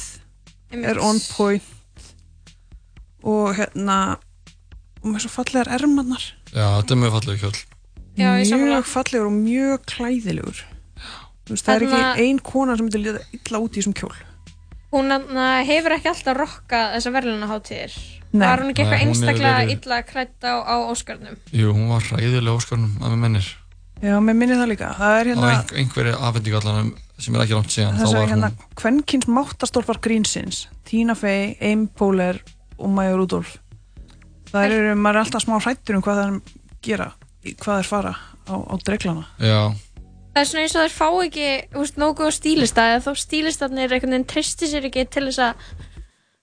S4: Einmitt.
S17: er on point og hérna og með svo fallegar ermannar
S3: já þetta er mjög falleg kjól
S17: Já, mjög fallegur og mjög klæðilegur Þú veist, það er
S4: Þarna-
S17: ekki ein kona sem myndi lita illa út í þessum kjól
S4: Hún hann uh, hefur ekki alltaf rokka þessa verðlunaháttíðir
S17: Nei.
S4: Var hún ekki
S3: Nei,
S4: eitthvað
S3: hún hefur
S4: einstaklega
S3: verið-
S4: illa krætt á, á Óskarnum?
S3: Jú, hún var ræðilega óskarnum að mér mennir
S17: Já, mér minni það líka það er
S3: og
S17: hérna,
S3: ein, einhverju afhendingu allan sem er ekki langt síðan þá
S17: þess að
S3: var hún
S17: hérna kvenkins máttastólpar grínsins Tina Fey, Amy Poehler og Maja Rudolf það eru, maður er alltaf smá hrættur um hvað það er gera, í hvað það fara á, á dreglana
S3: Já,
S4: Það er svona eins og þær fá ekki úst, nógu góð stílista eða þá stílistarnir einhvern veginn tristi sér ekki til þess að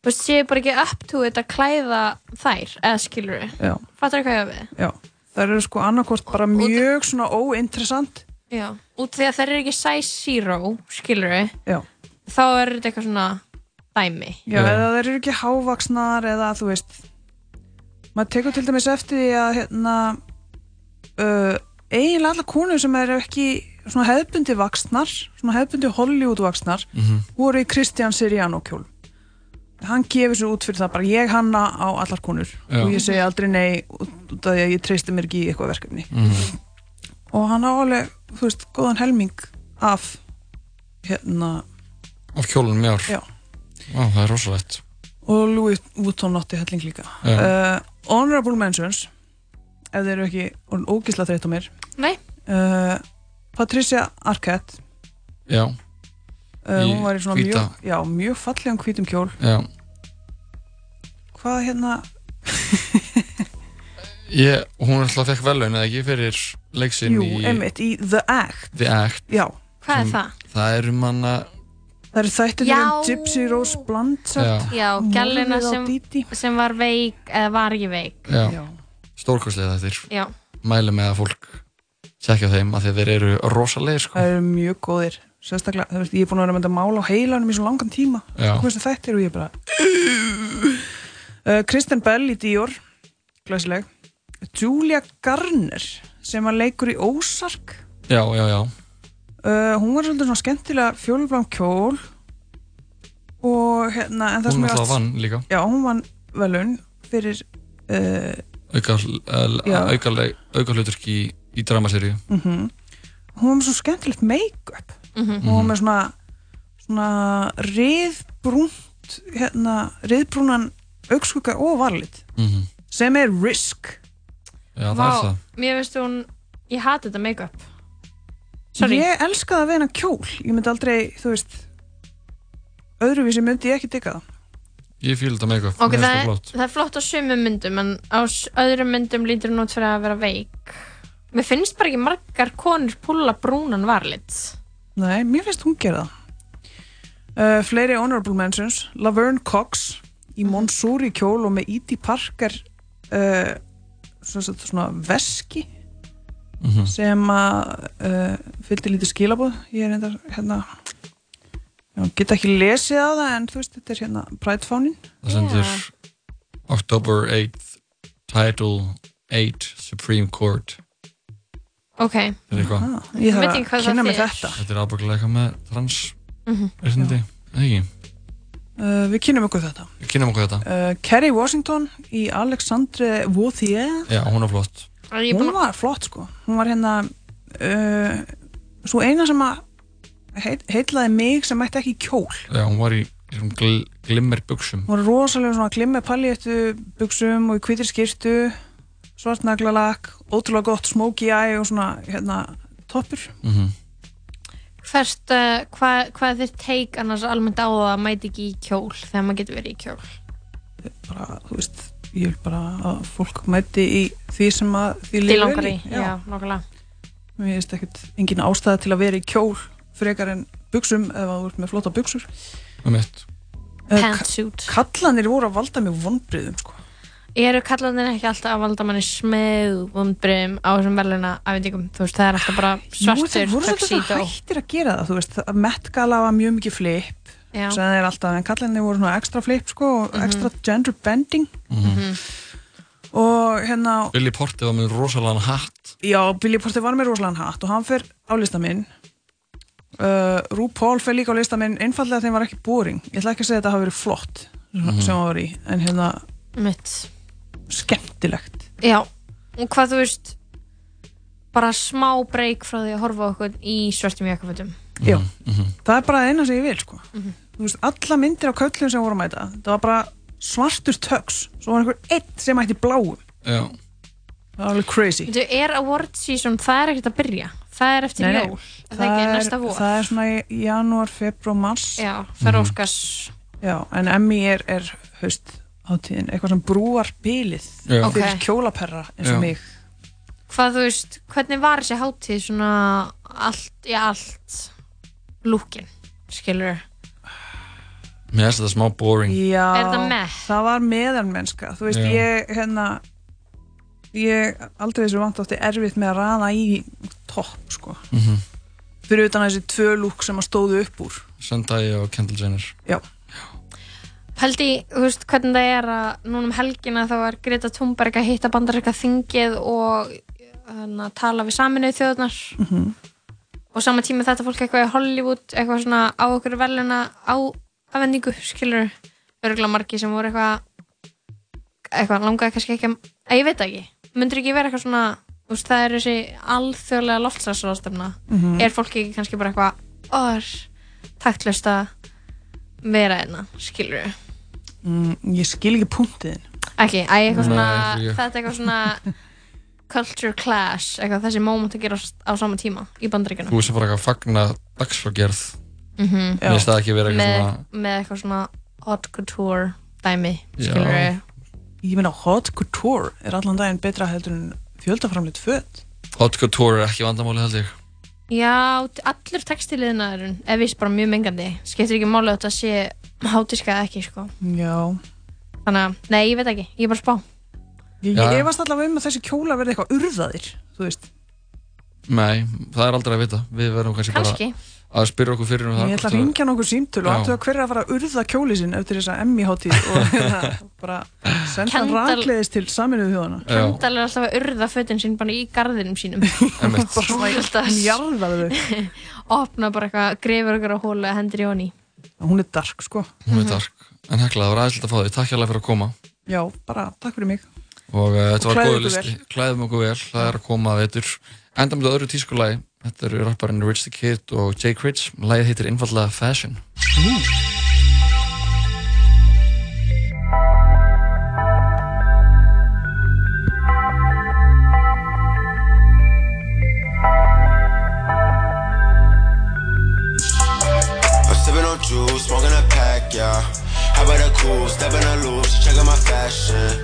S4: þú veist, séu bara ekki up to it að klæða þær eða skilur við
S17: já,
S4: Fattar hvað ég á við?
S17: já, það eru sko annarkort bara mjög svona óinteressant
S4: Já, út því að þær eru ekki size zero skilur við
S17: já,
S4: þá er þetta eitthvað svona dæmi
S17: já, eða það eru ekki hávaksnar eða þú veist maður tekur til dæmis eftir því að hérna uh, eiginlega alla konur sem eru ekki svona hefðbundi vaksnar svona hefðbundi Hollywood vaksnar
S3: Mhm.
S17: voru í Kristján Siriano kjól hann gefur sér út fyrir það bara ég hanna á allar konur
S3: Já.
S17: og ég segi aldrei nei út út af því að ég treysti mér ekki í eitthvað verkefni
S1: Mm.
S3: Mhm.
S17: og hann á alveg, þú veist, góðan helming af hérna
S3: af kjólunum mjár
S17: Já.
S3: Vá, það er rosalegt
S17: og Louis Vuitton átti helling líka
S3: Já.
S17: uh, Honorable Mentions ef þeir eru ekki ógisla þreytt á mér
S4: Nei.
S17: uh, Patricia Arquette
S3: Já,
S17: uh,
S3: Í
S17: hún var í svona
S3: hvíta.
S17: mjög, já, mjög fallegum hvítum kjól
S3: já
S17: hvað hérna
S3: ég, Hún alltaf fekk velun eða ekki fyrir leiksin
S17: Jú,
S3: í Mm.
S17: einmitt, í The Act
S3: The Act
S17: Já,
S4: Hvað er
S3: Sem-
S4: það?
S3: það er um hana
S17: það eru þættir
S4: Já.
S17: um Gypsy Rose Blanchard
S4: Já, gæluna
S17: Morðið á
S4: sem, sem var veik eða var ekki veik
S3: Já,
S17: Já.
S3: stórkostlega þetta
S4: Já.
S3: er Mæli með að fólk tjekka þeim að þeir eru rosalegir sko.
S17: það eru mjög góðir sérstaklega, þú veist, ég er búin að vera með þetta mála á heilanum í svo langan tíma
S3: Já.
S17: hvað sem þetta er og ég bara uh, Kristen Bell í Dior glæsileg Julia Garner sem var leikur í Ósark
S3: Já, já, já
S17: uh, hún var svolítið svona skemmtilega fjólublan kjól og hérna en það
S3: Hún
S17: sem ég
S3: náttúrulega
S17: allt-
S3: vann líka.
S17: já, hún vann velun fyrir uh,
S3: auka,
S17: Já.
S3: auka, auka hluturk í, í dramaseríu
S17: mm hún var með svo skemmtilegt make-up hún
S3: Mhm.
S17: var með svona svona riðbrúnt hérna, riðbrúnan augskugga og varlit
S3: Mhm.
S17: sem er risk
S3: Já, það er það
S4: Mér veist hún, ég hati þetta make-up Sorry.
S17: ég elska það við hennar kjól ég myndi aldrei, þú veist öðruvísi myndi ég ekki digga það
S3: Ég fíl þetta make-up
S4: Ok,
S3: mér finnst
S4: það er,
S3: flott.
S4: það er flott á sumum myndum en á s- öðrum myndum lítur hún út fyrir að vera veik Mér finnst bara ekki margar konur púla brúnan varlit
S17: nei, mér finnst hún gera það uh, fleiri honorable mentions Laverne Cox í Monsoori kjól og með E.D. Parker uh, svona, svona veski
S3: Mhm.
S17: sem að uh, fylgdi lítið skilabóð ég er reyndar hérna ég get ekki lesið á það en þú veist þetta er hérna prætfánin
S3: Það sendur October 8th Title 8 Supreme Court
S4: Ok
S3: Þetta er eitthvað
S17: ég þarf
S4: veit ekki
S17: að
S4: hvað það
S17: kynna mig
S4: þýðir.
S17: þetta
S3: Þetta er ábyggulega eitthvað með trans
S17: Mhm.
S3: erindi, eða ekki?
S17: uh, við kynum okkur þetta
S3: Við Kynnum okkur þetta
S17: uh, Kerry Washington í Alexandre Vauthier
S3: Já, hún er flott
S17: hún var flott sko hún var hérna uh, svo eina sem að heit, heitlaði mig sem mætti ekki í kjól
S3: Já, hún var í þessum gl glimmer buksum
S17: hún var rosalega svona glimmi paljettu buksum og í hvítir skýrtu svartnaglalak, ótrúlega gott smoky eye og svona hérna toppur
S4: Hvert, uh, hvað, hvað er þér teik annars almennt á að mæti ekki í kjól þegar maður getur verið í kjól
S17: bara, þú veist, ég vil bara að fólk mæti í því sem að því
S4: Því
S17: líður
S4: langar
S17: vel
S4: í, já, nokkulega
S17: mér finnst ekkert engin ástæða til að vera í kjól frekar en buksum ef að þú ert með flotta buksur
S3: um eitt
S4: Pantsuit
S17: kallanir voru að valda mér vonbriðum sko.
S4: Eru kallanir ekki alltaf að valda manni smegu vombriðum á þessum veluna afendingum, þú veist, það er alltaf bara svartur,
S17: voru þetta
S4: tuxedo.
S17: hættir að gera það þú veist, að Met Gala var mjög mikið flip
S4: Já. Mhm.
S17: sem þeir alltaf, en kallanir voru svona ekstra flip sko, og ekstra gender bending og hérna
S3: Billy Porti var með rosalega hatt
S17: Já, Billy Porter var með rosalega hatt og hann fer á lista minn uh, Rú Pól fer líka á lista minn einfallega þeim var ekki boring ég ætla ekki að segja að þetta hafi verið flott
S4: Mhm.
S17: sem hann var í, en hérna
S4: Mitt.
S17: skemmtilegt
S4: Já, og hvað þú veist bara smá breyk frá því að horfa á okkur í svörtum jakkafötum
S17: Já,
S4: Mhm,
S17: það er bara það eina sem ég vil sko. Þú veist, alla myndir á köllum sem voru að mæta það var bara svartur töks svo var einhver eitt sem mætti bláum
S3: Já.
S17: það var alveg crazy
S4: Þú er award season, það er ekkert að byrja það er eftir
S17: Nei, nei.
S4: jól, er það ekki næsta vor
S17: það er svona í janúar, februar, mars
S4: Já, það er
S17: Mhm.
S4: óskars
S17: Já, en Emmy er, er haust átíðin, eitthvað sem brúar bílið
S3: Já.
S17: fyrir
S4: Ok.
S17: kjólaperra eins og
S3: Já.
S17: mig
S4: hvað þú veist, hvernig var þessi hátíð svona allt í allt lúkin, skilur
S3: Mér finnst þetta smá boring
S17: Já,
S4: Er þetta með?
S17: það var meðanmennska þú veist,
S3: Já.
S17: ég hérna ég aldrei þessu vant átti erfitt með að raða í topp, sko
S3: Mhm.
S17: fyrir utan þessi tvö lúk sem að stóðu upp úr
S3: Sendai og Kendall Jenner
S17: Já
S4: Paldi, þú veist hvernig það er að núna um helgina þá var Greta Thunberg að hitta bandarækka þingið og hana, tala við saminuð þjóðnar og sama tíma þetta fólk eitthvað í Hollywood eitthvað svona á okkur veluna á afendingu, skilur örgulega margi sem voru eitthvað eitthvað langaði kannski ekki að, að ég veit það ekki, myndir ekki vera eitthvað svona þú veist, það er þessi alþjóðlega loftslagsráðstefna,
S2: Mhm.
S4: er fólki ekki kannski bara eitthvað, ó, það er taktlust að vera hérna", einna skilur við,
S17: Mm, ég skil ekki punktiðin.
S4: ekki, að eitthvað svona
S17: Nei, ekki ég.
S4: þetta er eitthvað svona culture clash, eitthvað þessi moment að gera á sama tíma í bandaríkjunum
S3: Þú sem bara eitthvað að fagna dagsfrágerð
S4: Mhm.
S3: Mér finnst það ekki vera eitthvað
S4: með,
S3: svona
S4: með eitthvað svona hot couture dæmi
S3: Já.
S4: skilur við
S17: Ég meina hot couture er allan daginn betra heldur en fjöldaframleitt föt.
S3: Hot couture er ekki vandamáli held ég
S4: Já, t- allur textiliðnaðurinn er vist bara mjög mengandi skiptir ekki máli að þetta sé hátíska eða ekki sko.
S17: Já.
S4: þannig að, nei, ég veit ekki, ég er bara að spá
S17: Ég,
S3: Já.
S17: ég efast allavega um að þessi kjóla verði eitthvað urðaðir, þú veist.
S3: Nei, það er aldrei að vita Við verðum kannski,
S17: Kannski.
S3: bara að spyrja okkur fyrir um það
S17: ég ætla
S3: hvort
S17: að ringja nokkur símtöl og
S3: Já.
S17: aftur að hverja að fara að urða kjóli sinn eftir þessa Emmy-hátíð og hérna, bara senda hann
S4: Kendall-
S17: rakleiðis til saminuðu þjóðana.
S4: Kendall er alltaf að urða fötin sín bara í garðinum sínum
S17: Bara jarðaðu þau.
S4: opna bara eitthvað, grefur okkur á hólu og hendur í honi
S17: Hún er dark, sko.
S3: Hún
S4: Mhm.
S3: er dark En hekla, það var aðeinslega að fá því Takk hérlega fyrir að koma
S17: Já, bara takk fyrir mig.
S3: Og uh, þetta
S17: Og
S3: var
S17: klæðið
S3: góðu
S17: ykkur
S3: listi Klæðum okkur vel, það er að koma að veitur Enda með öðru tískulagi Þetta eru rapparinn Rich the Kid og Jake Rich Lagið heitir einfallega Fashion
S27: I'm sipping on juice, smoking a pack, yeah. How about a cool, step in a loop, she checking my fashion.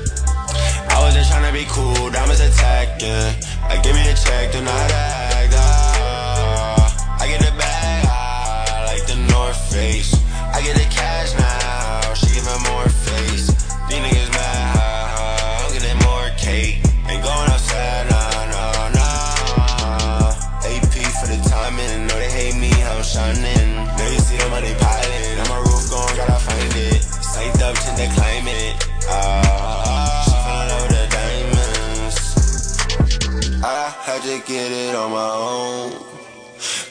S27: I was just tryna be cool, diamonds attacking. Like, give me a check, do not act. Ah. I get a bag, ah, like the North Face. I get the cash now, she giving more face. These niggas mad, ah, I'm getting more cake. Ain't going outside, nah, nah, nah. AP for the timing, know they hate me, I'm shining. Now you see the money piling, on my roof going, gotta find it. Psyched up, tend to climb it. Ah, she fell in love with the diamonds. I had to get it on my own.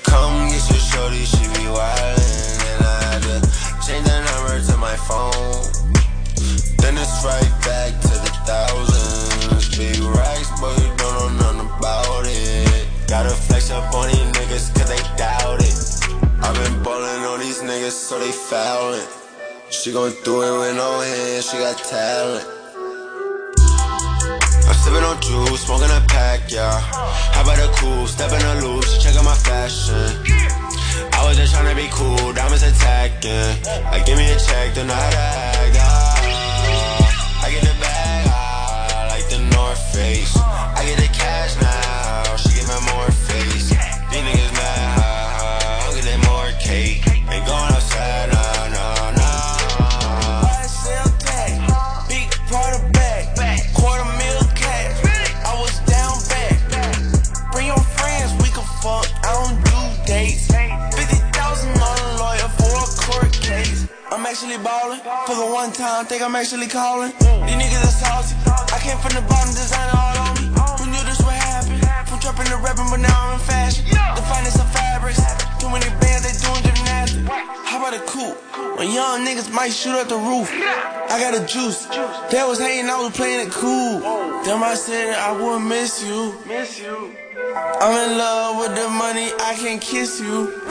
S27: Come get your shorty, she be wildin'. And I had to change the number to my phone. Then it's right back to the thousands. Big racks, but you don't know nothing about it. Gotta flex up on these niggas, cause they doubt it. I've been ballin' on these niggas, so they foul it. She gon' do it with no hands, she got talent.
S1: Mm.
S27: I'm sipping on juice, smoking a pack, yeah. How about a cool, step in a loop, she checking my fashion. I was just tryna be cool, diamonds attacking. Like, give me a check, do not act. Ah. I get the bag, ah, like the North Face. I get the cash now, she giving more face. These niggas mad, ah, ah, I'm getting more cake. Ain't going outside, nah, nah, nah.
S11: YSL tag, big part of back, quarter mil cash. I was down back. Bring your friends, we can fuck. I don't do dates. Fifty thousand on a lawyer for a court case. I'm actually ballin' for the one time. Think I'm actually calling. These niggas are salty. I came from the bottom, designer all on me. Who knew this would happen? From trapping to rapping, but now I'm in fashion. The finest of fabrics. Too many bands, they doing gymnastics. How about a coupe? When young niggas might shoot up the roof. I got a juice. That was hating, I was playing it cool. Them I said I would miss you. Miss you. I'm in love with the money, I can kiss you.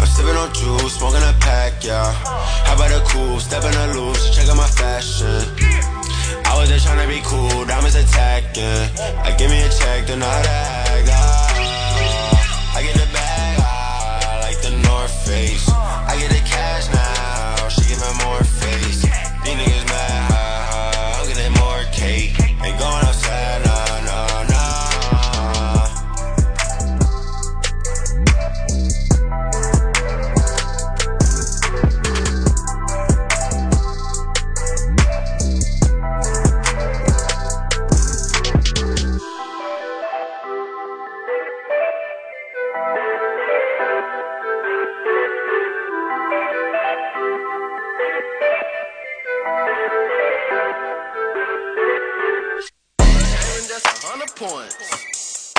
S27: I'm sipping on juice, smoking a pack, yeah. How about a cool, step in a loop, she checking my fashion. I was just tryna be cool, diamonds attacking. Like, give me a check, do not act. Ah. I get the bag, ah, like the North Face. I get the cash now, she giving more face. These niggas mad, ah, ah, I'm getting more cake. Ain't going outside, nah, nah, nah.
S11: That's a hundred points.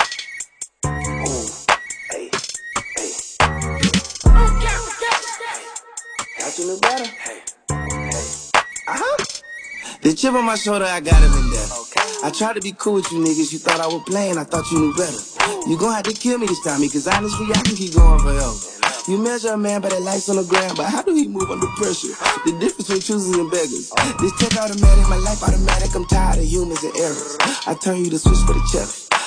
S27: Got you new better? Hey. Hey.
S28: The chip on my shoulder, I gotta been there. I tried to be cool with you niggas, you thought I was playing, I thought you knew better. You gon' have to kill me this time, because honestly, I can keep going forever. You measure a man by the lights on the ground, but how do he move under pressure? The difference between choosers and beggars. This tech automatic, my life automatic, I'm tired of humans and errors. I turn you to switch for the check.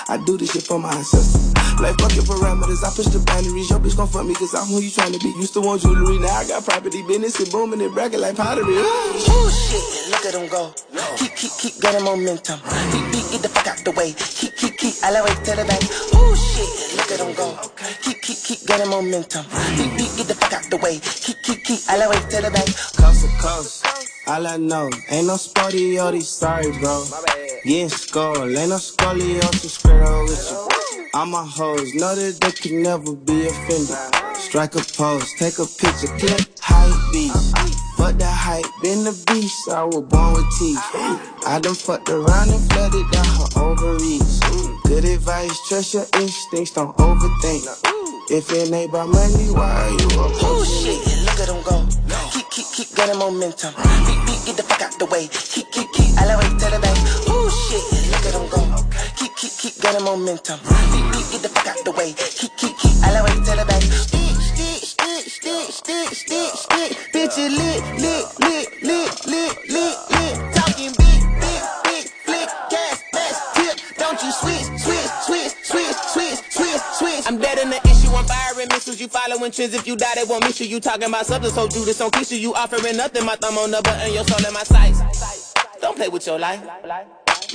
S28: I do this shit for my ancestors. Like fuck your parameters, I push the boundaries. Your bitch gon' fuck me cause I'm who you tryna be. Used to want jewelry, now I got property, business and booming it bracket like pottery. Ooh.
S29: Ooh, shit, look at him go. Keep, keep, keep getting momentum. Beat, beat, get the fuck out the way. Keep, keep, keep, elevate to the bank. Ooh, shit, look at him go. Keep, keep, keep getting momentum. Beat, beat, get the fuck out the way. Keep, keep, keep, elevate to the bank.
S28: Coast to coast. All I know, ain't no sporty sorry, bro. Getting skull, ain't no scoliosis, squirrel with you. All my hoes know that they can never be offended. Strike a pose, take a picture, clip, hype beast. Fuck the hype, been the beast, I was born with teeth. I done fucked around and flooded down her ovaries. Good advice, trust your instincts, don't overthink. If it ain't about money, why are you approaching
S29: Ooh, shit, look at him go. Keep, keep, keep getting momentum. Beat, beat, get the fuck out the way. Keep, keep, keep, elevate to the bank. Ooh, shit, look at him go. Keep, keep, keep getting momentum. Beat, beat, get the fuck out the way. Keep, keep, keep, elevate to the bank. Stick, stick, stick, stick, stick, stick, stick. Bitch, you lit, lit, lit, lit, lit, lit, lit. Talking big, big, big, flick, gas, best tip. Don't you switch, switch, switch, switch, switch, switch, switch.
S28: I'm dead in the issue, I'm firing missiles. You following trends, if you die, they won't miss you. You talking about substance, so Judas don't kiss you. You offering nothing, my thumb on the button, your soul in my sights. Don't play with your life.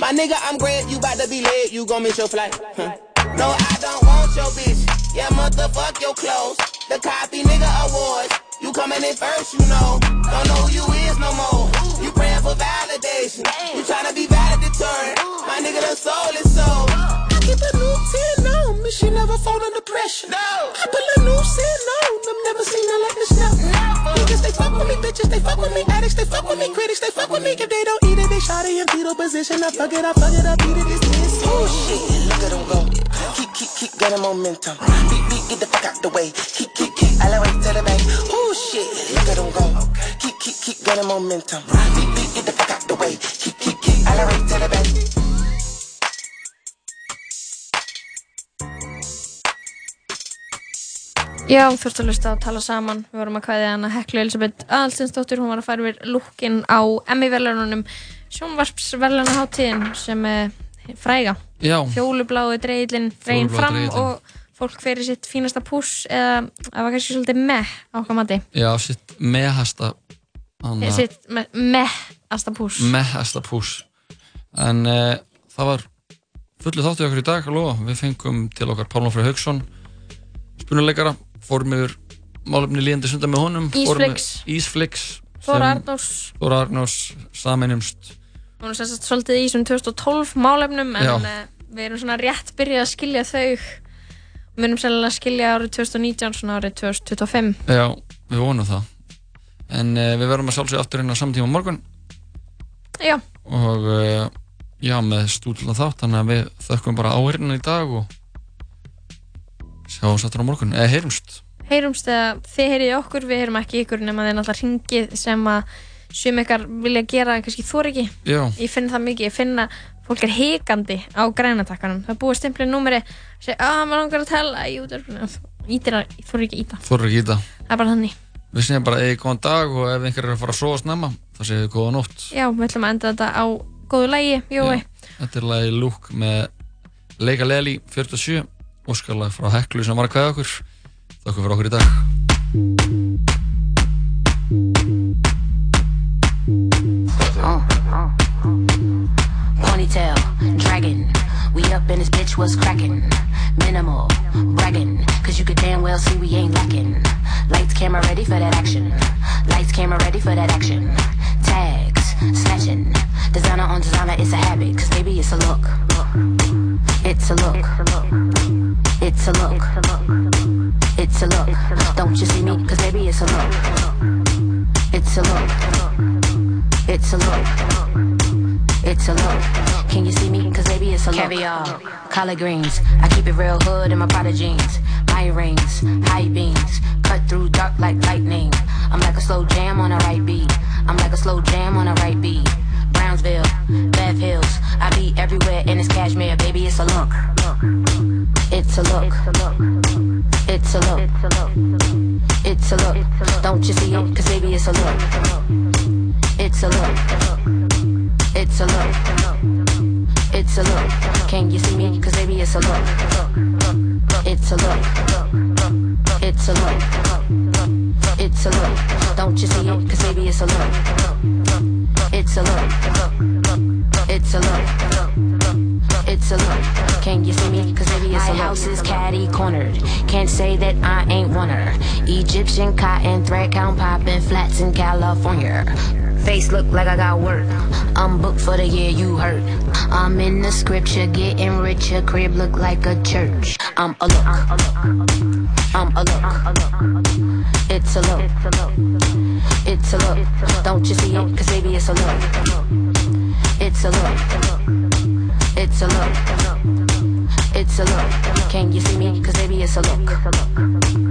S28: My nigga, I'm great, you bout to be late, you gon' miss your flight. Huh.
S29: No, I don't want your bitch. Yeah, motherfuck your clothes. The copy nigga awards. You coming in first, you know. Don't know who you is no more. You praying for validation. You tryna be valedictorian. My nigga, the soul is sold.
S28: I keep a new 10 on me, she never fall under pressure. No. I put a new 10 on, I've never seen her like this now. Niggas, they fuck with me, bitches, they fuck with me, addicts, they fuck with me, critics, they fuck with me. If they don't eat it, they shot it in fetal position. I fuck it, I fuck it, I beat it, it's this.
S29: Ooh, shit, look at him go. Keep, keep, keep getting momentum. Beat, beat, get the fuck out the way. Keep, keep, keep, elevate to the bank. Ooh, shit, look at him go. Keep, keep, keep getting momentum. Beat, beat, get the fuck out the way. Keep, keep, keep, elevate to the bank.
S4: Já, þú ert að hlusta og tala saman. Við vorum að kvæðið hana Heklu Elisabeth Aðalstinsdóttir. Hún var að fara við lúkinn á Emmy-velunum sjónvarpsvelunaháttíðin sem er fræga.
S3: Já.
S4: Fjólubláði dreigilinn dreginn
S3: Fjólubláu
S4: fram
S3: dregill.
S4: og fólk fyrir sitt fínasta púss eða það var kannski svolítið meh á okkar mati.
S3: Já, sitt mehasta
S4: Eða Sitt me- mehasta púss.
S3: mehasta pús en uh, það var fullu þáttu okkur í dag að lofa, við fengum til okkar Pálma Frey Haugsson spunuleikara, fórum yfir málefni líðandi sunda með honum fórum yfir-
S4: Ísflix.
S3: Ísflix
S4: Þóra
S3: sem-
S4: Arnórs.
S3: Þóra Arnós saminumst
S4: Hún er sem sagt svolítið í þessum 2012 málefnum en
S3: Já.
S4: uh, við erum svona rétt byrjað að skilja þau við erum sérlega að skilja árið 2019 svona árið 2025
S3: já, við vonum það en uh, við verðum að sjálfsögja aftur inn á samtíma á morgun
S4: Já,
S3: og uh, já, með stúdlan þátt þannig að við þökkum bara áhyrinu í dag og sjáum sattur á morgun, eða heyrumst
S4: heyrumst eða þið heyrið í okkur, við heyrum ekki í ykkur nema þið náttúrulega ringið sem að sem ykkar vilja gera en kannski þor ekki
S3: Já.
S4: ég finn það mikið, ég finn að fólk er hikandi á grænatakkanum það er búið stimplið númeri segja, að maður langar að tala í útverfinu ítir að, þor ekki að íta,
S3: Þóra Gíta
S4: það er bara þannig
S3: Við segjum bara eigi góðan dag og ef einhver er að fara að sofa snemma þá segjum við góða nótt.
S4: Já, við ætlum að enda þetta á góðu lægi, Jói
S3: Þetta er lagi Lúk með Leika Leli 47 óskalag frá Heklu sem var að kveða okkur. Þakku fyrir okkur í dag.
S30: Uh, uh. Ponytail, dragon. We up in this bitch, what's crackin'? Minimal, bragging. Cause you could damn well see we ain't lacking. Lights, camera ready for that action. Lights, camera ready for that action. Tags, snatching. Designer on designer, it's a habit. Cause baby, it's a look. It's a look. It's a look. It's a look. Don't you see me? Cause baby, it's a look. It's a look. It's a look. It's a look. Can you see me? Cause baby, it's a look. Caviar, collard greens. I keep it real hood in my Prada jeans. My rings, high beams. Cut through dark like lightning. I'm like a slow jam on a right beat. I'm like a slow jam on a right beat. Brownsville, Bev Hills. I be everywhere in this cashmere, baby. It's a look. It's a look. It's a look. It's a look. Don't you see it? Cause baby, it's a look. It's a look. It's a look. It's a look. Can you see me? Cause baby, it's a look. It's a look. It's a look. It's a look. Don't you see it? Cause baby, it's a look. It's a look. It's a look. It's a look. Can you see me? Cause baby, it's a look. My house is caddy cornered. Can't say that I ain't one her. Egyptian cotton thread count popping flats in California. Face look like I got work. I'm booked for the year you hurt. I'm in the scripture getting richer. Crib look like a church. I'm a look. I'm a look. It's a look. It's a look. Don't you see it? Cause baby, it's a look. It's a look. It's a look. It's a look. Can you see me? Cause baby, it's a look.